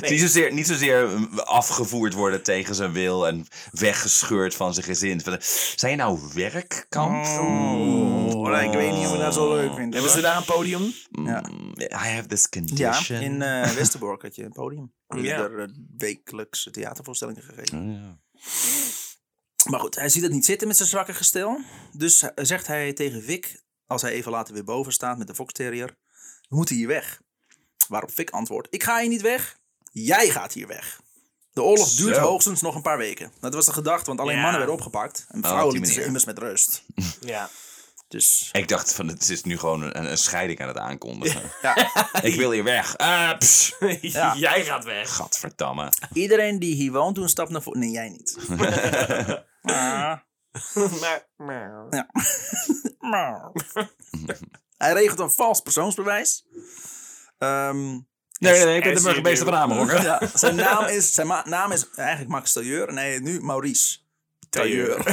Speaker 3: Niet, zozeer, niet zozeer mm, afgevoerd worden tegen zijn wil en weggescheurd van zijn gezin. Van, Zijn je nou werkkamp?
Speaker 1: Oh, ik weet niet of we dat zo leuk vinden.
Speaker 2: Hebben Oh. ze daar een podium?
Speaker 1: Ja.
Speaker 3: Mm, I have this
Speaker 1: Ja,
Speaker 3: condition.
Speaker 1: in eh Westerbork had je een podium. Er
Speaker 2: Ja.
Speaker 1: werden er eh, wekelijks theatervoorstellingen gegeven.
Speaker 3: Oh, ja.
Speaker 1: Maar goed, hij ziet het niet zitten met zijn zwakke gestel. Dus eh, zegt hij tegen Vic, als hij even later weer boven staat met de Fox Terrier, we moeten hier weg. Waarop Vic antwoordt, ik ga hier niet weg, jij gaat hier weg. De oorlog
Speaker 3: Zo.
Speaker 1: duurt hoogstens nog een paar weken. Dat was de gedachte, want alleen
Speaker 2: Ja.
Speaker 1: mannen werden opgepakt. En
Speaker 3: Oh, op
Speaker 1: vrouwen
Speaker 3: die
Speaker 1: lieten ze
Speaker 3: manier.
Speaker 1: immers met rust.
Speaker 2: Ja.
Speaker 1: Dus
Speaker 3: Ik dacht van, het is nu gewoon een, een scheiding aan het aankondigen.
Speaker 1: ja,
Speaker 3: Ik wil hier weg. Ah, pss.
Speaker 1: Ja.
Speaker 2: Jij gaat weg.
Speaker 3: Gadverdamme.
Speaker 1: iedereen die hier woont doet een stap naar voren. Nee, jij niet. Ah.
Speaker 2: maar, maar.
Speaker 1: Hij regelt een vals persoonsbewijs. Ehm,
Speaker 3: Nee, nee, nee, ik ben de
Speaker 2: As you
Speaker 3: burgemeester
Speaker 2: do.
Speaker 3: van Amerongen.
Speaker 1: ja, zijn naam is, zijn ma- naam is eigenlijk Max Tailleur en hij heet nu Maurice Tailleur.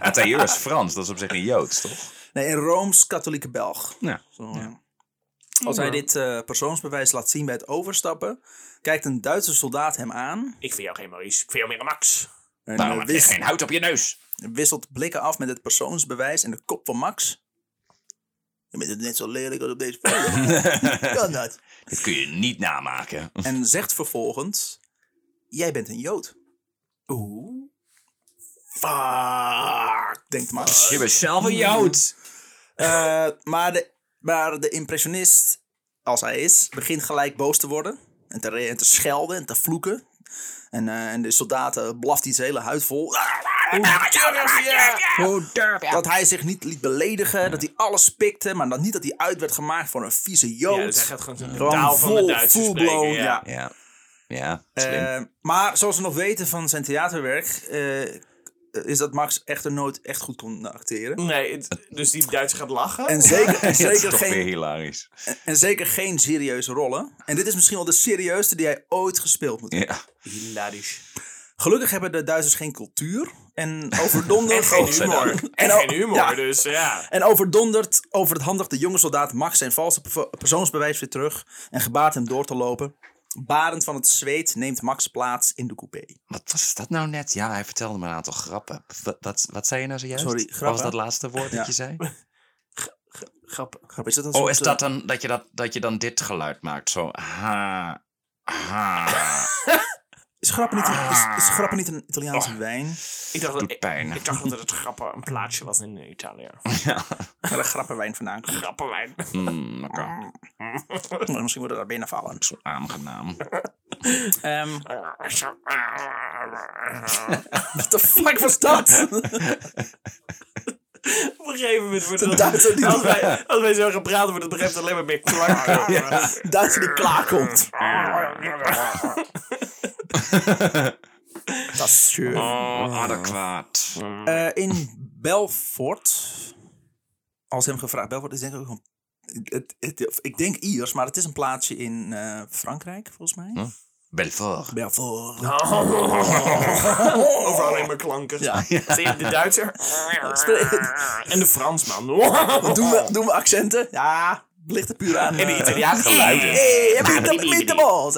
Speaker 3: En Tailleur is Frans, dat is op zich een Joods, toch? Nou,
Speaker 1: Nee, een Rooms-Katholieke Belg.
Speaker 3: Ja.
Speaker 1: Zo, ja. Als hij dit eh, persoonsbewijs laat zien bij het overstappen, kijkt een Duitse soldaat hem aan
Speaker 2: Ik vind jou geen Maurice. Ik vind jou meer een Max.
Speaker 1: en eh,
Speaker 3: Waarom heb je
Speaker 1: wis-
Speaker 3: geen hout op je neus?
Speaker 1: wisselt blikken af met het persoonsbewijs en de kop van Max. Je bent het net zo lelijk als op deze foto. kan dat?
Speaker 3: Dit kun je niet namaken.
Speaker 1: En zegt vervolgens, jij bent een Jood,
Speaker 2: Oeh. Fuck.
Speaker 1: denkt Max.
Speaker 3: Je bent zelf een Jood.
Speaker 1: Eh, maar, de, maar de impressionist, als hij is, begint gelijk boos te worden. En te, re- en te schelden en te vloeken. En, eh, en de soldaten blaft hij zijn hele huid vol.
Speaker 3: Hoe durf je?
Speaker 1: Dat hij zich niet liet beledigen, dat hij alles pikte. Maar dat niet dat hij uit werd gemaakt voor een vieze Jood.
Speaker 2: Ja, dus hij gaat gewoon de
Speaker 1: Gewoon
Speaker 2: taal van de
Speaker 1: vol,
Speaker 2: Duitsers
Speaker 1: full
Speaker 2: spreken.
Speaker 1: blown, ja.
Speaker 3: Ja, ja slim.
Speaker 1: Eh, maar zoals we nog weten van zijn theaterwerk... eh, is dat Max echter nooit echt goed kon acteren.
Speaker 2: Nee, het- dus die Duitser gaat lachen?
Speaker 1: En zeker, en
Speaker 3: dat is
Speaker 1: zeker
Speaker 3: toch
Speaker 1: geen
Speaker 3: weer hilarisch.
Speaker 1: En zeker geen serieuze rollen. En dit is misschien wel de serieusste die hij ooit gespeeld moet hebben.
Speaker 3: Ja.
Speaker 2: Hilarisch.
Speaker 1: Gelukkig hebben de Duitsers geen cultuur. En overdonderd...
Speaker 2: En geen
Speaker 1: Godzijdank.
Speaker 2: humor. En
Speaker 1: En, o-
Speaker 2: geen humor,
Speaker 1: ja.
Speaker 2: dus ja.
Speaker 1: en overdonderd overhandigt de jonge soldaat Max zijn valse pervo- persoonsbewijs weer terug. En gebaart hem door te lopen. Barend van het zweet neemt Max plaats in de coupé.
Speaker 3: Wat was dat nou net? Ja, hij vertelde me een aantal grappen. Wat, wat, wat zei je nou zojuist?
Speaker 1: Sorry,
Speaker 3: Wat was
Speaker 1: grappen?
Speaker 3: dat laatste woord
Speaker 1: Ja.
Speaker 3: dat je zei?
Speaker 2: Grappig.
Speaker 1: Grap, is dat een
Speaker 3: Oh,
Speaker 1: soort,
Speaker 3: is
Speaker 1: eh,
Speaker 3: dat dan dat je, dat, dat je dan dit geluid maakt? Zo, ha, ha,
Speaker 1: Is grappen niet, een- is, is grappen niet een Italiaanse wijn?
Speaker 2: Ik dacht, dat,
Speaker 3: doet
Speaker 2: ik,
Speaker 3: pijn.
Speaker 2: ik dacht dat het grappen een plaatsje was in eh, Italië.
Speaker 1: Waar de grappenwijn vandaan komt.
Speaker 2: Grappenwijn.
Speaker 3: Mm, lekker.
Speaker 1: Maar Misschien worden we daar binnenvallen.
Speaker 3: Aangenaam.
Speaker 1: Ehm what the fuck was dat?
Speaker 2: Op een gegeven moment wordt het...
Speaker 1: Duitser die-
Speaker 2: als, wij, als wij zo gaan praten, wordt het begrijpt alleen maar meer klank.
Speaker 1: Duitser die klaarkomt. Dat is
Speaker 3: Oh, adequaat.
Speaker 1: Eh, in Belfort, als hem gevraagd, Belfort is denk ik ook een, het, het- ik denk Iers, maar het is een plaatsje in eh, Frankrijk, volgens mij.
Speaker 3: Hm. Belfort.
Speaker 1: Belfort.
Speaker 2: Ah, Overal alleen maar klanken.
Speaker 1: Ja.
Speaker 2: Zie je, De Duitser. en de Fransman.
Speaker 1: Doen we, doen we accenten? Ja, het ligt er puur aan.
Speaker 2: En Oh. de
Speaker 1: eh,
Speaker 2: Italiaan geluiden.
Speaker 1: Hey, heb je dat met de bal?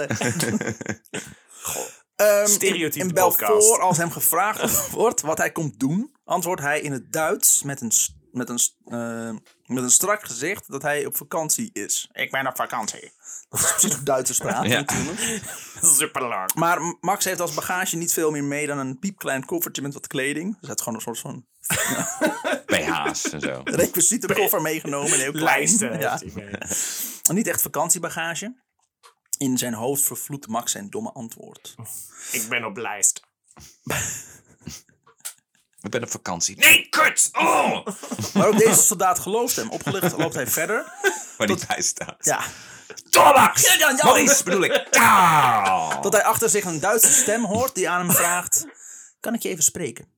Speaker 1: ehm,
Speaker 2: Stereotype
Speaker 1: in
Speaker 2: podcast.
Speaker 1: Belfort, als hem gevraagd wordt wat hij komt doen, antwoordt hij in het Duits met een, s- met een, s- eh, met een strak gezicht dat hij op vakantie is. Ik ben op vakantie. Dat is precies hoe Duitsers praten
Speaker 3: Ja.
Speaker 1: natuurlijk.
Speaker 2: Super lang.
Speaker 1: Maar M- Max heeft als bagage niet veel meer mee dan een piepklein koffertje met wat kleding. Dus hij had gewoon een soort van
Speaker 3: PH's en zo.
Speaker 1: requisietenkoffer meegenomen. Een heel klein.
Speaker 2: Lijsten.
Speaker 1: Ja.
Speaker 2: heeft hij mee.
Speaker 1: Niet echt vakantiebagage. In zijn hoofd vervloedt Max zijn domme antwoord.
Speaker 2: Ik ben op lijst.
Speaker 3: Ik ben op vakantie.
Speaker 2: Nee, kut! Oh!
Speaker 1: Maar ook deze soldaat gelooft hem. Opgelucht loopt hij verder.
Speaker 3: Waar niet bij staat.
Speaker 1: Ja.
Speaker 3: Thomas!
Speaker 1: dan, ja.
Speaker 3: Maurice bedoel ik. Karl!
Speaker 1: Tot hij achter zich een Duitse stem hoort die aan hem vraagt: Kan ik je even spreken?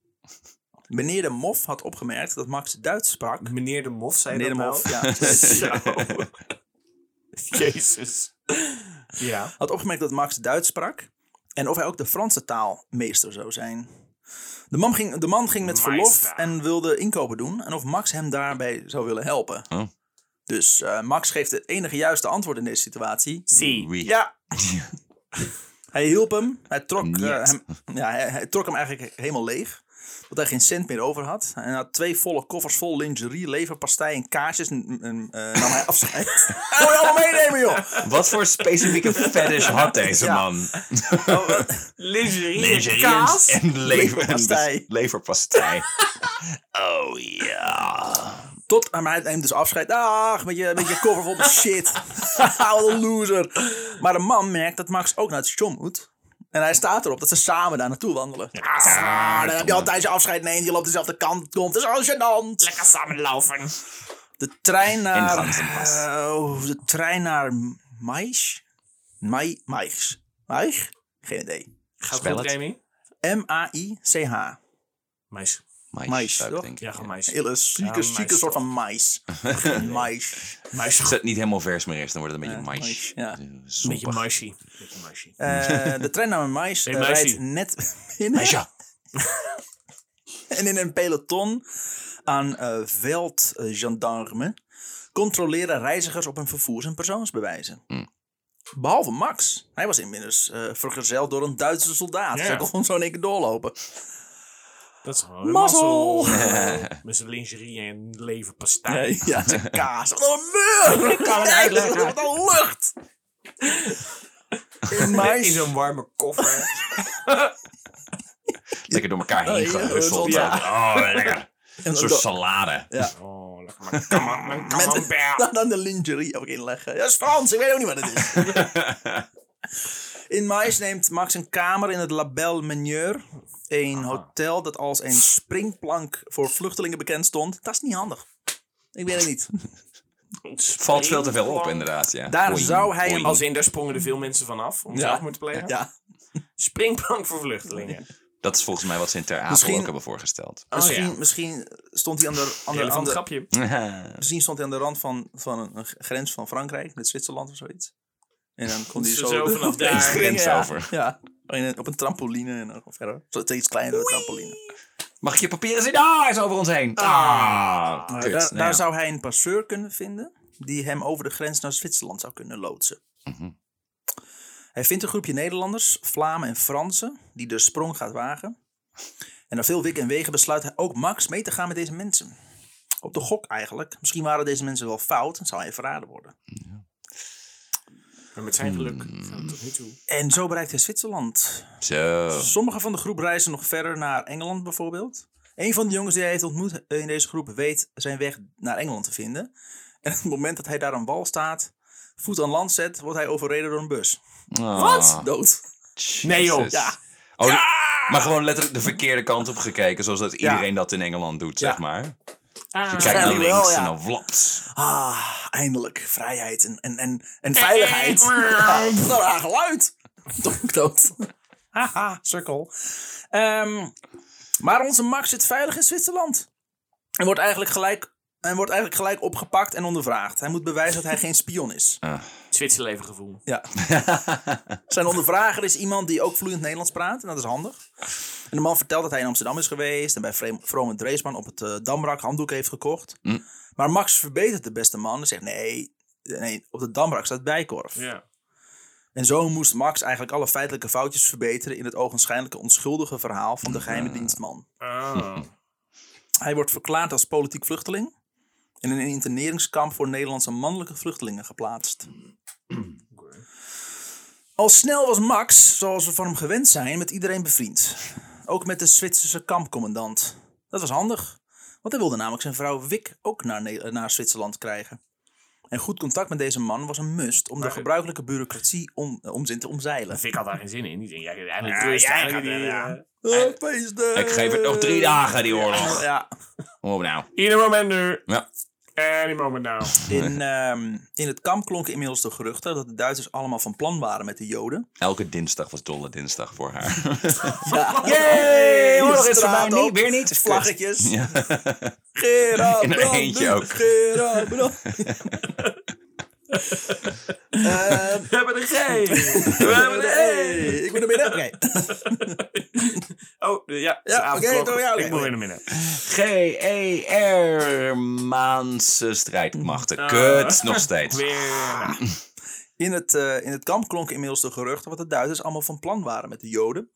Speaker 1: Meneer de Mof had opgemerkt dat Max Duits sprak.
Speaker 2: Meneer de Mof, zei
Speaker 1: Meneer de
Speaker 2: dat
Speaker 1: Mof
Speaker 2: nou?
Speaker 1: ja,
Speaker 2: Zo. Jezus. Ja.
Speaker 1: had opgemerkt dat Max Duits sprak. En of hij ook de Franse taal meester zou zijn. De man ging, de man ging met verlof
Speaker 2: Meester.
Speaker 1: en wilde inkopen doen. En of Max hem daarbij zou willen helpen.
Speaker 3: Oh.
Speaker 1: Dus eh, Max geeft het enige juiste antwoord in deze situatie.
Speaker 2: Zie.
Speaker 3: Wie?
Speaker 1: Ja. hij hielp hem. Hij trok, eh,
Speaker 3: Niet.
Speaker 1: hem, ja, hij, hij trok hem eigenlijk helemaal leeg. Dat hij geen cent meer over had. En hij had twee volle koffers vol lingerie, leverpastei en kaasjes. En, en, eh, nam hij afscheid. Hij moet je allemaal meenemen, joh!
Speaker 3: Wat voor specifieke fetish had deze
Speaker 1: Ja.
Speaker 3: man?
Speaker 2: Lingerie,
Speaker 3: Lingerie en-
Speaker 2: kaas.
Speaker 3: en
Speaker 1: Leverpastei.
Speaker 3: leverpastei. Leverpastei. Oh ja.
Speaker 1: Tot aan hij neemt dus afscheid. Dag, met je, met je koffer vol met shit. Wat een loser. Maar de man merkt dat Max ook naar het station moet. En hij staat erop dat ze samen daar naartoe wandelen. Ah, dan heb je altijd je afscheid neemt. Je loopt dezelfde kant op. Het is al gênant.
Speaker 2: Lekker samenlopen.
Speaker 1: De trein naar.
Speaker 3: In Ganzenpas.
Speaker 1: eh, oh, de trein naar Mais? Mai, Mais. Mais? Geen idee.
Speaker 2: Gaat
Speaker 3: Spel
Speaker 2: goed,
Speaker 3: het.
Speaker 2: Remy?
Speaker 1: M-A-I-C-h.
Speaker 2: Meis.
Speaker 1: Mais,
Speaker 3: Mais, zou ik
Speaker 1: toch?
Speaker 3: denken.
Speaker 2: Ja, gewoon meis.
Speaker 1: Hele zieke,
Speaker 2: mais
Speaker 1: zieke soort van mais. mais.
Speaker 2: Meis.
Speaker 3: Als het niet helemaal vers meer is, dan wordt het een beetje
Speaker 1: Ja,
Speaker 3: mais.
Speaker 1: mais, ja.
Speaker 3: Eh,
Speaker 2: Beetje
Speaker 3: Zompig.
Speaker 2: meisje. Beetje meisje.
Speaker 1: Eh, de trein naar Mais
Speaker 2: Hey,
Speaker 1: eh,
Speaker 2: meisje.
Speaker 1: rijdt net binnen.
Speaker 3: Ja.
Speaker 1: En in een peloton aan eh veldgendarmen controleren reizigers op hun vervoers- en persoonsbewijzen. Behalve Max. Hij was inmiddels eh, vergezeld door een Duitse soldaat.
Speaker 2: Ja.
Speaker 1: Ze kon zo in één keer doorlopen.
Speaker 2: Dat is gewoon een
Speaker 1: Mazzel.
Speaker 2: mazzel. Met zijn lingerie en leverpastei.
Speaker 1: Ja, zijn kaas. Wat een muur! Ik
Speaker 2: kan het uitleggen.
Speaker 1: Wat een lucht! In
Speaker 2: In
Speaker 1: mais.
Speaker 2: zo'n warme koffer.
Speaker 3: Lekker door elkaar heen
Speaker 1: Oh, ja,
Speaker 3: gehusseld.
Speaker 1: ja.
Speaker 3: Oh, lekker. Een soort salade.
Speaker 2: Oh, lekker maar. Come on,
Speaker 1: Met dan, dan de lingerie ook inleggen. Dat is Frans, ik weet ook niet wat het is. in Mais neemt Max een kamer in het Label Meneur. Een hotel dat als een springplank voor vluchtelingen bekend stond. Dat is niet handig. Ik weet het niet.
Speaker 3: Valt veel te veel op, inderdaad. Ja.
Speaker 1: Daar
Speaker 3: Oei,
Speaker 1: zou hij hem
Speaker 3: oei.
Speaker 2: Als in, daar sprongen er veel mensen vanaf om zelfmoord te plegen.
Speaker 1: Ja.
Speaker 2: Springplank voor vluchtelingen.
Speaker 3: Dat is volgens mij wat ze in Ter Apel
Speaker 1: Misschien-
Speaker 3: ook hebben voorgesteld.
Speaker 1: Misschien,
Speaker 2: ja.
Speaker 1: misschien stond hij aan de, aan de, aan
Speaker 2: Relevant
Speaker 1: de-
Speaker 2: grapje.
Speaker 1: misschien stond hij aan de rand van, van een, een grens van Frankrijk met Zwitserland of zoiets. En dan kon hij
Speaker 2: Zo,
Speaker 1: zo,
Speaker 2: zo vanaf
Speaker 3: Deze
Speaker 2: daar.
Speaker 3: grens
Speaker 2: ja.
Speaker 3: over.
Speaker 1: Ja, in een- op een trampoline en dan verder. Zo steeds kleinere trampoline.
Speaker 3: Mag ik je papieren zien? Ah, hij is over ons heen. Ah,
Speaker 1: Maar
Speaker 3: kut.
Speaker 1: daar,
Speaker 3: Nou
Speaker 1: daar
Speaker 3: ja.
Speaker 1: zou hij een passeur kunnen vinden die hem over de grens naar Zwitserland zou kunnen loodsen.
Speaker 3: Mhm.
Speaker 1: Hij vindt een groepje Nederlanders, Vlamen en Fransen die de sprong gaat wagen. En na veel wik en wegen besluit hij ook Max mee te gaan met deze mensen. Op de gok eigenlijk. Misschien waren deze mensen wel fout en zou hij verraden worden.
Speaker 2: Maar met zijn geluk gaat het tot nu toe.
Speaker 1: En zo bereikt hij Zwitserland.
Speaker 3: Zo.
Speaker 1: Sommigen van de groep reizen nog verder naar Engeland bijvoorbeeld. Een van de jongens die hij heeft ontmoet eh, in deze groep weet zijn weg naar Engeland te vinden. En op het moment dat hij daar aan wal staat, voet aan land zet, wordt hij overreden door een bus.
Speaker 3: Wat?
Speaker 1: Dood.
Speaker 2: Nee, joh.
Speaker 1: Ja.
Speaker 3: Oh, Maar gewoon letterlijk de verkeerde kant op gekeken. Zoals dat iedereen dat in Engeland doet, zeg maar. Je kijkt naar
Speaker 1: Waarschijnlijk
Speaker 3: links
Speaker 1: wel, ja.
Speaker 3: en dan vlaps.
Speaker 1: Ah, eindelijk vrijheid en, en, en, en veiligheid. Ja, Wat een raar geluid. Toch ook dood. Haha, sukkel. Ehm, maar onze Max zit veilig in Zwitserland. En wordt eigenlijk gelijk, en wordt eigenlijk gelijk opgepakt en ondervraagd. Hij moet bewijzen dat hij geen spion is.
Speaker 2: Zwitserleven gevoel.
Speaker 1: Ja. Zijn ondervrager is iemand die ook vloeiend Nederlands praat. En dat is handig. En de man vertelt dat hij in Amsterdam is geweest. En bij Vreem- Vroom en Dreesman op het eh, Damrak handdoek heeft gekocht. Maar Max verbetert de beste man. En zegt nee, nee op de Damrak staat bijkorf.
Speaker 2: Ja.
Speaker 1: En zo moest Max eigenlijk alle feitelijke foutjes verbeteren. In het ogenschijnlijke onschuldige verhaal van de geheime dienstman.
Speaker 2: Oh.
Speaker 1: Hij wordt verklaard als politiek vluchteling. En in een interneringskamp voor Nederlandse mannelijke vluchtelingen geplaatst. Al snel was Max, zoals we van hem gewend zijn, met iedereen bevriend. Ook met de Zwitserse kampcommandant. Dat was handig, want hij wilde namelijk zijn vrouw Wik ook naar, Ne- naar Zwitserland krijgen. En goed contact met deze man was een must om de gebruikelijke bureaucratie om, eh, omzin te omzeilen.
Speaker 2: Vic had daar geen zin in. Die denkt, ja,
Speaker 3: Ja,
Speaker 2: eigenlijk rust.
Speaker 3: jij
Speaker 2: eigenlijk
Speaker 3: gaat
Speaker 2: die,
Speaker 3: er, ja.
Speaker 2: eh,
Speaker 1: Eh, feestdag!
Speaker 3: Ik geef het nog drie dagen, die oorlog.
Speaker 1: Ja,
Speaker 3: Kom op nou.
Speaker 2: Ieder moment nu.
Speaker 3: Ja.
Speaker 2: Any moment now.
Speaker 1: in, ehm, in het kamp klonken inmiddels de geruchten dat de Duitsers allemaal van plan waren met de Joden.
Speaker 3: Elke dinsdag was dolle dinsdag voor haar.
Speaker 1: Ja.
Speaker 3: Yay!
Speaker 1: hoor nog eens van mij. Niet,
Speaker 3: weer niet.
Speaker 1: Vlaggetjes.
Speaker 3: Ja.
Speaker 1: Gerard
Speaker 3: In er
Speaker 1: Brand,
Speaker 3: eentje
Speaker 1: doe-
Speaker 3: ook.
Speaker 1: Gerard Brand. Ehm,
Speaker 2: We hebben de G. We hebben
Speaker 1: hey,
Speaker 2: de E.
Speaker 1: ik ben er binnen. Oké.
Speaker 2: Oh, ja. het is
Speaker 1: Ja,
Speaker 2: avondklok.
Speaker 1: oké, doe jij, oké.
Speaker 2: Ik moet weer naar binnen.
Speaker 3: G-E-R Maanse E strijdmachten.
Speaker 2: Ah.
Speaker 3: Kut, nog steeds.
Speaker 2: Weer.
Speaker 1: In, het, eh, in het kamp klonken inmiddels de geruchten wat de Duitsers allemaal van plan waren met de Joden.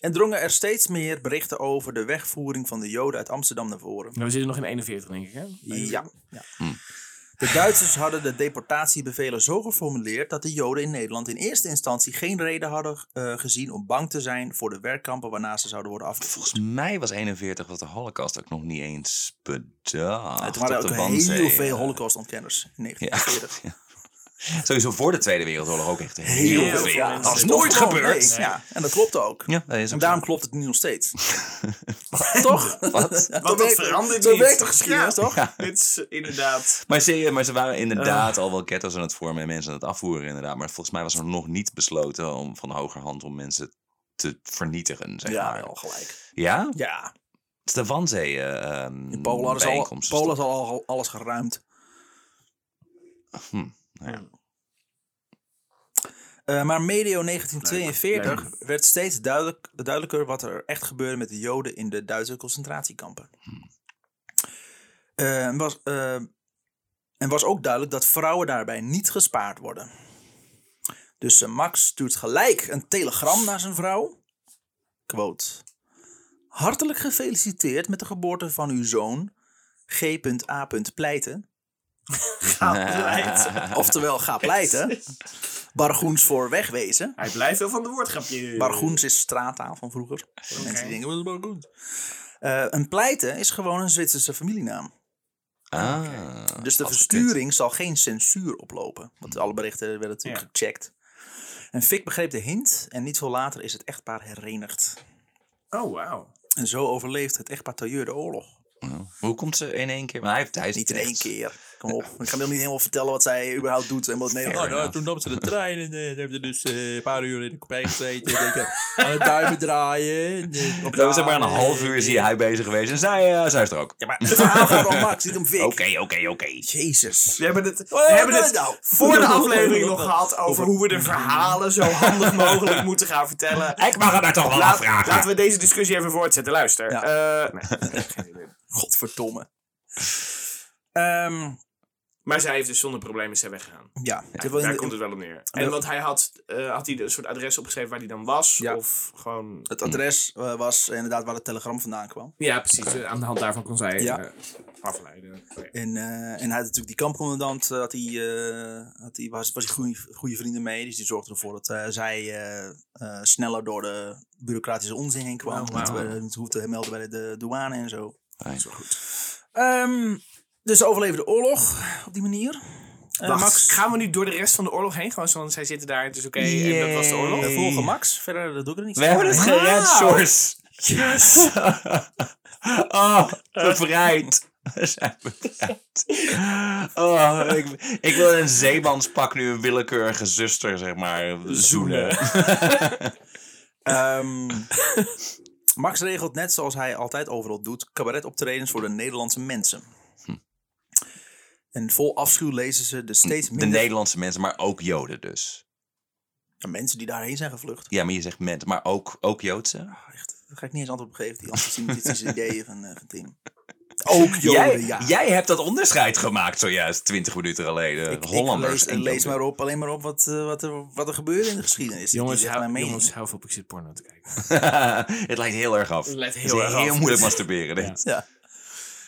Speaker 1: En drongen er steeds meer berichten over de wegvoering van de Joden uit Amsterdam naar voren.
Speaker 2: Nou, we zitten nog in 41, denk ik, hè?
Speaker 1: Ja. ja.
Speaker 3: Hm.
Speaker 1: De Duitsers hadden de deportatiebevelen zo geformuleerd dat de Joden in Nederland in eerste instantie geen reden hadden eh, gezien om bang te zijn voor de werkkampen waarna ze zouden worden afgevoerd.
Speaker 3: Volgens mij was 41 was de Holocaust ook nog niet eens bedacht.
Speaker 1: Het waren
Speaker 3: Ah, op de
Speaker 1: ook
Speaker 3: Wanzee.
Speaker 1: heel veel holocaustontkenners in
Speaker 3: Ja.
Speaker 1: 1940.
Speaker 3: Ja. Sowieso voor de Tweede Wereldoorlog ook echt
Speaker 1: Heel
Speaker 3: heel,
Speaker 2: veel
Speaker 3: veel.
Speaker 2: mensen.
Speaker 3: Dat is
Speaker 2: Dat
Speaker 3: nooit
Speaker 1: Toch?
Speaker 3: gebeurd.
Speaker 1: Nee, Ja, en dat klopt ook.
Speaker 3: Ja, dat is
Speaker 1: En
Speaker 3: ook
Speaker 1: daarom klopt het nu nog steeds. toch?
Speaker 3: Wat?
Speaker 1: Ja,
Speaker 2: dat
Speaker 1: zo werkt-
Speaker 2: verandert
Speaker 1: Zo
Speaker 2: niet.
Speaker 1: werkt de geschiedenis,
Speaker 2: Ja.
Speaker 1: toch?
Speaker 2: Dit is inderdaad...
Speaker 3: Maar, zie je, maar ze waren inderdaad
Speaker 1: Ah.
Speaker 3: al wel ghetto's aan het vormen en mensen aan het afvoeren inderdaad. Maar volgens mij was er nog niet besloten om van hogerhand om mensen te vernietigen, zeg
Speaker 1: Ja,
Speaker 3: maar.
Speaker 1: wel gelijk.
Speaker 3: Ja?
Speaker 1: Ja,
Speaker 3: Het is de Wanzee eh, ehm,
Speaker 1: in Polen hadden ze al,
Speaker 3: bijeenkomst.
Speaker 1: Polen had al, al alles geruimd.
Speaker 3: Hm, nou ja.
Speaker 1: Eh, maar medio 1942 werd steeds duidelijk, duidelijker wat er echt gebeurde met de Joden in de Duitse concentratiekampen. Eh, en was, eh, en was ook duidelijk dat vrouwen daarbij niet gespaard worden. Dus eh, Max stuurt gelijk een telegram naar zijn vrouw. Quote. Hartelijk gefeliciteerd met de geboorte van uw zoon G.A. Pleiten. Oftewel, ga pleiten. Bargoens voor wegwezen.
Speaker 2: Hij blijft wel van de woordgrapje.
Speaker 4: Eh,
Speaker 1: Bargoens is straattaal van vroeger. Mensen die denken, wat is Bargoens? Eh, een pleiten is gewoon een Zwitserse familienaam.
Speaker 3: Ah,
Speaker 1: Dus de versturing zal geen censuur oplopen. Want alle berichten werden natuurlijk
Speaker 2: Ja.
Speaker 1: gecheckt. En Fik begreep de hint en niet veel later is het echtpaar herenigd.
Speaker 2: Oh, wauw.
Speaker 1: En zo overleeft het echtpaar Tailleur de oorlog.
Speaker 3: Hoe komt ze in één keer? Maar hij heeft thuis
Speaker 1: Niet in één keer. Kom op. Ik ga hem niet helemaal vertellen wat zij überhaupt doet. En wat Nederland.
Speaker 3: Fair enough.
Speaker 4: toen nam ze de trein en eh, hebben ze dus eh, een paar uur in de kopij gezeten. en, eh, aan het duimen draaien. en, eh,
Speaker 3: Zo is er maar een half uur zie je hij bezig geweest en zij, eh, zij is er ook.
Speaker 1: Ja, maar het verhaal gaat om Max, niet om Fik.
Speaker 3: Oké, oké, oké.
Speaker 1: Jezus.
Speaker 2: We hebben het,
Speaker 1: wat
Speaker 2: we hebben
Speaker 1: is
Speaker 2: het
Speaker 1: nou?
Speaker 2: voor de aflevering nog gehad over hoe we de verhalen zo handig mogelijk moeten gaan vertellen.
Speaker 3: Ik mag het daar toch wel
Speaker 2: Laat-
Speaker 3: afvragen.
Speaker 2: laten we deze discussie even voortzetten. Luister. Eh, nee, geen idee.
Speaker 1: Godverdomme. Ehm,
Speaker 2: maar zij heeft dus zonder problemen zijn weggegaan.
Speaker 1: ja, Terwijl in
Speaker 2: Daar
Speaker 1: de-
Speaker 2: komt het wel op neer. En want hij had, eh, had hij een soort adres opgeschreven waar hij dan was.
Speaker 1: Ja.
Speaker 2: Of gewoon...
Speaker 1: het adres eh, was inderdaad waar het telegram vandaan kwam.
Speaker 2: Ja, precies. Eh, Aan de hand daarvan kon zij het
Speaker 1: Ja.
Speaker 2: eh, afleiden. Oké.
Speaker 1: En, eh, en hij had natuurlijk die kampcommandant, eh, had hij, eh, had hij, was, was hij goede, goede vrienden mee. Dus die zorgde ervoor dat eh, zij eh, eh, sneller door de bureaucratische onzin heen kwam.
Speaker 2: Wauw.
Speaker 1: Niet, eh, niet hoefde te melden bij de douane en zo.
Speaker 3: Fijn.
Speaker 1: Ehm, dus ze overleefden de oorlog op die manier. Eh,
Speaker 2: Wacht,
Speaker 1: Max,
Speaker 2: gaan we nu door de rest van de oorlog heen? Gewoon zo, want zij zitten daar, het is oké. En dat was de oorlog.
Speaker 1: we volgen Max. Verder dat doe ik er niks
Speaker 3: We hebben het
Speaker 1: van.
Speaker 3: gered,
Speaker 2: Wauw.
Speaker 3: Sjors. Yes. oh, bevrijd. We zijn bevrijd. Oh, ik, ik wil in een zeemanspak nu een willekeurige zuster, zeg maar, zoenen.
Speaker 1: Ehm, Max regelt net zoals hij altijd overal doet, cabaretoptredens voor de Nederlandse mensen.
Speaker 2: Hm.
Speaker 1: En vol afschuw lezen ze de steeds
Speaker 3: De
Speaker 1: minder
Speaker 3: Nederlandse mensen, maar ook Joden dus.
Speaker 1: Ja, mensen die daarheen zijn gevlucht.
Speaker 3: Ja, maar je zegt mensen, maar ook, ook Joodse.
Speaker 1: Ah, echt, daar ga ik niet eens antwoord op geven, die antisemitische ideeën van, eh, van Tim. Ook Joden,
Speaker 3: jij,
Speaker 1: ja.
Speaker 3: jij hebt dat onderscheid gemaakt zojuist, 20 minuten geleden.
Speaker 1: Ik- ik
Speaker 3: Hollanders
Speaker 1: lees,
Speaker 3: en
Speaker 1: lees
Speaker 3: Joden.
Speaker 1: maar op, alleen maar op wat, eh, wat, er, wat er gebeurde in de geschiedenis.
Speaker 2: Jongens,
Speaker 1: Die zeggen
Speaker 2: hou,
Speaker 1: mijn mening.
Speaker 2: jongens, hou op, ik zit porno te kijken.
Speaker 3: het lijkt heel erg af.
Speaker 2: Het lijkt
Speaker 3: Het is
Speaker 2: heel erg
Speaker 3: heel
Speaker 2: af.
Speaker 3: moeilijk masturberen. Dit.
Speaker 1: Ja.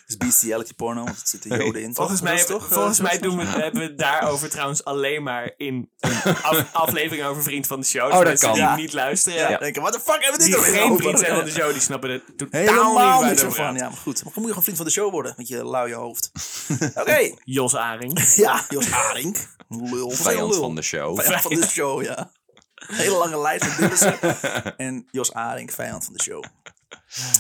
Speaker 1: Het is bestiality porno, want het zitten joden in.
Speaker 2: Volgens
Speaker 1: toch?
Speaker 2: mij,
Speaker 1: Dat is
Speaker 2: hebben-
Speaker 1: toch, eh,
Speaker 2: volgens mij doen we, hebben we het daarover trouwens alleen maar in een af- aflevering over Vriend van de Show. Dus
Speaker 3: dat
Speaker 2: mensen
Speaker 3: kan.
Speaker 2: die
Speaker 3: Ja.
Speaker 2: niet luisteren.
Speaker 1: Oh, Ja,
Speaker 2: Ja.
Speaker 1: denken, what the fuck hebben we dit
Speaker 2: Die
Speaker 1: er weer
Speaker 2: geen
Speaker 1: over?
Speaker 2: vriend zijn
Speaker 1: Ja.
Speaker 2: van de show, die snappen er totaal niet
Speaker 1: Helemaal
Speaker 2: waar
Speaker 1: niks
Speaker 2: het over
Speaker 1: van.
Speaker 2: gaat.
Speaker 1: Ja, maar goed. Maar dan moet je gewoon vriend van de show worden, met je luie hoofd. Oké.
Speaker 2: Jos Aring.
Speaker 1: Ja, Jos Haring. Lul.
Speaker 3: Vijand
Speaker 1: Lul.
Speaker 3: van de show.
Speaker 1: Vijand van de show, ja. Hele lange lijst van Dillissen. En Jos Aring, vijand van de show.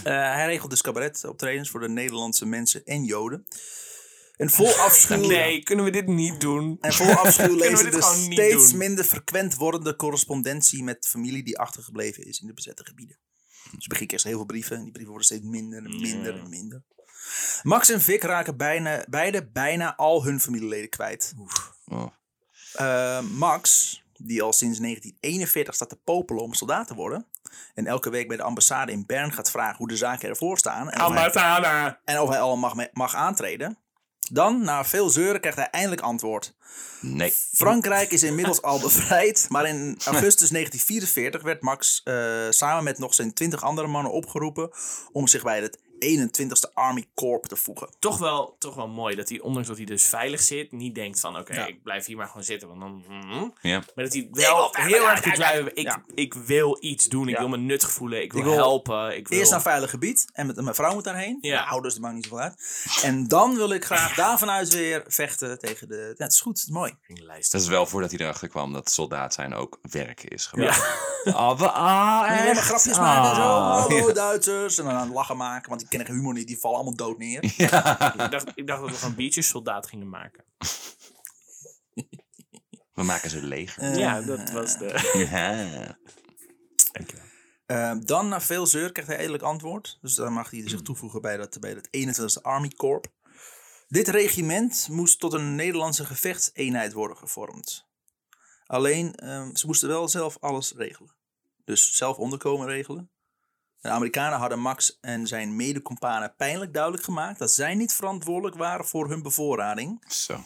Speaker 1: Eh, hij regelt dus cabaretoptredens voor de Nederlandse mensen en Joden. En vol afschuw,
Speaker 2: Nee, kunnen we dit niet doen?
Speaker 1: en vol afschuw
Speaker 2: we
Speaker 1: lezen
Speaker 2: dit
Speaker 1: de
Speaker 2: gewoon niet
Speaker 1: steeds
Speaker 2: doen?
Speaker 1: minder frequent wordende correspondentie met familie die achtergebleven is in de bezette gebieden. Dus begin eerst heel veel brieven en die brieven worden steeds minder en minder en minder. Max en Vic raken bijna, beide bijna al hun familieleden kwijt.
Speaker 3: Oh.
Speaker 1: Eh, Max, die al sinds 1941 staat te popelen om soldaat te worden. En elke week bij de ambassade in Bern gaat vragen hoe de zaken ervoor staan. En of hij,
Speaker 2: Ambassade.
Speaker 1: en of hij al mag, me- mag aantreden. Dan, na veel zeuren, krijgt hij eindelijk antwoord.
Speaker 3: Nee.
Speaker 1: Frankrijk is inmiddels al bevrijd. Maar in augustus 1944 werd Max eh, samen met nog zijn 20 andere mannen opgeroepen. om zich bij het 21ste Army Corps te voegen.
Speaker 2: Toch wel, toch wel mooi dat hij, ondanks dat hij dus veilig zit, niet denkt van oké, ik blijf hier maar gewoon zitten. Want dan, mm-hmm.
Speaker 3: Ja.
Speaker 2: Maar dat hij wel heel erg goed blijft. Ik, ik wil iets doen, ik wil me nuttig voelen, ik wil,
Speaker 1: wil
Speaker 2: helpen. Ik wil...
Speaker 1: Eerst naar veilig gebied en met, mijn vrouw moet daarheen. Nou,
Speaker 2: Ja.
Speaker 1: Ja. Ouders, dat maakt niet zoveel uit. En dan wil ik graag daarvan uit weer vechten tegen de. Ja, het is goed, het is mooi.
Speaker 2: lijst.
Speaker 3: Dat is wel voordat hij erachter kwam dat soldaat zijn ook werk is. Gewoon.
Speaker 2: Ja.
Speaker 3: Ah, we- ah,
Speaker 1: En
Speaker 3: echt?
Speaker 1: helemaal grapjes maken en zo.
Speaker 3: Ah.
Speaker 1: Hallo Duitsers. En dan aan het lachen maken, want die kennen geen humor niet. Die vallen allemaal dood neer.
Speaker 2: Ik, dacht, ik dacht dat we gewoon biertjes soldaat gingen maken.
Speaker 3: We maken ze leeg.
Speaker 2: ja, dat was de...
Speaker 3: Ja.
Speaker 1: Eh, dan, na veel zeur, krijgt hij eindelijk antwoord. Dus dan mag hij zich toevoegen bij dat, bij dat 21ste Army Corps. Dit regiment moest tot een Nederlandse gevechtseenheid worden gevormd. Alleen, eh, ze moesten wel zelf alles regelen. Dus zelf onderkomen regelen. De Amerikanen hadden Max en zijn medecompanen pijnlijk duidelijk gemaakt dat zij niet verantwoordelijk waren voor hun bevoorrading.
Speaker 3: Zo.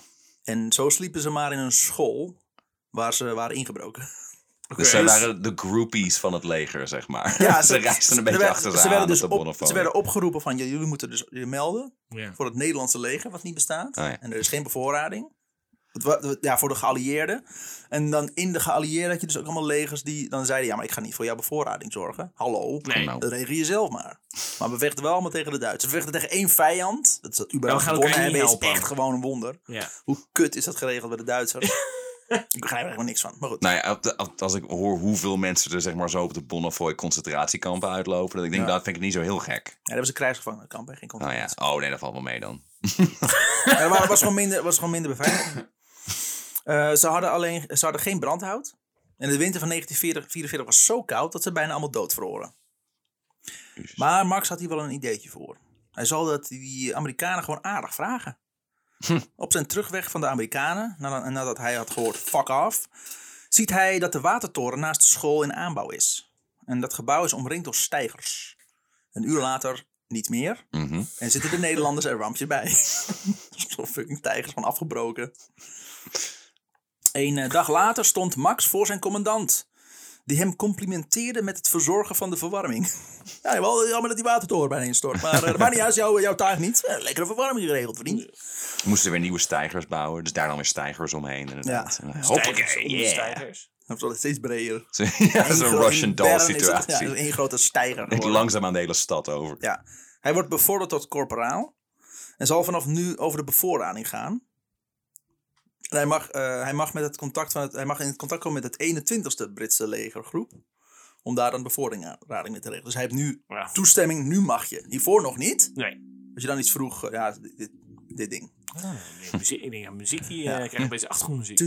Speaker 1: En zo sliepen ze maar in een school waar ze waren ingebroken.
Speaker 3: Dus zij waren de groupies van het leger, zeg maar. ze reisden een beetje
Speaker 1: werden-
Speaker 3: achter ze,
Speaker 1: ze
Speaker 3: aan
Speaker 1: werden
Speaker 3: op
Speaker 1: dus
Speaker 3: de
Speaker 1: op,
Speaker 3: Bonnefoy.
Speaker 1: Ze werden opgeroepen van, "Ja, jullie moeten dus je melden
Speaker 2: Ja.
Speaker 1: voor het Nederlandse leger, wat niet bestaat.
Speaker 3: Oh ja.
Speaker 1: En er is geen bevoorrading. Het wa- het- Ja, voor de geallieerden. En dan in de geallieerden had je dus ook allemaal legers die dan zeiden... ja, maar ik ga niet voor jouw bevoorrading zorgen. Hallo,
Speaker 2: Nee.
Speaker 3: Nou.
Speaker 1: dat regel je zelf maar. Maar we vechten wel allemaal tegen de Duitsers. We vechten tegen één vijand. Dat is dat überhaupt
Speaker 2: gaan
Speaker 1: gewonnen
Speaker 2: elkaar niet
Speaker 1: hebben is
Speaker 2: helpen.
Speaker 1: echt gewoon een wonder.
Speaker 2: Ja.
Speaker 1: Hoe kut is dat geregeld bij de Duitsers? ik begrijp er helemaal niks van. Maar goed.
Speaker 3: Nou ja, op de- op- als ik hoor hoeveel mensen er zeg maar zo op de Bonnefoy concentratiekampen uitlopen, dan denk ik, dat vind ik niet zo heel gek.
Speaker 1: Ja, dat was een krijgsgevangenenkamp. hè, Geen
Speaker 3: Nou
Speaker 1: contact.
Speaker 3: ja, oh nee, dat valt wel mee dan.
Speaker 1: Ja, Er waren- was gewoon minder, was gewoon minder beveiligd. Eh, ze, hadden alleen, ze hadden geen brandhout. En de winter van 1944 was zo koud dat ze bijna allemaal doodvroren. Maar Max had hier wel een ideetje voor. Hij zal dat die Amerikanen gewoon aardig vragen. Op zijn terugweg van de Amerikanen, nadat, nadat hij had gehoord fuck off, ziet hij dat de watertoren naast de school in aanbouw is. En dat gebouw is omringd door stijgers. Een uur later niet meer.
Speaker 3: Mhm.
Speaker 1: En zitten de Nederlanders er rampje bij. Zo'n fucking tijgers van afgebroken. Een eh, dag later stond Max voor zijn commandant. Die hem complimenteerde met het verzorgen van de verwarming. Ja, wel jammer dat die watertoren bijna instort. Maar eh, dat maakt niet uit, jouw, jouw taak niet. Eh, Lekkere verwarming geregeld, vriend.
Speaker 3: Moesten weer nieuwe stijgers bouwen, dus daar dan weer stijgers omheen. Inderdaad.
Speaker 1: Ja.
Speaker 2: Stijgers,
Speaker 3: Hoppakee,
Speaker 2: onder
Speaker 3: yeah.
Speaker 2: stijgers.
Speaker 1: Dat wordt steeds breder.
Speaker 3: Zo- ja,
Speaker 1: Eén
Speaker 3: Zo'n
Speaker 1: groot-
Speaker 3: Russian
Speaker 1: in Bern
Speaker 3: doll
Speaker 1: is het- Ja, dat
Speaker 3: situatie.
Speaker 1: is één grote stijger.
Speaker 3: Denk
Speaker 1: geworden.
Speaker 3: langzaam aan de hele stad over.
Speaker 1: Ja. Hij wordt bevorderd tot corporaal. En zal vanaf nu over de bevoorrading gaan. En hij mag, eh, hij mag, met het contact van het, hij mag in het contact komen met het 21ste Britse legergroep. Om daar een bevoorrading mee te regelen. Dus hij heeft nu
Speaker 2: Ja.
Speaker 1: toestemming, nu mag je. Hiervoor nog niet.
Speaker 2: Nee,
Speaker 1: Als je dan iets vroeg, eh, ja, dit, dit, dit ding.
Speaker 2: muziek, ik denk aan muziek, die eh, krijgt een beetje achtergrondmuziek.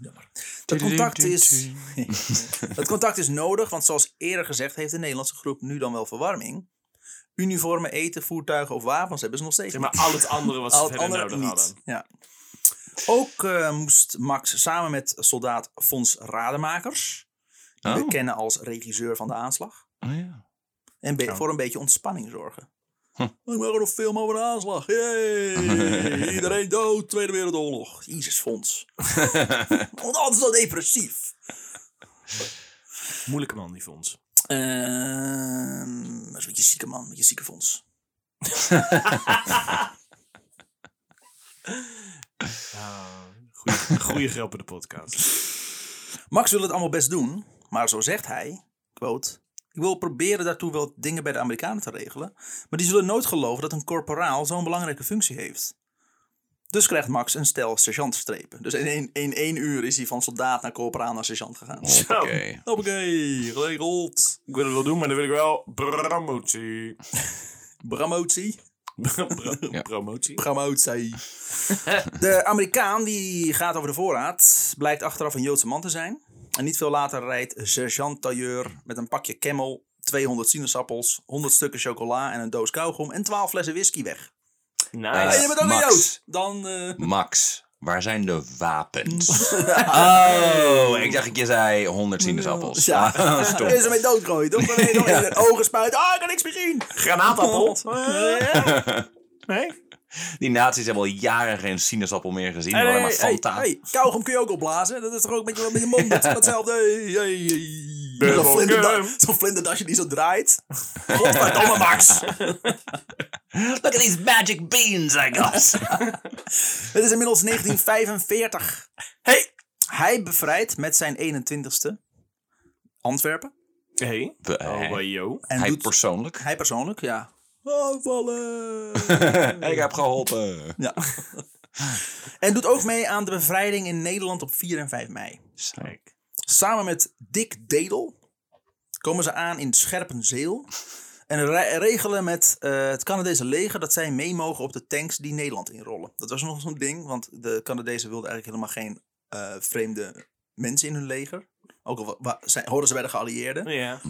Speaker 1: Jammer. Het contact is... Het contact is nodig, want zoals eerder gezegd heeft de Nederlandse groep nu dan wel verwarming. Uniformen, eten, voertuigen of wapens hebben ze nog steeds.
Speaker 2: Zeg maar al het andere wat ze
Speaker 1: Al het
Speaker 2: verder
Speaker 1: andere
Speaker 2: nodig
Speaker 1: niet.
Speaker 2: hadden.
Speaker 1: Ja. Ook eh, moest Max samen met soldaat Fons Rademakers, die we
Speaker 3: Oh.
Speaker 1: kennen als regisseur van de aanslag,
Speaker 3: Oh, ja.
Speaker 1: en be-
Speaker 2: Oh.
Speaker 1: voor een beetje ontspanning zorgen. Oh,
Speaker 3: Hm.
Speaker 1: Ik maak er een film over de aanslag. Yay! Iedereen dood, Tweede Wereldoorlog. Jezus, Fons. Want anders is dat depressief.
Speaker 2: Moeilijke man, die Fons.
Speaker 1: Ehm, dat is een beetje zieke man, met je zieke fonds.
Speaker 2: Goede grap in de podcast.
Speaker 1: Max wil het allemaal best doen, maar zo zegt hij, quote, ik wil proberen daartoe wel dingen bij de Amerikanen te regelen, maar die zullen nooit geloven dat een korporaal zo'n belangrijke functie heeft. Dus krijgt Max een stel sergeantstrepen. Dus in één, in één uur is hij van soldaat naar korporaal naar sergeant gegaan.
Speaker 2: Zo.
Speaker 1: Oh.
Speaker 3: Oké.
Speaker 1: Hoppakee, geregeld.
Speaker 2: Ik wil het wel doen, maar dan wil ik wel promotie.
Speaker 1: Promotie.
Speaker 2: Pro-
Speaker 3: Ja.
Speaker 2: Promotie.
Speaker 1: Promotie. De Amerikaan die gaat over de voorraad, blijkt achteraf een Joodse man te zijn. En niet veel later rijdt sergeant tailleur met een pakje camel, 200 sinaasappels, 100 stukken chocola en een doos kauwgom en 12 flessen whisky weg.
Speaker 3: Eh,
Speaker 1: en
Speaker 2: Nice.
Speaker 1: je bent ook
Speaker 3: Max.
Speaker 1: een Jood! Dan, eh,
Speaker 3: Max, waar zijn de wapens? oh, ik dacht, je zei 100 sinaasappels.
Speaker 1: Ja.
Speaker 3: Ah, stom.
Speaker 1: is ermee doodgooien, toch? Dan ben je dan in de ogen spuiten. Ah, ik kan niks meer zien!
Speaker 2: Granaatappel.
Speaker 3: Oh,
Speaker 2: Eh, Nee?
Speaker 3: Die nazi's hebben al jaren geen sinaasappel meer gezien. maar alleen maar
Speaker 1: hey,
Speaker 3: Fanta.
Speaker 1: hey, kauwgom kun je ook opblazen. Dat is toch ook met je, met je mond met- met hetzelfde. Hey, hey, hey.
Speaker 2: Burger
Speaker 1: Zo'n vlinderda-
Speaker 2: King.
Speaker 1: Zo'n vlinderdasje die zo draait. Godverdomme, Max!
Speaker 3: Look at these magic beans I got.
Speaker 1: Het is inmiddels 1945.
Speaker 2: Hey.
Speaker 1: Hij bevrijdt met zijn 21ste Antwerpen.
Speaker 2: Hey.
Speaker 3: We-
Speaker 2: Oh,
Speaker 3: eh,
Speaker 2: bij yo.
Speaker 1: En
Speaker 3: hij
Speaker 1: doet,
Speaker 3: persoonlijk.
Speaker 1: hij persoonlijk, ja. Aanvallen!
Speaker 3: ik heb geholpen.
Speaker 1: ja. en doet ook mee aan de bevrijding in Nederland op 4 en 5 mei.
Speaker 2: Kijk.
Speaker 1: Samen met Dick Dedel komen ze aan in Scherpenzeel. En re- regelen met eh, het Canadese leger dat zij mee mogen op de tanks die Nederland inrollen. Dat was nog zo'n ding, want de Canadezen wilden eigenlijk helemaal geen eh, vreemde mensen in hun leger. Ook al wa- wa- zij, hoorden ze bij de geallieerden.
Speaker 2: Ja.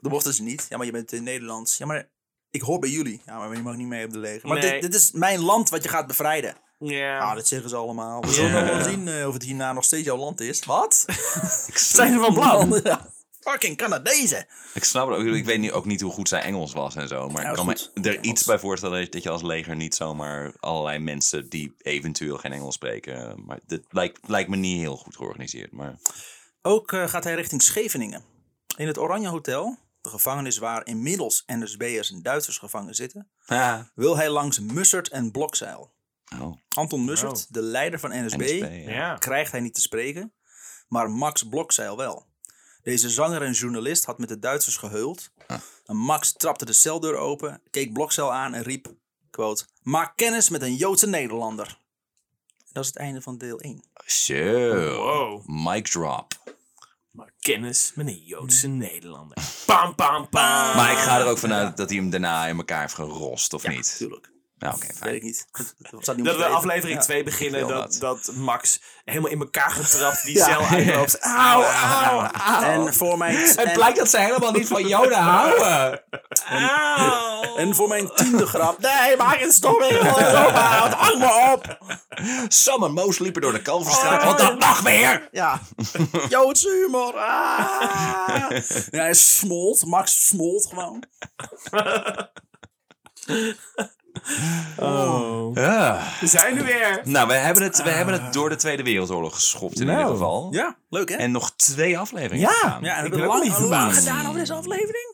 Speaker 1: Dat mochten ze niet. Ja, maar je bent in Nederlands. Ja, maar ik hoor bij jullie. Ja, maar je mag niet mee op de leger. Maar
Speaker 2: Nee.
Speaker 1: dit, dit is mijn land wat je gaat bevrijden. Ah,
Speaker 2: Ja.
Speaker 1: dat zeggen ze allemaal. We zullen nog wel zien eh, of het hierna nog steeds jouw land is. Wat?
Speaker 2: Zijn ze van plan?
Speaker 1: Ja. Fucking Canadezen.
Speaker 3: Ik snap het ook. Ik weet nu ook niet hoe goed zijn Engels was en zo. Maar
Speaker 1: Ja,
Speaker 3: ik kan
Speaker 1: goed.
Speaker 3: me er iets bij voorstellen dat je als leger niet zomaar allerlei mensen die eventueel geen Engels spreken. eh, Maar dit lijkt, lijkt me niet heel goed georganiseerd. Maar
Speaker 1: Ook eh, gaat hij richting Scheveningen. In het Oranje Hotel, de gevangenis waar inmiddels NSB'ers en Duitsers gevangen zitten, wil hij langs Mussert en Blokzeil.
Speaker 3: Oh,
Speaker 1: Anton Mussert,
Speaker 2: Oh.
Speaker 1: de leider van NSB,
Speaker 3: NSB, ja.
Speaker 2: Ja.
Speaker 1: krijgt hij niet te spreken, maar Max Blokzeil wel. Deze zanger en journalist had met de Duitsers geheuld. En Max trapte de celdeur open, keek Blokzeil aan en riep, quote, maak kennis met een Joodse Nederlander. Dat is het einde van deel 1.
Speaker 3: Zo.
Speaker 2: Wow.
Speaker 3: Mic drop.
Speaker 2: Maar kennis met een Joodse Nederlander. Pam, pam, pam.
Speaker 3: Mm. Maar ik ga er ook vanuit dat hij hem daarna in elkaar heeft gerost, of niet?
Speaker 1: Tuurlijk.
Speaker 3: Nou, oké,
Speaker 1: Weet
Speaker 3: fijn.
Speaker 1: ik niet. Dat staat niet
Speaker 2: Dat we
Speaker 1: opgeschreven.
Speaker 2: aflevering
Speaker 1: Ja.
Speaker 2: 2 beginnen,
Speaker 3: wil
Speaker 2: dat,
Speaker 3: dat.
Speaker 2: dat Max helemaal in elkaar getrapt die
Speaker 1: Ja.
Speaker 2: cel uitloopt. Auw, auw, auw.
Speaker 1: En voor mijn, en,
Speaker 3: dat ze helemaal niet van Joden houden.
Speaker 2: auw.
Speaker 1: en voor mijn tiende grap.
Speaker 2: Nee, maak het stom in Europa. Hang me op.
Speaker 3: Sam en Mo sliepen door de
Speaker 1: Ah.
Speaker 3: Kalverstraat, want dat mag weer!
Speaker 1: Ja, Joodse humor. Ah. Ja, hij smolt. Max smolt gewoon.
Speaker 2: Oh. We zijn er weer.
Speaker 3: Eh, Nou, we hebben, het, we hebben het door de Tweede Wereldoorlog geschopt in ieder geval.
Speaker 1: Nou. Ja, leuk hè?
Speaker 3: En nog twee afleveringen gaan.
Speaker 1: ja, en we
Speaker 2: ben
Speaker 1: hebben
Speaker 2: ook
Speaker 1: lang,
Speaker 2: niet
Speaker 1: lang
Speaker 2: verbaasd.
Speaker 1: gedaan over deze aflevering.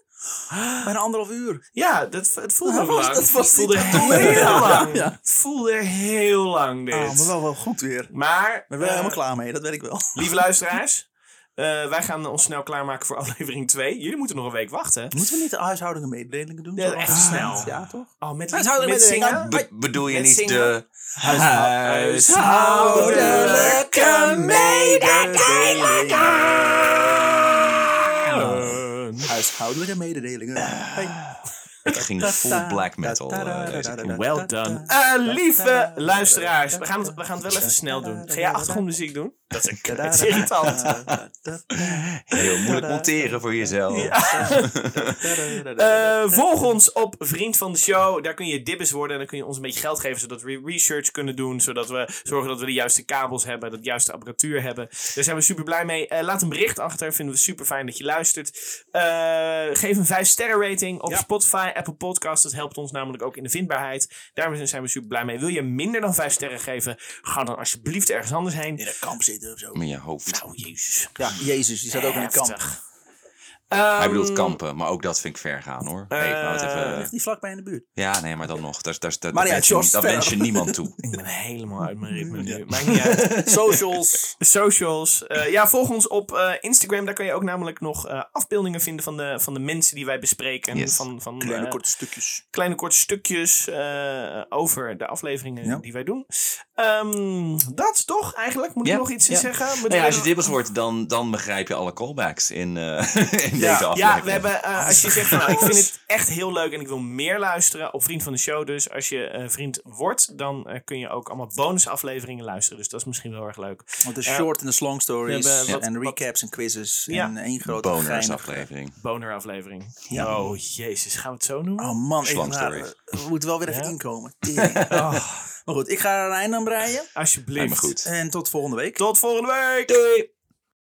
Speaker 1: Bijna anderhalf uur.
Speaker 2: Ja, dat, het voelde
Speaker 1: was-
Speaker 2: lang.
Speaker 1: dat was
Speaker 2: het voelde
Speaker 1: niet
Speaker 2: heel lang.
Speaker 1: Ja.
Speaker 2: Het voelde heel lang dit.
Speaker 1: Ah, maar wel, wel goed weer.
Speaker 2: Maar,
Speaker 1: We zijn
Speaker 2: eh,
Speaker 1: helemaal klaar mee, dat weet ik wel.
Speaker 2: lieve luisteraars, eh, wij gaan ons snel klaarmaken voor aflevering 2. Jullie moeten nog een week wachten.
Speaker 1: Moeten we niet de huishoudelijke mededelingen doen?
Speaker 2: Ja,
Speaker 1: Zo
Speaker 2: echt
Speaker 1: afgestemd?
Speaker 2: snel.
Speaker 1: Ah, Ja, toch?
Speaker 2: Oh, met,
Speaker 1: Huishoudelijke
Speaker 2: met
Speaker 1: mededelingen.
Speaker 2: zingen?
Speaker 3: Be- bedoel je
Speaker 2: Met
Speaker 3: niet
Speaker 2: zingen?
Speaker 3: de
Speaker 2: Huishoudelijke mededelingen.
Speaker 1: Huishoudelijke mededelingen. Hey.
Speaker 3: Het ging full black metal. eh, deze keer.
Speaker 2: Eh, Well done. Eh, lieve luisteraars, we gaan, het, we gaan het wel even snel doen. Ga jij achtergrondmuziek doen? Dat is, een, dat is irritant.
Speaker 3: Heel moeilijk monteren voor jezelf.
Speaker 2: Eh, volg ons op Vriend van de Show. Daar kun je dibbes worden en dan kun je ons een beetje geld geven zodat we research kunnen doen. Zodat we zorgen dat we de juiste kabels hebben, dat de juiste apparatuur hebben. Daar zijn we super blij mee. Eh, laat een bericht achter. Vinden we super fijn dat je luistert. Eh, geef een 5 sterren rating op Spotify, Apple Podcasts. Dat helpt ons namelijk ook in de vindbaarheid. Daarmee zijn we super blij mee. Wil je minder dan 5 sterren geven? Ga dan alsjeblieft ergens anders heen.
Speaker 1: In een kamp zitten of zo.
Speaker 3: Met je hoofd.
Speaker 2: Oh, jezus.
Speaker 1: Ja, Jezus, die zat ook in een kamp.
Speaker 2: Heftig.
Speaker 3: Hij bedoelt kampen, maar ook dat vind ik ver gaan hoor. Hey, nou, het even-
Speaker 1: Ligt die vlakbij in de buurt?
Speaker 3: Ja, nee, maar dan nog. Daar, daar, daar,
Speaker 1: Eh. Maar ja,
Speaker 3: wens, je,
Speaker 1: George
Speaker 3: niet- dat wens je
Speaker 1: verder.
Speaker 3: niemand toe.
Speaker 2: Ik ben helemaal uit mijn ritme nu. Maakt niet uit.
Speaker 1: Socials.
Speaker 2: socials. Eh, ja, volg ons op eh, Instagram. Daar kun je ook namelijk nog eh, afbeeldingen vinden van de, van de mensen die wij bespreken.
Speaker 3: Yes.
Speaker 2: Van, van
Speaker 1: Kleine
Speaker 2: eh,
Speaker 1: korte stukjes.
Speaker 2: kleine korte stukjes eh, over de afleveringen
Speaker 1: Ja.
Speaker 2: die wij doen. Ehm, dat toch eigenlijk? Moet
Speaker 3: Ja,
Speaker 2: ik nog iets
Speaker 3: ja.
Speaker 2: zeggen? Moeten
Speaker 3: Nee,
Speaker 2: we
Speaker 3: als je
Speaker 2: nog-
Speaker 3: dibbels wordt, dan, dan begrijp je alle callbacks in, eh, in
Speaker 1: Ja,
Speaker 3: deze aflevering.
Speaker 2: Ja, we hebben, eh, als je zegt, van, nou, ik vind het echt heel leuk en ik wil meer luisteren op Vriend van de Show. Dus als je eh, vriend wordt, dan eh, kun je ook allemaal bonusafleveringen luisteren. Dus dat is misschien wel erg leuk.
Speaker 1: Want de
Speaker 2: Ja.
Speaker 1: short en de long stories.
Speaker 2: We hebben eh, wat-
Speaker 1: en recaps en quizzes.
Speaker 2: Ja.
Speaker 1: En één grote geinige-
Speaker 3: bonusaflevering.
Speaker 2: Boneraflevering.
Speaker 1: Ja.
Speaker 2: Oh, jezus. Gaan we het zo noemen?
Speaker 1: Oh man, ik,
Speaker 3: Long
Speaker 1: nou,
Speaker 3: stories.
Speaker 1: we moeten wel weer even
Speaker 2: Ja.
Speaker 1: inkomen. Tering. Maar goed, ik ga er een einde aan breien.
Speaker 2: Alsjeblieft.
Speaker 3: Nee, maar goed.
Speaker 1: En tot volgende week.
Speaker 2: Tot volgende week. Doei.